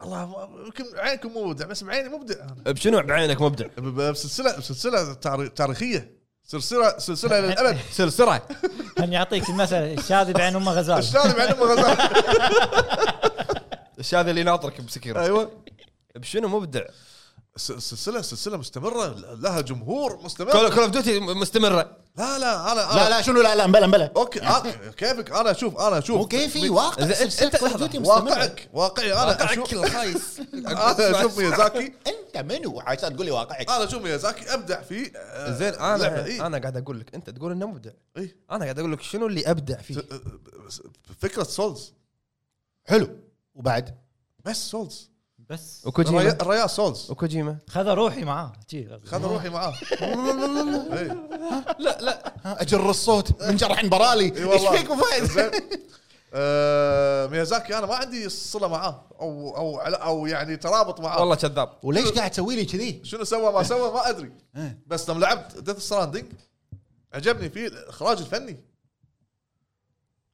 [SPEAKER 2] والله ما- يمكن عينكم مبدع بس بعيني مبدع انا
[SPEAKER 1] بشنو بعينك مبدع؟
[SPEAKER 2] ب- ب- بسلسله بسلسله تاري- تاريخيه سلسله سلسله للابد
[SPEAKER 1] سلسره
[SPEAKER 3] هم يعطيك المثل الشاذي بعين امه غزال
[SPEAKER 2] الشاذ بعين ام غزال
[SPEAKER 1] الش هذا اللي ناطرك بسكيره
[SPEAKER 6] أيوه.
[SPEAKER 5] أيوة.
[SPEAKER 2] ايوه
[SPEAKER 1] بشنو مبدع؟
[SPEAKER 2] س- سلسله سلسله مستمره لها جمهور مستمر
[SPEAKER 1] كول اوف ديوتي مستمره
[SPEAKER 2] لا لا انا
[SPEAKER 5] لا
[SPEAKER 2] أنا-
[SPEAKER 5] لا شنو لا لا مبلا مبلا
[SPEAKER 2] اوكي آه، كيفك انا اشوف انا
[SPEAKER 5] مو
[SPEAKER 2] اشوف
[SPEAKER 5] كيفي واقع
[SPEAKER 1] إذا-
[SPEAKER 5] سلسلة
[SPEAKER 1] أنت-
[SPEAKER 5] Call of Duty مستمرة.
[SPEAKER 2] واقعك واقعي انا
[SPEAKER 1] واقعك
[SPEAKER 2] اشوف
[SPEAKER 1] الخايس
[SPEAKER 2] انا اشوف ميازاكي
[SPEAKER 5] انت منو عشان تقول لي واقعك
[SPEAKER 2] انا اشوف ميازاكي ابدع في آه،
[SPEAKER 1] زين
[SPEAKER 2] لعبة،
[SPEAKER 1] انا
[SPEAKER 2] إيه.
[SPEAKER 1] انا قاعد اقول لك انت تقول انه مبدع
[SPEAKER 2] إيه.
[SPEAKER 1] انا قاعد اقول لك شنو اللي ابدع فيه
[SPEAKER 2] ت- فكره آه، سولز
[SPEAKER 5] حلو وبعد
[SPEAKER 2] بس سولز
[SPEAKER 3] بس
[SPEAKER 1] وكوجيما
[SPEAKER 2] الريا- الرياض سولز
[SPEAKER 1] وكوجيما
[SPEAKER 3] خذ روحي معاه جي.
[SPEAKER 2] خذ روحي معاه إيه.
[SPEAKER 5] ها، اجر الصوت من جرح برالي
[SPEAKER 2] اي
[SPEAKER 5] ايش
[SPEAKER 2] والله
[SPEAKER 5] فيك ابو فهد؟
[SPEAKER 2] زين. آه، ميازاكي انا ما عندي صله معاه او او عل- او يعني ترابط معاه
[SPEAKER 1] والله كذاب
[SPEAKER 5] وليش قاعد تسوي لي كذي؟
[SPEAKER 2] شنو سوى ما سوى ما ادري
[SPEAKER 1] إيه.
[SPEAKER 2] بس لما لعبت ديث ستراندنج عجبني فيه الاخراج الفني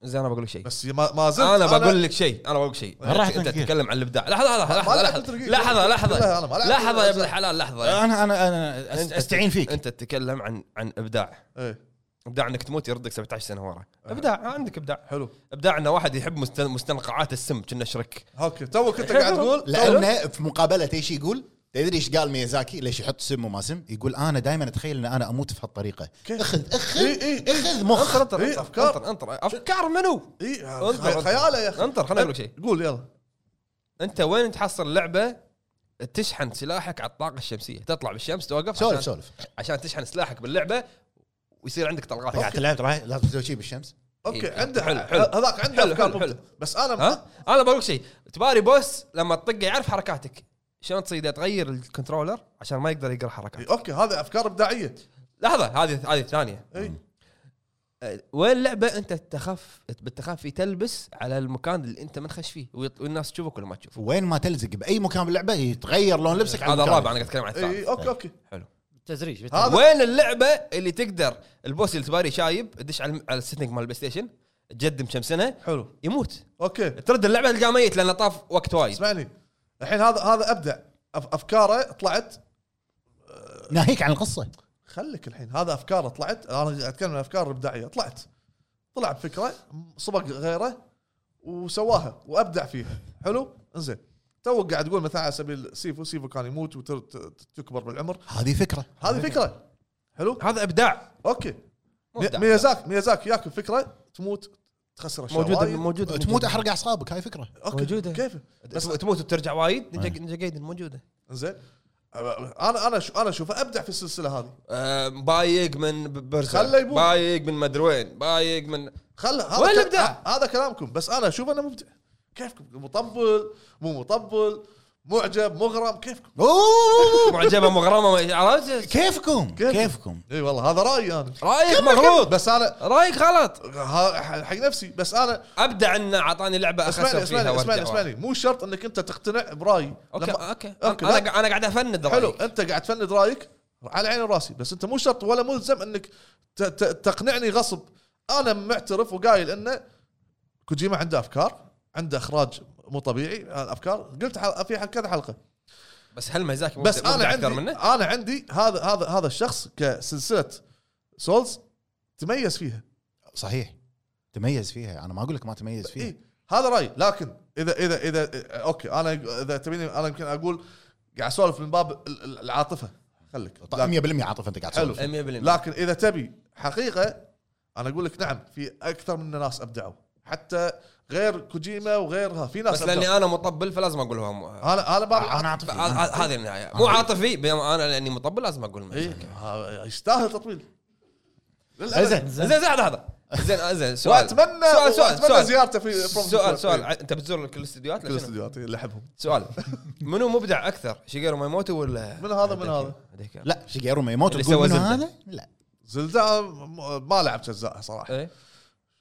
[SPEAKER 1] زين انا بقول لك شيء
[SPEAKER 2] بس ما ما زلت
[SPEAKER 1] انا بقول لك شيء انا بقول لك شيء
[SPEAKER 6] ما راح
[SPEAKER 1] انت
[SPEAKER 6] تنكر.
[SPEAKER 1] تتكلم عن الابداع لحظه لحظه لحظه
[SPEAKER 2] ما لعبت
[SPEAKER 1] لحظه
[SPEAKER 2] ترقيق.
[SPEAKER 1] لحظه
[SPEAKER 2] لا، أنا ما
[SPEAKER 1] لحظه
[SPEAKER 2] لعبت
[SPEAKER 1] لحظه يا ابن
[SPEAKER 2] ترقيق.
[SPEAKER 1] الحلال لحظه
[SPEAKER 6] انا انا انا
[SPEAKER 1] أنت-
[SPEAKER 6] استعين فيك
[SPEAKER 1] انت تتكلم عن عن ابداع
[SPEAKER 2] ايه
[SPEAKER 1] ابداع انك تموت يردك 17 سنه ورا ابداع آه، عندك ابداع
[SPEAKER 2] آه. حلو
[SPEAKER 1] ابداع انه واحد يحب مستن- مستنقعات السم كنا شرك
[SPEAKER 2] اوكي توك انت
[SPEAKER 1] إيه.
[SPEAKER 2] قاعد تقول
[SPEAKER 5] لانه في مقابله ايش يقول؟ تدري ايش قال ميازاكي ليش يحط سم وما سم؟ يقول انا دائما اتخيل ان انا اموت في هالطريقه
[SPEAKER 2] كيف؟
[SPEAKER 5] اخذ اخذ
[SPEAKER 2] إي- إي-
[SPEAKER 5] اخذ مخ
[SPEAKER 1] انطر انطر
[SPEAKER 2] إيه،
[SPEAKER 1] انطر،
[SPEAKER 2] أفكار.
[SPEAKER 1] انطر انطر افكار منو؟
[SPEAKER 2] اي
[SPEAKER 1] انطر، انطر.
[SPEAKER 2] خياله إيه، يا اخي
[SPEAKER 1] انطر خليني اقول لك شيء
[SPEAKER 2] قول يلا
[SPEAKER 1] انت وين تحصل لعبه تشحن سلاحك على الطاقه الشمسيه تطلع بالشمس توقف
[SPEAKER 5] سولف
[SPEAKER 1] عشان,
[SPEAKER 5] سولف
[SPEAKER 1] عشان تشحن سلاحك باللعبه ويصير عندك طلقات
[SPEAKER 5] قاعد تلعب رايح لازم تسوي شيء بالشمس
[SPEAKER 2] اوكي
[SPEAKER 1] إيه،
[SPEAKER 2] عنده
[SPEAKER 1] حلو،
[SPEAKER 2] حلو
[SPEAKER 1] حلو.
[SPEAKER 2] هذاك عنده
[SPEAKER 1] حلو،
[SPEAKER 2] افكار
[SPEAKER 1] حلو، حلو.
[SPEAKER 2] مبدعة. بس انا
[SPEAKER 1] ها انا بقول لك شيء تباري بوس لما تطقه يعرف حركاتك شلون تصير إذا تغير الكنترولر عشان ما يقدر يقرا حركاتك
[SPEAKER 2] إيه، اوكي هذا افكار ابداعيه
[SPEAKER 1] لحظه هذه هذه الثانيه
[SPEAKER 2] اي
[SPEAKER 1] أه، وين اللعبه انت تخف بالتخفي تلبس على المكان اللي انت منخش فيه ويط- والناس تشوفك ولا ما تشوفك
[SPEAKER 5] وين ما تلزق باي مكان باللعبه يتغير لون لبسك على
[SPEAKER 1] هذا
[SPEAKER 5] المكان.
[SPEAKER 1] الرابع انا قاعد اتكلم عن الثالث
[SPEAKER 2] اي اوكي اوكي
[SPEAKER 3] تزريج بالتزريج.
[SPEAKER 2] إيه، هذا
[SPEAKER 1] وين اللعبه اللي تقدر البوس اللي تباري شايب تدش على على السيتنج مال البلاي ستيشن تقدم كم سنه
[SPEAKER 2] حلو
[SPEAKER 1] يموت
[SPEAKER 2] اوكي
[SPEAKER 1] ترد اللعبه تلقاه ميت لانه طاف وقت وايد
[SPEAKER 2] اسمعني الحين هذا هذا ابدع أف- افكاره طلعت
[SPEAKER 5] ناهيك عن القصه
[SPEAKER 2] خليك الحين هذا افكاره طلعت انا قاعد اتكلم عن افكار ابداعيه طلعت طلع بفكره صبغ غيره وسواها وابدع فيها حلو انزين تو قاعد تقول مثلا على سبيل سيفو سيفو كان يموت وتكبر بالعمر
[SPEAKER 5] هذه فكره
[SPEAKER 2] هذه فكره حلو
[SPEAKER 1] هذا ابداع
[SPEAKER 2] اوكي
[SPEAKER 1] مو إبداع.
[SPEAKER 2] ميازاك ميازاك ياكل فكره تموت تخسر اشياء
[SPEAKER 1] موجوده
[SPEAKER 2] وايد.
[SPEAKER 1] موجوده
[SPEAKER 5] تموت احرق اعصابك هاي فكره
[SPEAKER 2] اوكي
[SPEAKER 1] موجودة.
[SPEAKER 2] كيف
[SPEAKER 1] بس تموت وترجع وايد نينجا نينجا جايدن موجوده
[SPEAKER 2] انزين انا انا شو انا اشوفه ابدع في السلسله هذه
[SPEAKER 1] آه، بايق من بيرسا
[SPEAKER 2] خله يبوق.
[SPEAKER 1] بايق من مدري وين بايق من
[SPEAKER 2] خل هذا
[SPEAKER 1] وين
[SPEAKER 2] ك-
[SPEAKER 1] الإبداع؟
[SPEAKER 2] آه، هذا كلامكم بس انا اشوف انه مبدع كيفكم مطبل مو مطبل معجب مغرم كيفكم
[SPEAKER 5] أوه،
[SPEAKER 1] معجبه مغرمه ما- عرفت
[SPEAKER 5] كيفكم
[SPEAKER 2] كيف؟
[SPEAKER 5] كيفكم
[SPEAKER 2] اي والله هذا رايي انا
[SPEAKER 1] رايك مغلوط
[SPEAKER 2] بس انا
[SPEAKER 1] رايك غلط
[SPEAKER 2] ها- حق نفسي بس انا
[SPEAKER 1] ابدع انه اعطاني لعبه
[SPEAKER 2] اسمعني
[SPEAKER 1] اخسر فيها
[SPEAKER 2] اسمعني اسمعني
[SPEAKER 1] وارجع وراها.
[SPEAKER 2] اسمعني مو شرط انك انت تقتنع برايي
[SPEAKER 1] اوكي
[SPEAKER 2] لما-
[SPEAKER 1] اوكي
[SPEAKER 2] أوكي،
[SPEAKER 1] انا
[SPEAKER 2] لا.
[SPEAKER 1] انا قاعد افند
[SPEAKER 2] حلو
[SPEAKER 1] رأيك.
[SPEAKER 2] انت قاعد تفند رايك على عيني وراسي بس انت مو شرط ولا ملزم انك ت- ت- تقنعني غصب انا معترف وقايل انه كوجيما عنده افكار عنده اخراج مو طبيعي الافكار قلت حل- في حل- كذا حلقه
[SPEAKER 1] بس هل ميزاكي
[SPEAKER 2] بس
[SPEAKER 1] مبدع-
[SPEAKER 2] انا
[SPEAKER 1] مبدع
[SPEAKER 2] عندي
[SPEAKER 1] اكثر منه
[SPEAKER 2] انا عندي هذا هذا هذا الشخص كسلسله سولز تميز فيها
[SPEAKER 5] صحيح تميز فيها انا ما اقول لك ما تميز فيها
[SPEAKER 2] إيه هذا رايي لكن اذا اذا اذا اوكي انا اذا تبيني انا يمكن اقول قاعد اسولف من باب ال- ال- العاطفه خليك
[SPEAKER 5] طيب 100% عاطف انت قاعد
[SPEAKER 2] حلو.
[SPEAKER 5] تسولف
[SPEAKER 1] 100%
[SPEAKER 2] لكن اذا تبي حقيقه انا اقول لك نعم في اكثر من ناس ابدعوا حتى غير كوجيما وغيرها في ناس
[SPEAKER 1] بس
[SPEAKER 2] أبدعوا.
[SPEAKER 1] لاني انا مطبل فلازم اقول هو مو-
[SPEAKER 2] انا انا ما
[SPEAKER 5] انا
[SPEAKER 1] ه-
[SPEAKER 5] عاطفي
[SPEAKER 1] ه- هذه النهايه مو عاطفي بينما انا لاني مطبل لازم اقول ميزاكي.
[SPEAKER 2] إيه، ها- يستاهل تطويل للأبد.
[SPEAKER 5] زين
[SPEAKER 1] زين زين لحظه لحظه زين آه، زين سؤال
[SPEAKER 2] واتمنى
[SPEAKER 1] سؤال سؤال
[SPEAKER 2] واتمنى
[SPEAKER 1] سؤال
[SPEAKER 2] زيارته في
[SPEAKER 1] سؤال سؤال إيه. انت بتزور كل الاستديوهات
[SPEAKER 2] إيه. كل
[SPEAKER 1] لشنو؟
[SPEAKER 2] الاستديوهات اللي احبهم
[SPEAKER 1] سؤال منو مبدع اكثر شيجيرو مايموتو ولا
[SPEAKER 2] من هذا من هذا
[SPEAKER 1] هذيك
[SPEAKER 5] لا شيجيرو ميموتو
[SPEAKER 1] اللي
[SPEAKER 5] تقول
[SPEAKER 1] سوى
[SPEAKER 5] منه
[SPEAKER 1] زلدة.
[SPEAKER 5] هذا لا
[SPEAKER 2] زلدا م- ما لعبت اجزائها صراحه
[SPEAKER 1] ايه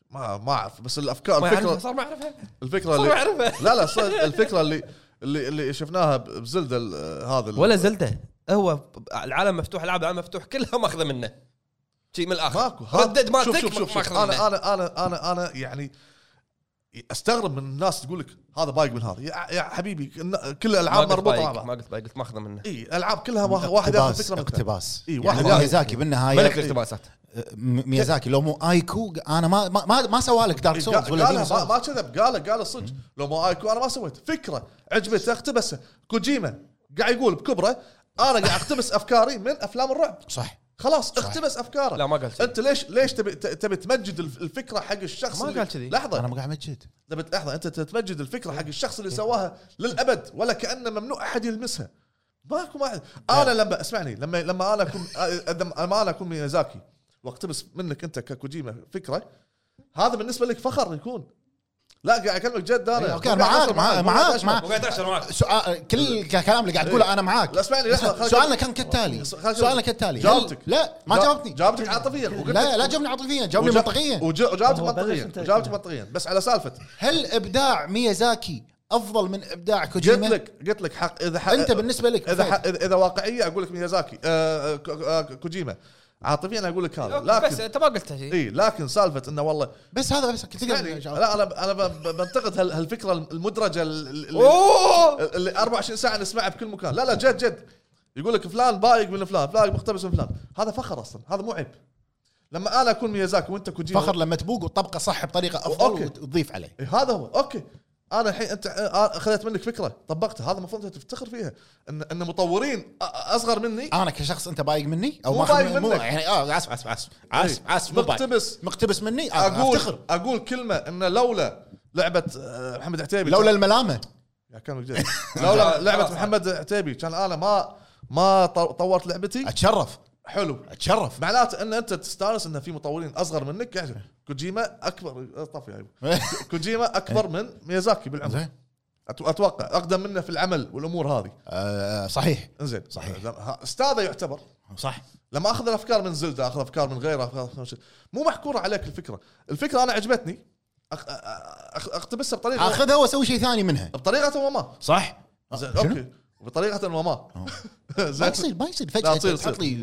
[SPEAKER 2] ما ما اعرف بس الافكار
[SPEAKER 1] ما يعرفها
[SPEAKER 2] الفكره
[SPEAKER 1] صار ما يعرفها
[SPEAKER 2] الفكره
[SPEAKER 1] صار ما
[SPEAKER 2] اللي
[SPEAKER 1] يعرفها
[SPEAKER 2] لا لا صدق، الفكره اللي اللي اللي شفناها ب- بزلدا ال- هذا ال-
[SPEAKER 1] ولا زلده هو ب- العالم مفتوح العاب العالم مفتوح كلها ماخذه منه شيء من الاخر
[SPEAKER 2] ماكو هذا-
[SPEAKER 1] ردد مالتك
[SPEAKER 2] شوف شوف شوف
[SPEAKER 1] ماخذه
[SPEAKER 2] انا
[SPEAKER 1] منه
[SPEAKER 2] انا انا انا انا يعني استغرب من الناس تقول لك هذا بايق من هذا يا, يا حبيبي كن- كل
[SPEAKER 1] ما
[SPEAKER 2] الالعاب
[SPEAKER 1] قلت
[SPEAKER 2] مربوطه مع
[SPEAKER 1] بايق، ما
[SPEAKER 2] بعض
[SPEAKER 1] قلت بايق، قلت ماخذه منه
[SPEAKER 2] اي العاب كلها واحد آه، واحد ياخذ
[SPEAKER 5] اقتباس
[SPEAKER 2] فكره من الثاني.
[SPEAKER 5] اقتباس
[SPEAKER 2] إيه،
[SPEAKER 5] يعني
[SPEAKER 2] واحد ياخذ-
[SPEAKER 5] ميازاكي
[SPEAKER 1] ملك
[SPEAKER 5] بالنهايه
[SPEAKER 1] الاقتباسات
[SPEAKER 5] م- ميازاكي آه، لو مو ايكو انا ما ما ما, ما سوى لك دارك
[SPEAKER 2] إيه،
[SPEAKER 5] سولز
[SPEAKER 2] قال-
[SPEAKER 5] ولا
[SPEAKER 2] قالها
[SPEAKER 5] ديمون
[SPEAKER 2] ما-
[SPEAKER 5] سولز
[SPEAKER 2] ما كذب قاله قاله صدق
[SPEAKER 1] Mm.
[SPEAKER 2] لو ما ايكو انا ما سويت فكره عجبته اقتبسها كوجيما قاعد يقول بكبره انا قاعد اقتبس افكاري من افلام الرعب
[SPEAKER 5] صح
[SPEAKER 2] خلاص اقتبس افكاره
[SPEAKER 1] لا ما قال كذي.
[SPEAKER 2] انت ليش ليش تبي ت- تبي تمجد الف- الفكره حق الشخص
[SPEAKER 1] ما
[SPEAKER 2] اللي-
[SPEAKER 1] قال كذي.
[SPEAKER 2] لحظه
[SPEAKER 5] انا ما قاعد امجد
[SPEAKER 2] تبي لحظه انت تتمجد الفكره
[SPEAKER 5] إيه.
[SPEAKER 2] حق الشخص اللي سواها للابد ولا كانه ممنوع احد يلمسها ماكو ما
[SPEAKER 5] إيه.
[SPEAKER 2] انا لما اسمعني لما لما انا اكون لما انا اكون ميازاكي واقتبس منك انت ككوجيما فكره هذا بالنسبه لك فخر يكون لا قاعد اكلمك جد انا
[SPEAKER 5] أوكي، أنا أيوة، معاك، معاك،
[SPEAKER 2] مو قاعد
[SPEAKER 5] معاك،
[SPEAKER 2] أشبه.
[SPEAKER 5] معاك.
[SPEAKER 1] وقاعد اعشر معك
[SPEAKER 5] سؤال كل الكلام اللي قاعد تقوله انا معاك
[SPEAKER 2] إيه. لا، اسمعني، لحظة،
[SPEAKER 5] بس
[SPEAKER 2] خليني-
[SPEAKER 5] سؤالنا كان كالتالي
[SPEAKER 2] خليني أجاوبك.
[SPEAKER 5] سؤالنا كالتالي هل-
[SPEAKER 2] جاوبتك.
[SPEAKER 5] لا ما
[SPEAKER 2] جا-
[SPEAKER 5] جاوبتني
[SPEAKER 2] جاوبتك عاطفيا وقلت
[SPEAKER 5] لا لا جاوبني عاطفيا جاوبني
[SPEAKER 2] وجا-
[SPEAKER 5] منطقيا
[SPEAKER 2] وجا- وجاوبتك
[SPEAKER 3] هو بلش
[SPEAKER 2] منطقيا
[SPEAKER 3] انت-
[SPEAKER 2] جاوبتك منطقيا بس على سالفه
[SPEAKER 5] هل ابداع ميازاكي افضل من ابداع
[SPEAKER 2] قلت
[SPEAKER 5] كوجيما
[SPEAKER 2] لك قلت لك حق اذا حق
[SPEAKER 5] انت بالنسبه لك
[SPEAKER 2] اذا
[SPEAKER 5] فهد،
[SPEAKER 2] ح- اذا إذا واقعيه اقول لك ميازاكي آه، آه، ك- آه، كوجيما عاطفيا اقول لك هذا
[SPEAKER 1] بس
[SPEAKER 2] لكن
[SPEAKER 1] انت ما قلت شيء
[SPEAKER 2] اي لكن سالفه انه والله
[SPEAKER 5] بس هذا بس كنت
[SPEAKER 2] يعني
[SPEAKER 5] تقدر
[SPEAKER 2] لا انا ب- انا ب- ب- بنتقد هال- هالفكره المدرجه ال- ال- اللي,
[SPEAKER 1] اوه
[SPEAKER 2] اللي 24 ساعه نسمعها بكل مكان لا لا جد جد يقول لك فلان بايق من فلان فلان مقتبس من فلان هذا فخر اصلا هذا مو عيب لما انا اكون ميازاكي وانت كوجيما
[SPEAKER 5] فخر لما تبوق وتطبقه صح بطريقه
[SPEAKER 2] أوكي.
[SPEAKER 5] افضل وت- وتضيف عليه
[SPEAKER 2] إيه هذا هو اوكي انا الحين انت آه، اخذت منك فكره طبقتها هذا المفروض انت تفتخر فيها ان ان مطورين أ- اصغر مني
[SPEAKER 5] انا كشخص انت بايق مني او
[SPEAKER 2] مو
[SPEAKER 5] ماخذ
[SPEAKER 2] بايق
[SPEAKER 5] من- مو
[SPEAKER 2] منك. إيه.
[SPEAKER 5] يعني اه اسف اسف اسف اسف اسف مو بايق.
[SPEAKER 2] مقتبس
[SPEAKER 5] مقتبس مني آه،
[SPEAKER 2] اقول
[SPEAKER 5] افتخر
[SPEAKER 2] اقول كلمه ان لولا لعبه آه، محمد عتيبي
[SPEAKER 5] لولا الملامه
[SPEAKER 2] يا كان وجد. لولا لعبه محمد عتيبي كان انا ما ما طو- طورت لعبتي
[SPEAKER 5] اتشرف
[SPEAKER 2] حلو
[SPEAKER 5] اتشرف
[SPEAKER 2] معناته ان انت تستانس ان في مطورين اصغر منك يعني كوجيما اكبر طفي أيوة. كوجيما اكبر من ميازاكي بالعمر
[SPEAKER 5] إيه. زين
[SPEAKER 2] أت- اتوقع اقدم منه في العمل والامور هذه
[SPEAKER 5] آه، صحيح
[SPEAKER 2] انزين
[SPEAKER 5] صحيح.
[SPEAKER 2] لما- ها- استاذه يعتبر
[SPEAKER 5] صح
[SPEAKER 2] لما اخذ الافكار من زلدة اخذ افكار من غيره أخذ أفكار- مو محكوره عليك الفكره الفكره انا عجبتني أخ... أ- أخ... اقتبسها بطريقه
[SPEAKER 5] اخذها واسوي شيء ثاني منها
[SPEAKER 2] بطريقه وما
[SPEAKER 5] صح
[SPEAKER 2] زين
[SPEAKER 5] شنو؟ آه.
[SPEAKER 2] اوكي بطريقه وما
[SPEAKER 5] ما
[SPEAKER 2] زين
[SPEAKER 5] يصير ما يصير
[SPEAKER 2] لا، تصير-
[SPEAKER 5] فجاه تحط لي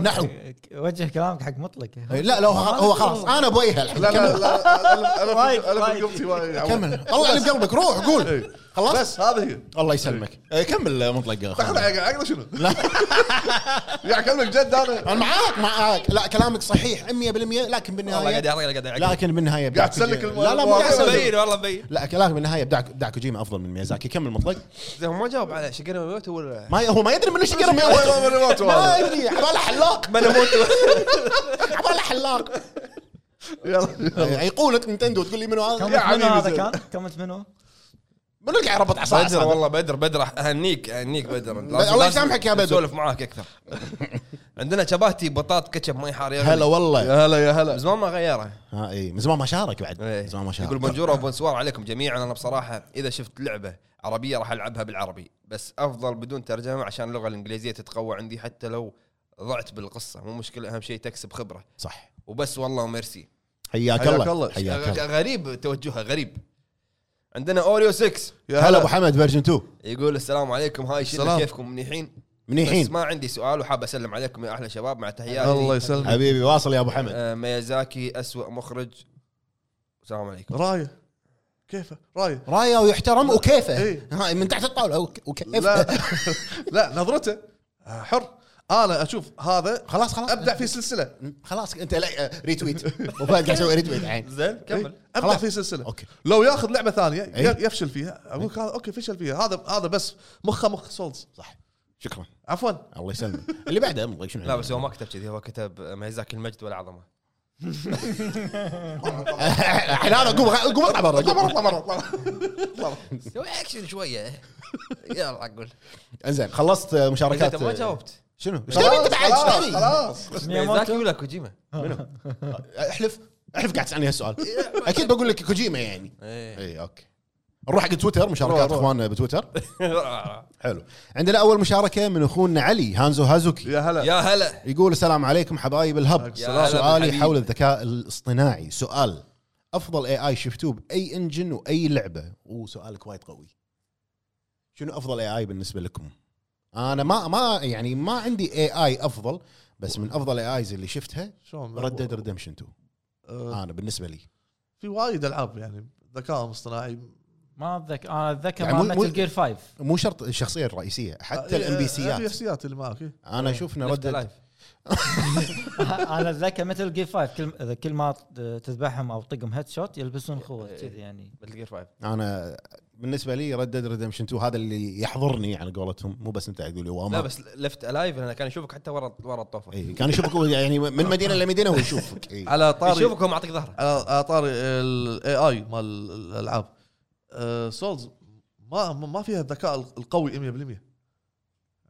[SPEAKER 5] نحو
[SPEAKER 3] إيه،
[SPEAKER 5] إيه،
[SPEAKER 3] وجه كلامك حق مطلق
[SPEAKER 5] لا لو هو خلاص آه، انا ابويها الحين
[SPEAKER 2] لا لا
[SPEAKER 5] كمل
[SPEAKER 2] لا
[SPEAKER 3] وايد-
[SPEAKER 2] انا انا
[SPEAKER 3] وايد.
[SPEAKER 2] قمتي كمل
[SPEAKER 5] كمل طلع اللي بقلبك روح قول خلاص
[SPEAKER 2] إيه.
[SPEAKER 5] آه.
[SPEAKER 2] بس هذه هي
[SPEAKER 5] الله يسلمك إيه، كمل مطلق يا
[SPEAKER 2] تاخذ
[SPEAKER 5] أخوان.
[SPEAKER 2] على عقله شنو؟ يعني كلمك جد انا
[SPEAKER 5] انا معاك معاك لا كلامك صحيح 100% لكن
[SPEAKER 1] والله قاعد
[SPEAKER 5] بالنهايه
[SPEAKER 1] يعطيك قاعد يعطيك
[SPEAKER 5] لكن بالنهايه إبداع
[SPEAKER 2] قاعد تسلك
[SPEAKER 5] كوجيما.
[SPEAKER 2] الم-
[SPEAKER 5] لا لا مو قاعد
[SPEAKER 2] المواضيع.
[SPEAKER 5] أسلك.
[SPEAKER 1] مبين والله مبين
[SPEAKER 5] لا لكن بالنهايه ابداع ابداع كوجيما افضل من ميازاكي كمل مطلق
[SPEAKER 1] زين، هو ما جاوب على شقيرة ميموتو ولا
[SPEAKER 5] ما هو ما يدري منو شقر
[SPEAKER 2] وين- وين- وين- وين-
[SPEAKER 5] ما يدري عباله حلاق عباله حلاق يعني
[SPEAKER 2] يلا
[SPEAKER 5] ايقونه نتندو تقول لي منو هذا
[SPEAKER 3] كم منو هذا كان؟ كم منو؟
[SPEAKER 5] منو اللي قاعد يربط عصا
[SPEAKER 1] بدر
[SPEAKER 5] عصا
[SPEAKER 1] والله بدر بدر اهنيك اهنيك بدر
[SPEAKER 5] الله يسامحك يا بدر.
[SPEAKER 1] سولف معاك اكثر عندنا شباتي بطاط كاتشب ماي حار يغلي.
[SPEAKER 5] هلا والله
[SPEAKER 2] يا هلا يا هلا
[SPEAKER 1] من زمان ما غيره
[SPEAKER 5] ها اي من زمان ما شارك بعد
[SPEAKER 1] إيه.
[SPEAKER 5] من زمان ما
[SPEAKER 1] يقول
[SPEAKER 5] شارك
[SPEAKER 1] بونجور وبونسوار عليكم جميعا انا بصراحه اذا شفت لعبه عربيه راح العبها بالعربي بس افضل بدون ترجمه عشان اللغه الانجليزيه تتقوى عندي حتى لو ضعت بالقصه مو مشكله اهم شيء تكسب خبره
[SPEAKER 5] صح
[SPEAKER 1] وبس والله وميرسي
[SPEAKER 5] حياك
[SPEAKER 2] حياك
[SPEAKER 5] الله
[SPEAKER 2] الله.
[SPEAKER 5] حياك الله
[SPEAKER 1] غريب توجهها غريب عندنا اوريو 6
[SPEAKER 2] يا
[SPEAKER 5] هلا ابو حمد فيرجن 2
[SPEAKER 1] يقول السلام عليكم هاي شلة
[SPEAKER 2] السلام.
[SPEAKER 1] كيفكم منيحين بس
[SPEAKER 5] منيحين
[SPEAKER 1] ما عندي سؤال وحاب اسلم عليكم يا احلى شباب مع
[SPEAKER 5] يعني
[SPEAKER 1] تحياتي
[SPEAKER 2] الله يسلمك
[SPEAKER 5] حبيبي واصل يا ابو حمد
[SPEAKER 1] آه، ميازاكي اسوء مخرج السلام عليكم
[SPEAKER 2] رايه كيفه رايه
[SPEAKER 5] رايه ويحترم وكيفه
[SPEAKER 2] إيه.
[SPEAKER 5] هاي من تحت الطاوله وك- وكيفه
[SPEAKER 2] لا لا نظرته آه، حر انا اشوف هذا
[SPEAKER 5] خلاص خلاص
[SPEAKER 2] ابدع في إيه؟ سلسله
[SPEAKER 5] خلاص انت لا آه، ريتويت وفهد قاعد يسوي ريتويت الحين
[SPEAKER 1] زين كمل
[SPEAKER 2] إيه؟ ابدع
[SPEAKER 5] خلاص.
[SPEAKER 2] في سلسله
[SPEAKER 5] اوكي
[SPEAKER 2] لو ياخذ لعبه ثانيه ي-
[SPEAKER 5] إيه.
[SPEAKER 2] يفشل فيها اقول لك هذا اوكي فشل فيها هذا هذا بس مخه مخ سولز
[SPEAKER 5] صح شكرا
[SPEAKER 2] عفوا
[SPEAKER 5] الله يسلمك اللي بعده أمضي، شنو
[SPEAKER 1] لا بس هو ما كتب كذي هو كتب ميازاكي المجد والعظمه
[SPEAKER 5] الحين هذا قوم قوم اطلع برا قوم اطلع برا اطلع برا.
[SPEAKER 1] سوي اكشن شويه يلا قول
[SPEAKER 5] انزين خلصت مشاركات
[SPEAKER 1] انت ما جاوبت
[SPEAKER 5] شنو؟ ايش تبي انت بعد ايش تبي؟
[SPEAKER 2] خلاص
[SPEAKER 1] ميازاكي ولا كوجيما
[SPEAKER 5] احلف احلف قاعد تسالني هالسؤال اكيد بقول لك كوجيما يعني
[SPEAKER 1] إيه.
[SPEAKER 5] اي اوكي نروح حق تويتر مشاركات
[SPEAKER 2] روح.
[SPEAKER 5] اخواننا بتويتر حلو عندنا اول مشاركه من اخونا علي هانزو هازوكي
[SPEAKER 2] يا هلا
[SPEAKER 1] يا هلا
[SPEAKER 5] يقول السلام عليكم حبايب الهب
[SPEAKER 1] يا هلا
[SPEAKER 5] سؤالي
[SPEAKER 1] بالحبيب.
[SPEAKER 5] حول الذكاء الاصطناعي سؤال افضل اي اي شفتوه باي انجن واي لعبه وسؤالك وايد قوي شنو افضل اي اي بالنسبه لكم انا ما ما يعني ما عندي اي اي افضل بس من افضل اي ايز اللي شفتها
[SPEAKER 2] شلون
[SPEAKER 5] ردد ريدمشن 2
[SPEAKER 2] آه،
[SPEAKER 5] انا بالنسبه لي
[SPEAKER 2] في وايد العاب يعني ذكاء اصطناعي
[SPEAKER 3] ما اتذكر انا اتذكر
[SPEAKER 5] يعني
[SPEAKER 3] مع
[SPEAKER 5] مو- مو-
[SPEAKER 3] متل جير 5
[SPEAKER 5] مو شرط الشخصيه الرئيسيه
[SPEAKER 2] آه،
[SPEAKER 5] حتى الام بي سيات
[SPEAKER 2] سيات اللي معك إيه.
[SPEAKER 5] انا اشوف انه
[SPEAKER 1] لفت
[SPEAKER 5] ردد
[SPEAKER 1] لايف
[SPEAKER 3] انا اتذكر متل جير 5 كل كل ما تذبحهم او تطقهم هيد شوت يلبسون خوذ
[SPEAKER 5] إيه.
[SPEAKER 3] كذي يعني
[SPEAKER 1] مثل جير 5
[SPEAKER 5] انا بالنسبه لي ردد ريدمشن 2 هذا اللي يحضرني على قولتهم مو بس انت تقول لي
[SPEAKER 1] لا
[SPEAKER 5] واما
[SPEAKER 1] بس لفت لايف انا كان يشوفك حتى ورا ورا الطوفه
[SPEAKER 5] إيه، كان يشوفك هو يعني من مدينه لمدينه هو يشوفك إيه.
[SPEAKER 2] على طاري
[SPEAKER 1] يشوفك هو معطيك ظهره
[SPEAKER 2] على على آه، طاري الاي اي مال الالعاب سولز ما ما فيها الذكاء القوي 100% يعني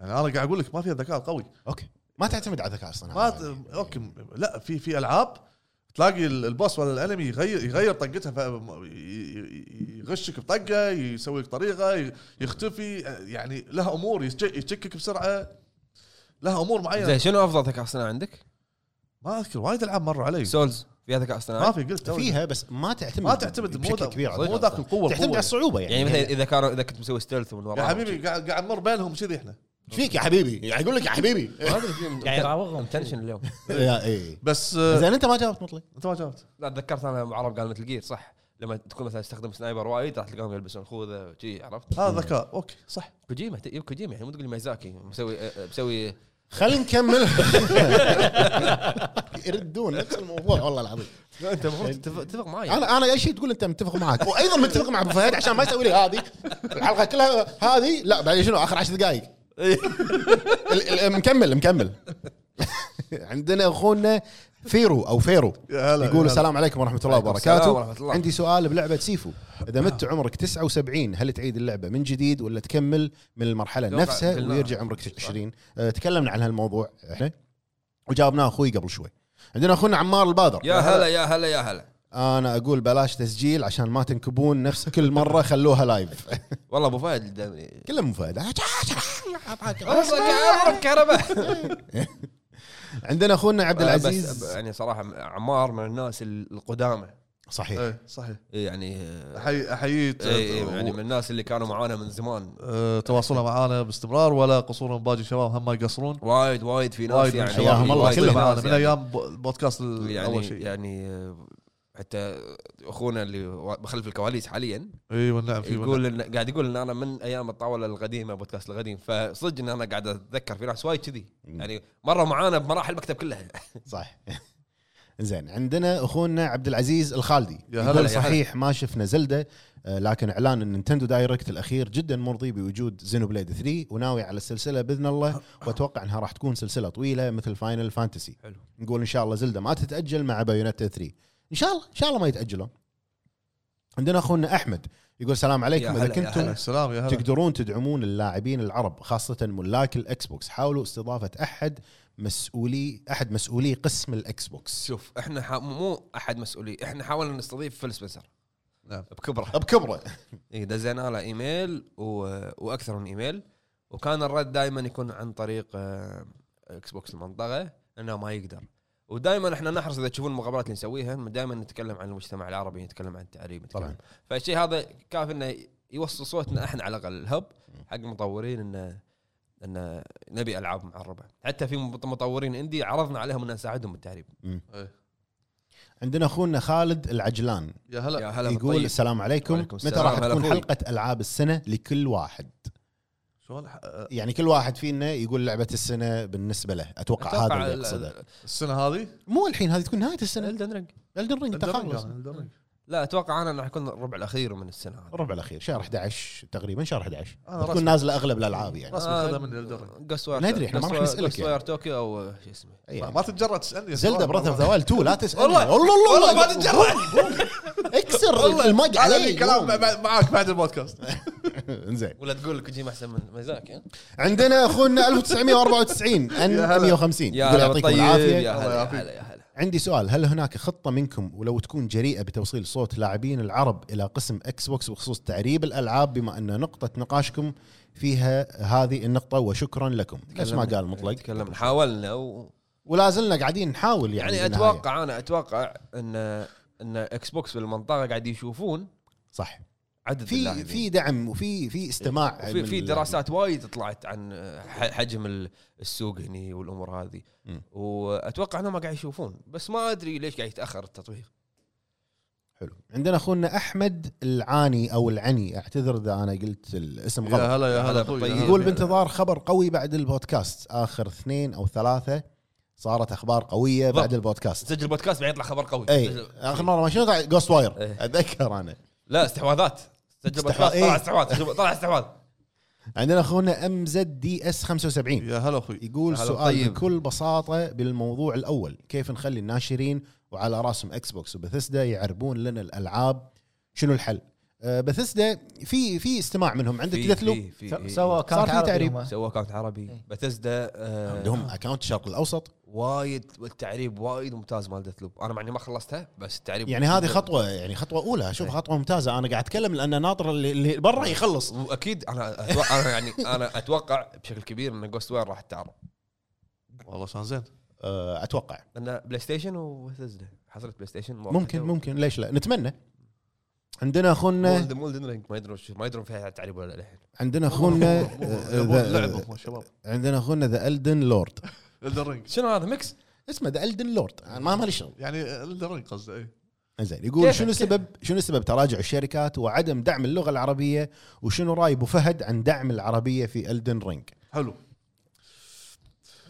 [SPEAKER 2] انا قاعد اقول لك ما فيها الذكاء القوي
[SPEAKER 5] اوكي ما تعتمد على الذكاء الاصطناعي
[SPEAKER 2] ما ت- اوكي لا في في العاب تلاقي ال- البوس ولا الانمي يغير يغير طقتها ف- يغشك بطقه يسوي لك طريقه ي- يختفي يعني لها امور يش- يشكك بسرعه لها امور معينه
[SPEAKER 1] زين شنو افضل ذكاء اصطناعي عندك؟
[SPEAKER 2] إيه. ما اذكر وايد العاب مروا علي
[SPEAKER 1] سولز فيها ذكاء
[SPEAKER 2] ما
[SPEAKER 1] اصطناعي
[SPEAKER 2] في قلت توي.
[SPEAKER 5] فيها بس ما تعتمد
[SPEAKER 2] ما تعتمد مو
[SPEAKER 5] بشكل
[SPEAKER 2] ذاك-
[SPEAKER 5] كبير على
[SPEAKER 2] مو
[SPEAKER 5] الذكاء
[SPEAKER 2] ذاك القوه
[SPEAKER 5] تعتمد على
[SPEAKER 2] القوه
[SPEAKER 5] الصعوبه يعني
[SPEAKER 1] يعني مثلا اذا كانوا اذا كنت مسوي ستيلث ومن ورا
[SPEAKER 2] يا حبيبي قاعد قاعد نمر بينهم كذي احنا
[SPEAKER 5] ايش فيك يا حبيبي؟ يعني يقول لك يا حبيبي
[SPEAKER 3] قاعد يراوغهم
[SPEAKER 1] تنشن اليوم
[SPEAKER 5] يا إيه.
[SPEAKER 2] بس آه،
[SPEAKER 5] زين انت ما جاوبت مطلق
[SPEAKER 2] انت ما جاوبت
[SPEAKER 1] لا تذكرت انا ابو عرب قال مثل جير صح لما تكون مثلا تستخدم سنايبر وايد راح تلقاهم يلبسون خوذه وشي عرفت
[SPEAKER 2] هذا ذكاء اوكي صح
[SPEAKER 1] كوجيما ت- يب كوجيما يعني مو تقول لي ميزاكي مسوي أه، أه، مسوي
[SPEAKER 5] خلينا نكمل يردون نفس الموضوع والله العظيم
[SPEAKER 1] انت المفروض تتفق معي
[SPEAKER 5] انا انا اي شيء تقول انت متفق معك وايضا متفق مع ابو فهد عشان ما يسوي لي هذه الحلقه كلها هذه لا بعدين شنو اخر عشر دقائق ال- ال- مكمل مكمل عندنا اخونا فيرو او فيرو
[SPEAKER 2] يا هلا، يا
[SPEAKER 5] يقول
[SPEAKER 2] هلا.
[SPEAKER 5] السلام عليكم ورحمه الله
[SPEAKER 1] عليكم السلام
[SPEAKER 5] وبركاته
[SPEAKER 1] ورحمة الله. نعم.
[SPEAKER 5] عندي سؤال بلعبه سيفو اذا مت عمرك 79 هل تعيد اللعبه من جديد ولا تكمل من المرحله
[SPEAKER 1] أتوقع
[SPEAKER 5] نفسها
[SPEAKER 1] قلناها.
[SPEAKER 5] ويرجع عمرك 20 آه، تكلمنا عن هالموضوع احنا وجاوبناه اخوي قبل شوي عندنا اخونا عمار البادر
[SPEAKER 1] يا هلا يا هلا يا هلا
[SPEAKER 5] انا اقول بلاش تسجيل عشان ما تنكبون نفس كل مره خلوها لايف
[SPEAKER 1] والله ابو فهد دمي.
[SPEAKER 5] كله مفاده
[SPEAKER 1] والله قاعد أضرب كهرباء
[SPEAKER 5] عندنا اخونا عبد
[SPEAKER 1] بس
[SPEAKER 5] العزيز
[SPEAKER 1] يعني صراحه عمار من الناس القدامى
[SPEAKER 5] صحيح
[SPEAKER 2] ايه صحيح
[SPEAKER 1] يعني آه،
[SPEAKER 2] أحيي- احييك
[SPEAKER 1] إيه، إيه،
[SPEAKER 2] آه،
[SPEAKER 1] يعني من الناس اللي كانوا معانا من زمان
[SPEAKER 2] آه، تواصلها معانا باستمرار ولا قصور من باقي الشباب هم ما يقصرون
[SPEAKER 1] وايد وايد في ناس
[SPEAKER 2] وايد من
[SPEAKER 1] يعني
[SPEAKER 2] الشباب
[SPEAKER 5] حياهم الله
[SPEAKER 1] وايد
[SPEAKER 5] كلهم.
[SPEAKER 1] في ناس
[SPEAKER 2] معانا من
[SPEAKER 1] يعني-
[SPEAKER 2] ايام بو- البودكاست ال- اول
[SPEAKER 1] يعني
[SPEAKER 2] شيء
[SPEAKER 1] يعني آه، حتى اخونا اللي وا- بخلف الكواليس حاليا
[SPEAKER 2] اي والنعم في والنعم.
[SPEAKER 1] يقول إن قاعد يقول ان انا من ايام الطاوله القديمه بودكاست القديم فصدق ان انا قاعد اتذكر في ناس وايد كذي يعني مره معانا بمراحل المكتب كلها
[SPEAKER 5] صح زين عندنا اخونا عبد العزيز الخالدي
[SPEAKER 2] يا هلا،
[SPEAKER 1] يا هلا.
[SPEAKER 5] يقول صحيح ما شفنا زلدة آه، لكن اعلان النينتندو دايركت الاخير جدا مرضي بوجود زينو بليد 3 وناوي على السلسله باذن الله واتوقع انها راح تكون سلسله طويله مثل فاينل فانتسي
[SPEAKER 1] حلو.
[SPEAKER 5] نقول ان شاء الله زلدة ما تتاجل مع بايونيتا 3 ان شاء الله ان شاء الله ما يتاجلون عندنا اخونا احمد يقول السلام عليكم
[SPEAKER 1] يا
[SPEAKER 5] اذا
[SPEAKER 1] هلا، يا
[SPEAKER 5] كنتم
[SPEAKER 1] هلا.
[SPEAKER 2] السلام يا هلا
[SPEAKER 5] تقدرون تدعمون اللاعبين العرب خاصة ملاك الاكس بوكس حاولوا استضافة احد مسؤولي احد مسؤولي قسم الاكس بوكس
[SPEAKER 1] شوف احنا حا... مو احد مسؤولي احنا حاولنا نستضيف فيل سبنسر
[SPEAKER 2] نعم.
[SPEAKER 1] بكبره
[SPEAKER 5] بكبره
[SPEAKER 1] إيه دزينا له ايميل و... واكثر من ايميل وكان الرد دائما يكون عن طريق آه، اكس بوكس المنطقه انه ما يقدر ودائما احنا نحرص اذا تشوفون المقابلات اللي نسويها دائما نتكلم عن المجتمع العربي نتكلم عن التعليم نتكلم
[SPEAKER 5] طبعاً.
[SPEAKER 1] فالشيء هذا كافي انه يوصل صوتنا احنا على الاقل الهب حق المطورين انه انه نبي العاب معربه حتى في مط- مطورين اندي عرضنا عليهم ان نساعدهم بالتعريب
[SPEAKER 2] إيه.
[SPEAKER 5] عندنا اخونا خالد العجلان
[SPEAKER 2] يا هلا
[SPEAKER 1] يا هلا
[SPEAKER 5] يقول
[SPEAKER 1] بالطيب.
[SPEAKER 5] السلام عليكم
[SPEAKER 1] وعليكم
[SPEAKER 5] متى
[SPEAKER 1] السلام.
[SPEAKER 5] راح
[SPEAKER 1] هلا
[SPEAKER 5] تكون
[SPEAKER 1] أخوي.
[SPEAKER 5] حلقة العاب السنة لكل واحد
[SPEAKER 2] شلون
[SPEAKER 1] أه.
[SPEAKER 2] آه،
[SPEAKER 5] يعني كل واحد فينا يقول لعبة السنة بالنسبة له اتوقع هذا
[SPEAKER 1] أتوقع
[SPEAKER 5] اللي
[SPEAKER 1] ال-
[SPEAKER 5] يقصده
[SPEAKER 2] السنه هذه يعني،
[SPEAKER 5] مو الحين هذه تكون نهاية السنة
[SPEAKER 1] Elden Ring.
[SPEAKER 5] الدن رينج
[SPEAKER 2] الدرج-
[SPEAKER 5] تخلص
[SPEAKER 2] الدرج.
[SPEAKER 1] لا اتوقع انا راح اكون الربع الاخير من السنه هذه
[SPEAKER 5] الربع الاخير شهر 11 تقريبا شهر 11
[SPEAKER 2] أنا
[SPEAKER 5] تكون
[SPEAKER 2] رسمي.
[SPEAKER 5] نازله اغلب الالعاب يعني
[SPEAKER 2] رسمي
[SPEAKER 1] آه،
[SPEAKER 2] خذها من الدرج
[SPEAKER 1] قسوار
[SPEAKER 5] ما أدري، إحنا ما راح نسألك
[SPEAKER 1] قسوار
[SPEAKER 5] يعني.
[SPEAKER 1] طوكيو او شو اسمه
[SPEAKER 5] أي
[SPEAKER 2] ما-
[SPEAKER 5] يعني.
[SPEAKER 2] ما تتجرأ تسالني
[SPEAKER 5] زلدا براذ اوف ذا وايلد 2 لا تسال
[SPEAKER 2] والله.
[SPEAKER 5] والله
[SPEAKER 2] والله ما تتجرأ
[SPEAKER 5] اكسر المج
[SPEAKER 2] هذا في
[SPEAKER 5] علي
[SPEAKER 2] كلام مع- معاك بعد البودكاست
[SPEAKER 5] زين
[SPEAKER 1] ولا تقول لك كوجيما احسن من ميزاك ها؟
[SPEAKER 5] عندنا اخونا 1994 ان
[SPEAKER 2] يا هلا.
[SPEAKER 5] 150
[SPEAKER 1] يا
[SPEAKER 5] يقول
[SPEAKER 1] هلا
[SPEAKER 5] يعطيكم
[SPEAKER 1] بالطيب
[SPEAKER 5] العافيه
[SPEAKER 1] يا هلا يا
[SPEAKER 2] يعافيك.
[SPEAKER 1] هلا يا هلا
[SPEAKER 5] عندي سؤال هل هناك خطه منكم ولو تكون جريئه بتوصيل صوت لاعبين العرب الى قسم اكس بوكس بخصوص تعريب الالعاب بما ان نقطه نقاشكم فيها هذه النقطه وشكرا لكم نفس ما قال مطلق
[SPEAKER 1] تكلمنا حاولنا و...
[SPEAKER 5] ولا زلنا قاعدين نحاول يعني
[SPEAKER 1] يعني
[SPEAKER 5] بالنهاية.
[SPEAKER 1] اتوقع انا اتوقع ان ان اكس بوكس بالمنطقه قاعد يشوفون
[SPEAKER 5] صح
[SPEAKER 1] عدد
[SPEAKER 5] في
[SPEAKER 1] اللاعبين.
[SPEAKER 5] في دعم وفي في استماع
[SPEAKER 1] وفي
[SPEAKER 5] من
[SPEAKER 1] في
[SPEAKER 5] ال-
[SPEAKER 1] دراسات وايد طلعت عن ح- حجم ال- السوق هني والامور هذه
[SPEAKER 5] مم.
[SPEAKER 1] واتوقع انهم قاعد يشوفون بس ما ادري ليش قاعد يتاخر التطبيق
[SPEAKER 5] حلو عندنا اخونا احمد العاني او العني اعتذر اذا انا قلت الاسم
[SPEAKER 2] يا
[SPEAKER 5] غلط
[SPEAKER 2] هلا يا هلا
[SPEAKER 1] هلا
[SPEAKER 2] أخوي، يا
[SPEAKER 1] بالطيب.
[SPEAKER 2] هلا.
[SPEAKER 5] يقول بانتظار خبر قوي بعد البودكاست اخر اثنين او ثلاثه صارت اخبار قويه
[SPEAKER 1] بالضبط.
[SPEAKER 5] بعد البودكاست
[SPEAKER 1] تسجل بودكاست بعدين يطلع خبر قوي
[SPEAKER 5] اي
[SPEAKER 1] تسجل-
[SPEAKER 5] اخر مره إيه. ما شنو طلع جوست واير
[SPEAKER 1] إيه.
[SPEAKER 5] اتذكر انا
[SPEAKER 1] لا استحواذات سجل
[SPEAKER 5] استحوا-
[SPEAKER 1] بودكاست
[SPEAKER 5] إيه.
[SPEAKER 1] طلع استحواذ طلع استحواذ
[SPEAKER 5] عندنا اخونا ام زد دي اس 75
[SPEAKER 2] يا هلا اخوي
[SPEAKER 5] يقول
[SPEAKER 1] هلا
[SPEAKER 5] سؤال
[SPEAKER 1] طيب.
[SPEAKER 5] بكل بساطة بالموضوع الأول كيف نخلي الناشرين وعلى راسهم اكس بوكس وبثسدا يعربون لنا الألعاب شنو الحل؟ آه، بثسدا في في استماع منهم عندك
[SPEAKER 1] في-
[SPEAKER 5] قلت له
[SPEAKER 1] في- في-
[SPEAKER 3] سوى
[SPEAKER 5] إيه. صار
[SPEAKER 3] كان
[SPEAKER 5] في تعريب.
[SPEAKER 3] تعريب
[SPEAKER 1] سوى اكونت عربي
[SPEAKER 3] إيه.
[SPEAKER 1] بتزدا
[SPEAKER 5] عندهم اكونت الشرق الأوسط
[SPEAKER 1] وايد التعريب وايد ممتاز مال ديث لوب انا مع اني ما خلصتها بس التعريب
[SPEAKER 5] يعني هذه خطوة يعني خطوة أولى شوف
[SPEAKER 1] إيه.
[SPEAKER 5] خطوة ممتازة أنا قاعد أتكلم لأن ناطر اللي, اللي برا يخلص
[SPEAKER 1] واكيد انا اتوقع انا يعني انا اتوقع بشكل كبير ان جوست وير راح تتعرض
[SPEAKER 2] والله شلون زين
[SPEAKER 5] آه، أتوقع
[SPEAKER 1] لان بلاي ستيشن وبتزدا حصرت بلاي ستيشن مؤقتة
[SPEAKER 5] ممكن
[SPEAKER 1] و-
[SPEAKER 5] ممكن ليش لا نتمنى عندنا أخونا
[SPEAKER 1] مولدن مولدن رينج ما يدرون شو- ما يدرون فيها تعريب ولا لا الحين
[SPEAKER 5] عندنا أخونا آه،
[SPEAKER 2] يبون لعبه
[SPEAKER 5] ذا-
[SPEAKER 2] هم شباب
[SPEAKER 5] عندنا أخونا ذا ألدن لورد
[SPEAKER 2] الدرينج
[SPEAKER 1] شنو هذا ميكس؟
[SPEAKER 5] اسمه ذا ألدن لورد أنا ما مالي شغل
[SPEAKER 2] يعني الدرينج قصده اي
[SPEAKER 5] زين يقول
[SPEAKER 1] كيف-
[SPEAKER 5] شنو
[SPEAKER 1] كيف؟
[SPEAKER 5] سبب شنو سبب تراجع الشركات وعدم دعم اللغه العربيه وشنو راي ابو فهد عن دعم العربيه في الدن رينج
[SPEAKER 2] حلو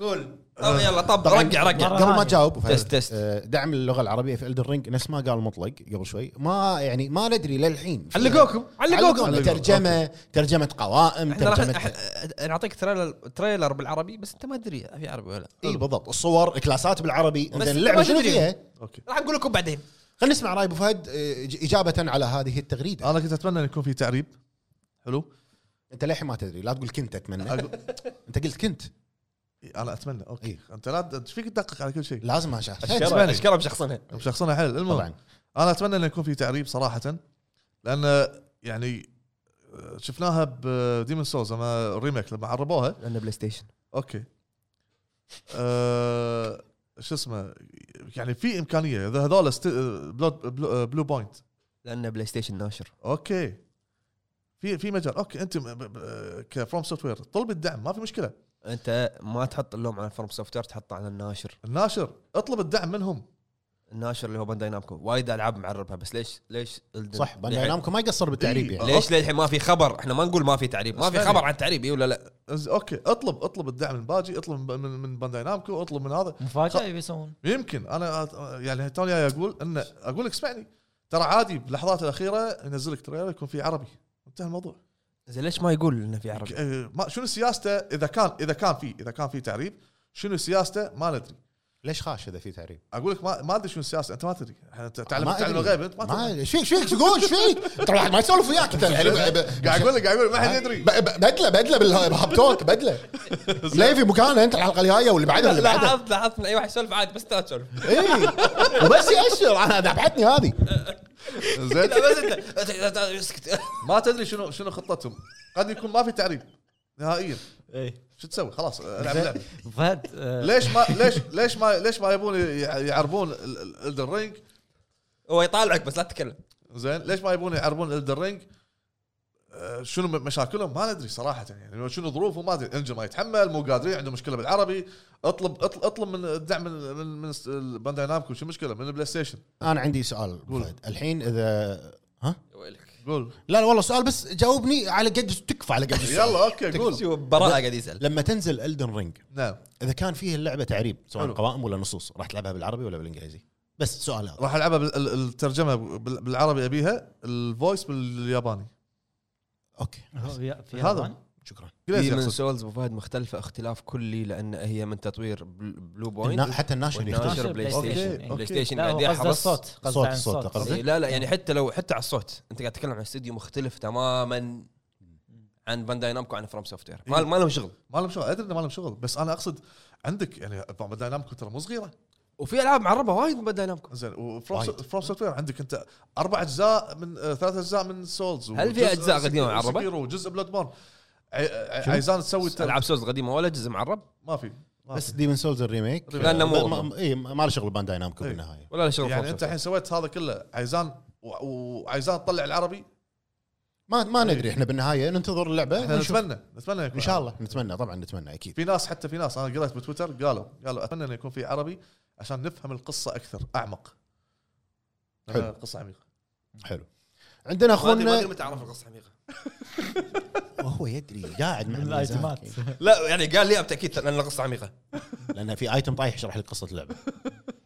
[SPEAKER 1] قول طب يلا طب
[SPEAKER 5] طبعاً
[SPEAKER 1] رقع رقع
[SPEAKER 3] مرة
[SPEAKER 5] قبل ما
[SPEAKER 3] ثانية.
[SPEAKER 5] تجاوب أبو فهد،
[SPEAKER 1] تست- تست.
[SPEAKER 5] آه، دعم اللغه العربيه في الدن رينج نفس ما قال مطلق قبل شوي ما يعني ما ندري للحين يعني.
[SPEAKER 1] علقوكم علقوكم
[SPEAKER 5] علقوكم ترجمه ترجمه قوائم
[SPEAKER 1] احنا راح
[SPEAKER 5] ترجمه
[SPEAKER 1] أح- نعطيك تريلر تريلر بالعربي بس انت ما تدري في عربي ولا لا.
[SPEAKER 5] اي إيه، بالضبط الصور كلاسات بالعربي
[SPEAKER 1] بس
[SPEAKER 5] زين اللعبه
[SPEAKER 1] ما
[SPEAKER 5] شنو
[SPEAKER 1] تدري.
[SPEAKER 5] فيها؟
[SPEAKER 2] اوكي
[SPEAKER 1] راح نقول لكم بعدين
[SPEAKER 5] خلينا نسمع راي ابو فهد آه، إج- اجابه على هذه التغريده
[SPEAKER 2] انا كنت اتمنى ان يكون في تعريب حلو
[SPEAKER 5] انت للحين ما تدري لا تقول كنت اتمنى
[SPEAKER 1] يعني
[SPEAKER 2] أقول-
[SPEAKER 5] انت قلت كنت
[SPEAKER 2] انا اتمنى اوكي
[SPEAKER 5] إيه.
[SPEAKER 2] انت لا ايش فيك تدقق على كل شيء
[SPEAKER 5] لازم
[SPEAKER 1] اشكرها-
[SPEAKER 5] اشوف
[SPEAKER 1] اشكرها بشخصنها
[SPEAKER 2] شخصنا حلو المهم
[SPEAKER 5] طبعا
[SPEAKER 2] انا اتمنى انه يكون في تعريب صراحه لان يعني آه، شفناها بديمون سولز انا ريميك لما عربوها
[SPEAKER 1] لانه بلاي ستيشن
[SPEAKER 2] اوكي أه شو اسمه يعني في امكانيه اذا هذول است... بلو... بلو... بلو بوينت
[SPEAKER 1] لانه بلاي ستيشن ناشر
[SPEAKER 2] اوكي في في مجال اوكي انت كفروم سوفت وير طلب الدعم ما في مشكله
[SPEAKER 1] انت ما تحط اللوم على فورم سوفت وير تحطه على الناشر
[SPEAKER 2] الناشر اطلب الدعم منهم
[SPEAKER 1] الناشر اللي هو بانداي نامكو وايد العاب معربها بس ليش ليش Elden-
[SPEAKER 5] صح بانداي
[SPEAKER 1] للحين-
[SPEAKER 5] نامكو ما يقصر بالتعريب
[SPEAKER 2] إي.
[SPEAKER 5] يعني
[SPEAKER 1] ليش للحين ما في خبر احنا ما نقول ما في تعريب ما في
[SPEAKER 2] اسمعني.
[SPEAKER 1] خبر عن تعريب اي ولا لا
[SPEAKER 2] إز- اوكي اطلب اطلب الدعم من باجي اطلب من من بانداي نامكو اطلب من هذا
[SPEAKER 3] مفاجاه يبي يسوون
[SPEAKER 2] يمكن انا أت- يعني توني جاي اقول ان اقول لك اسمعني ترى عادي باللحظات الاخيره ينزل لك تريلر يكون في عربي انتهى الموضوع إيه،
[SPEAKER 1] زين ليش ما يقول انه في عربي
[SPEAKER 2] آه، ما شنو سياسته اذا كان اذا كان في اذا كان في تعريب شنو سياسته ما ندري
[SPEAKER 5] ليش خاش اذا في تعريب؟
[SPEAKER 2] اقول لك ما ما ادري شنو السياسه انت ما تدري إحنا تعلم
[SPEAKER 5] ما
[SPEAKER 2] تعلم
[SPEAKER 5] أدري.
[SPEAKER 2] الغيب أنت ما
[SPEAKER 5] ما
[SPEAKER 2] تدري
[SPEAKER 5] ايش فيك ايش فيك ايش فيك؟ ترى واحد ما يسولف وياك انت الحين ب- ب-
[SPEAKER 2] قاعد اقول لك قاعد اقول لك ما حد يدري
[SPEAKER 5] ب- ب- بدله بدله بالها- بهابتوك بدله ليه في مكانه انت الحلقه الجايه واللي بعدها اللي بعدها
[SPEAKER 1] لاحظت لاحظت ان اي واحد يسولف عادي بس انت تسولف
[SPEAKER 5] اي وبس ياشر انا ذبحتني هذه
[SPEAKER 2] زين
[SPEAKER 1] لا بس انت اسكت
[SPEAKER 2] ما تدري شنو شنو خطتهم قد يكون ما في تعريب نهائيا
[SPEAKER 5] إيه.
[SPEAKER 3] ايه
[SPEAKER 2] شو تسوي خلاص العب اللعبه
[SPEAKER 3] فهد آه،
[SPEAKER 2] ليش ما ليش ليش ما ليش ما يبون يع- يعربون الدن رينج
[SPEAKER 1] هو يطالعك بس لا تتكلم
[SPEAKER 2] زين ليش ما يبون يعربون الدن رينج شنو م- مشاكلهم ما ندري صراحه يعني شنو ظروفهم ما ادري انجل ما يتحمل مو قادرين عندهم مشكله بالعربي اطلب اطلب, اطلب من الدعم من من, من س- بانداي نامكو شو المشكله من البلاي ستيشن
[SPEAKER 5] انا عندي سؤال
[SPEAKER 2] قول.
[SPEAKER 5] فهد. الحين اذا ها
[SPEAKER 1] يا ويلك
[SPEAKER 2] قول
[SPEAKER 5] لا لا والله سؤال بس جاوبني على قد تكفى على قد السؤال.
[SPEAKER 2] يلا اوكي قول
[SPEAKER 1] شو براءه قاعد يسال
[SPEAKER 5] لما تنزل الدن رينج
[SPEAKER 2] نعم
[SPEAKER 5] اذا كان فيه اللعبه تعريب سواء
[SPEAKER 2] حلو.
[SPEAKER 5] قوائم ولا نصوص راح تلعبها بالعربي ولا بالانجليزي بس سؤال هذا
[SPEAKER 2] راح العبها بال- ال- الترجمه بال- بالعربي ابيها الفويس بالياباني
[SPEAKER 5] اوكي
[SPEAKER 3] هو يا- في
[SPEAKER 2] هذا.
[SPEAKER 3] يابان؟
[SPEAKER 5] شكرا
[SPEAKER 1] في
[SPEAKER 2] إنجليزي
[SPEAKER 1] إيه، من
[SPEAKER 2] أقصد.
[SPEAKER 1] سولز ابو فهد مختلفه اختلاف كلي لان هي من تطوير بل- بلو
[SPEAKER 5] النا-
[SPEAKER 1] بوينت
[SPEAKER 5] حتى الناشر يختلف
[SPEAKER 1] والناشر بلاي
[SPEAKER 3] أوكي،
[SPEAKER 1] ستيشن
[SPEAKER 2] أوكي.
[SPEAKER 1] بلاي ستيشن
[SPEAKER 3] لا
[SPEAKER 1] قاعد
[SPEAKER 3] هو قصده
[SPEAKER 1] يحرص
[SPEAKER 3] الصوت قصده
[SPEAKER 5] صوت-
[SPEAKER 3] عن
[SPEAKER 5] صوت
[SPEAKER 3] الصوت
[SPEAKER 5] قصدك؟
[SPEAKER 1] إيه، لا لا يعني حتى لو حتى على الصوت انت قاعد تتكلم عن استوديو مختلف تماما عن بانداي نامكو عن فرام سوفت وير ما ما لهم شغل
[SPEAKER 2] ما لهم شغل ادري انه ما لهم شغل بس انا اقصد عندك يعني داينامكو ترى مو صغيره
[SPEAKER 1] وفي العاب معربه وايد من بانداي نامكو
[SPEAKER 2] زين
[SPEAKER 5] وايد.
[SPEAKER 2] وفروم سوفت وير عندك انت اربع اجزاء من آه، ثلاث اجزاء من سولز
[SPEAKER 1] هل في أجزاء قديمة معربة؟
[SPEAKER 2] وجزء بلاد بورن عايزان تسوي تر-
[SPEAKER 1] العاب سولز قديمه ولا جزء معرب
[SPEAKER 2] ما في ما
[SPEAKER 5] بس
[SPEAKER 2] في.
[SPEAKER 5] ديمن سولز الريميك
[SPEAKER 1] لا، إنه مو-
[SPEAKER 5] ما- ما- اي ما له شغل بانداي نامكو
[SPEAKER 2] إيه.
[SPEAKER 5] بالنهايه
[SPEAKER 1] ولا له شغل From
[SPEAKER 2] يعني انت
[SPEAKER 1] Software.
[SPEAKER 2] الحين سويت هذا كله عايزان و- وعايزان تطلع العربي
[SPEAKER 1] إيه،
[SPEAKER 5] ما ما ندري احنا بالنهايه ننتظر اللعبه
[SPEAKER 2] احنا
[SPEAKER 5] ونشوف.
[SPEAKER 2] نتمنى نتمنى يكون
[SPEAKER 5] ان شاء الله نتمنى طبعا نتمنى اكيد
[SPEAKER 2] في ناس حتى في ناس انا قريت بتويتر قالوا قالوا اتمنى انه يكون في عربي عشان نفهم القصه اكثر اعمق
[SPEAKER 5] حلو.
[SPEAKER 2] آه، القصه عميقه
[SPEAKER 5] حلو عندنا
[SPEAKER 1] ما أدري- ما
[SPEAKER 5] اخونا
[SPEAKER 1] ادري متى اعرف القصه عميقه
[SPEAKER 5] وهو يدري قاعد مع
[SPEAKER 3] من
[SPEAKER 5] الميزان.
[SPEAKER 3] الايتمات
[SPEAKER 1] لا يعني قال لي بالتاكيد لان القصه عميقه
[SPEAKER 5] لان في ايتم طايح يشرح لك قصه اللعبه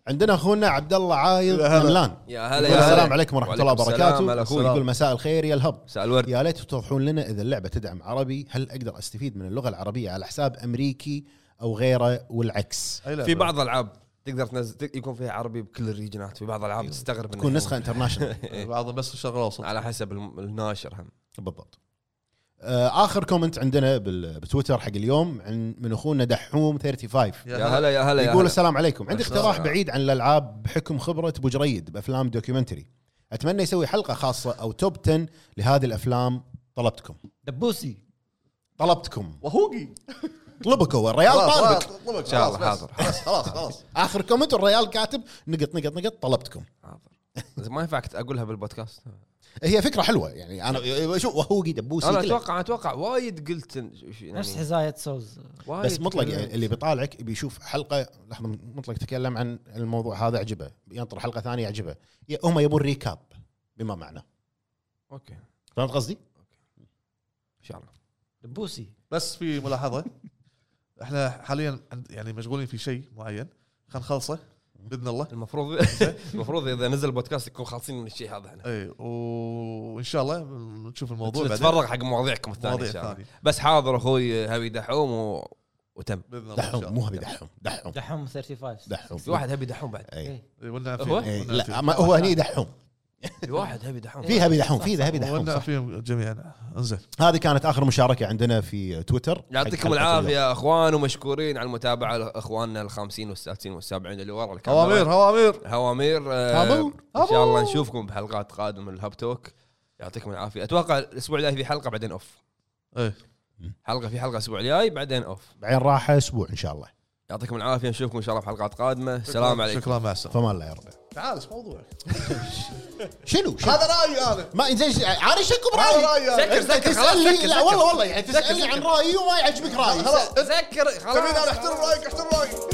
[SPEAKER 5] عندنا اخونا عبد الله عايض
[SPEAKER 2] هلا.
[SPEAKER 5] نملان
[SPEAKER 1] يا هلا
[SPEAKER 5] يقول
[SPEAKER 1] يا
[SPEAKER 5] السلام عليكم ورحمه الله وبركاته اخوي
[SPEAKER 1] اخوي
[SPEAKER 5] يقول مساء الخير يا الهب
[SPEAKER 1] مساء الورد
[SPEAKER 5] يا ليت توضحون لنا اذا اللعبه تدعم عربي هل اقدر استفيد من اللغه العربيه على حساب امريكي او غيره والعكس
[SPEAKER 2] أي لعبة؟
[SPEAKER 1] في بعض الالعاب تقدر تنزل تق- يكون فيها عربي بكل الريجنات في بعض الالعاب تستغرب إنه
[SPEAKER 5] أيوه. تكون
[SPEAKER 1] هو-
[SPEAKER 5] نسخه انترناشونال
[SPEAKER 2] بعضهم بس الشرق الاوسط
[SPEAKER 1] على حسب الم- الناشر هم
[SPEAKER 5] بالضبط آه، اخر كومنت عندنا بال- بتويتر حق اليوم عن من اخونا دحوم 35
[SPEAKER 1] يا هلا يا هلا يا
[SPEAKER 5] يقول
[SPEAKER 1] هلا.
[SPEAKER 5] السلام عليكم عندي
[SPEAKER 1] السلام
[SPEAKER 5] اقتراح
[SPEAKER 1] عليكم.
[SPEAKER 5] بعيد عن الالعاب بحكم خبره ابو جريد بافلام دوكيومنتري اتمنى يسوي حلقه خاصه او توب 10 لهذه الافلام طلبتكم
[SPEAKER 3] دبوسي
[SPEAKER 5] طلبتكم
[SPEAKER 2] وهوقي
[SPEAKER 5] طلبك هو الريال
[SPEAKER 2] خلاص،
[SPEAKER 5] طالبك
[SPEAKER 2] خلاص، طلبك.
[SPEAKER 1] إن شاء الله،
[SPEAKER 2] خلاص،
[SPEAKER 1] حاضر.
[SPEAKER 2] خلاص خلاص خلاص
[SPEAKER 5] اخر كومنت والريال كاتب نقط نقط نقط طلبتكم
[SPEAKER 1] حاضر إذا ما ينفع كنت اقولها بالبودكاست
[SPEAKER 5] هي فكره حلوه يعني انا شو وهوقي دبوسي
[SPEAKER 1] انا
[SPEAKER 5] كله.
[SPEAKER 1] اتوقع اتوقع وايد قلت إن- ش- يعني
[SPEAKER 3] نفس حزايه سوز
[SPEAKER 1] وايد
[SPEAKER 5] بس مطلق
[SPEAKER 1] كلام.
[SPEAKER 5] يعني اللي بيطالعك بيشوف حلقه لحظه مطلق تكلم عن الموضوع هذا عجبه ينطر حلقه ثانيه يعجبه ي- هم يبون ريكاب بما معنى
[SPEAKER 1] اوكي ان
[SPEAKER 5] فهمت قصدي؟
[SPEAKER 1] شاء الله
[SPEAKER 3] دبوسي
[SPEAKER 2] بس في ملاحظه احنا حاليا عند- يعني مشغولين في شيء معين خلينا نخلصه باذن الله
[SPEAKER 1] المفروض المفروض اذا نزل البودكاست يكون خالصين من الشيء هذا احنا
[SPEAKER 2] اي وان إيه، شاء الله نشوف الموضوع بعدين
[SPEAKER 1] نتفرغ حق مواضيعكم الثانيه
[SPEAKER 2] مواضيع
[SPEAKER 1] ان شاء الله
[SPEAKER 2] ثانيه
[SPEAKER 1] بس حاضر اخوي هبي دحوم و... وتم
[SPEAKER 2] باذن الله إن شاء
[SPEAKER 5] دحوم
[SPEAKER 2] الله.
[SPEAKER 5] مو هبي دحوم دحوم
[SPEAKER 3] دحوم 35
[SPEAKER 5] دحوم
[SPEAKER 1] في واحد هبي دحوم بعد
[SPEAKER 5] اي
[SPEAKER 3] إيه.
[SPEAKER 2] إي، والنعم
[SPEAKER 1] هو؟
[SPEAKER 2] فيهم
[SPEAKER 5] إي،
[SPEAKER 2] والنعم
[SPEAKER 5] لا
[SPEAKER 2] فيهم.
[SPEAKER 5] ما هو هني دحوم
[SPEAKER 1] في واحد هبي دحوم
[SPEAKER 5] في هبي دحوم في هبي دحوم
[SPEAKER 2] والنعم
[SPEAKER 5] صح.
[SPEAKER 2] فيهم جميعا انزل
[SPEAKER 5] هذه كانت اخر مشاركه عندنا في تويتر
[SPEAKER 1] يعطيكم العافيه يا اخوان ومشكورين على المتابعه اخواننا الخامسين والسادسين والسابعين اللي ورا الكاميرا
[SPEAKER 2] هوامير هوامير
[SPEAKER 1] هوامير آه،
[SPEAKER 5] هابو.
[SPEAKER 1] ان شاء الله نشوفكم بحلقات قادمه من الهاب توك يعطيكم العافيه اتوقع الاسبوع الجاي في حلقه بعدين اوف
[SPEAKER 2] إيه.
[SPEAKER 1] حلقه في حلقه الاسبوع الجاي بعدين اوف
[SPEAKER 5] بعدين راحه اسبوع ان شاء الله
[SPEAKER 1] يعطيكم العافيه نشوفكم ان شاء الله بحلقات قادمه السلام عليكم
[SPEAKER 2] شكرا مع السلامه
[SPEAKER 5] فما الله يا رب
[SPEAKER 2] تعال ايش موضوعك
[SPEAKER 5] شنو شنو؟
[SPEAKER 2] هذا رايي انا
[SPEAKER 5] ما زين ش- عارف شكو
[SPEAKER 2] هذا إيه،
[SPEAKER 5] برايي
[SPEAKER 2] رايي انا
[SPEAKER 1] سكر سكر خلاص
[SPEAKER 5] تسالني
[SPEAKER 1] سكر
[SPEAKER 5] لا
[SPEAKER 1] سكر
[SPEAKER 5] والله والله يعني تسالني عن رايي وما يعجبك رايي
[SPEAKER 2] خلاص
[SPEAKER 1] سكر
[SPEAKER 2] تبيني انا
[SPEAKER 1] خلاص
[SPEAKER 2] احترم رايك احترم رايك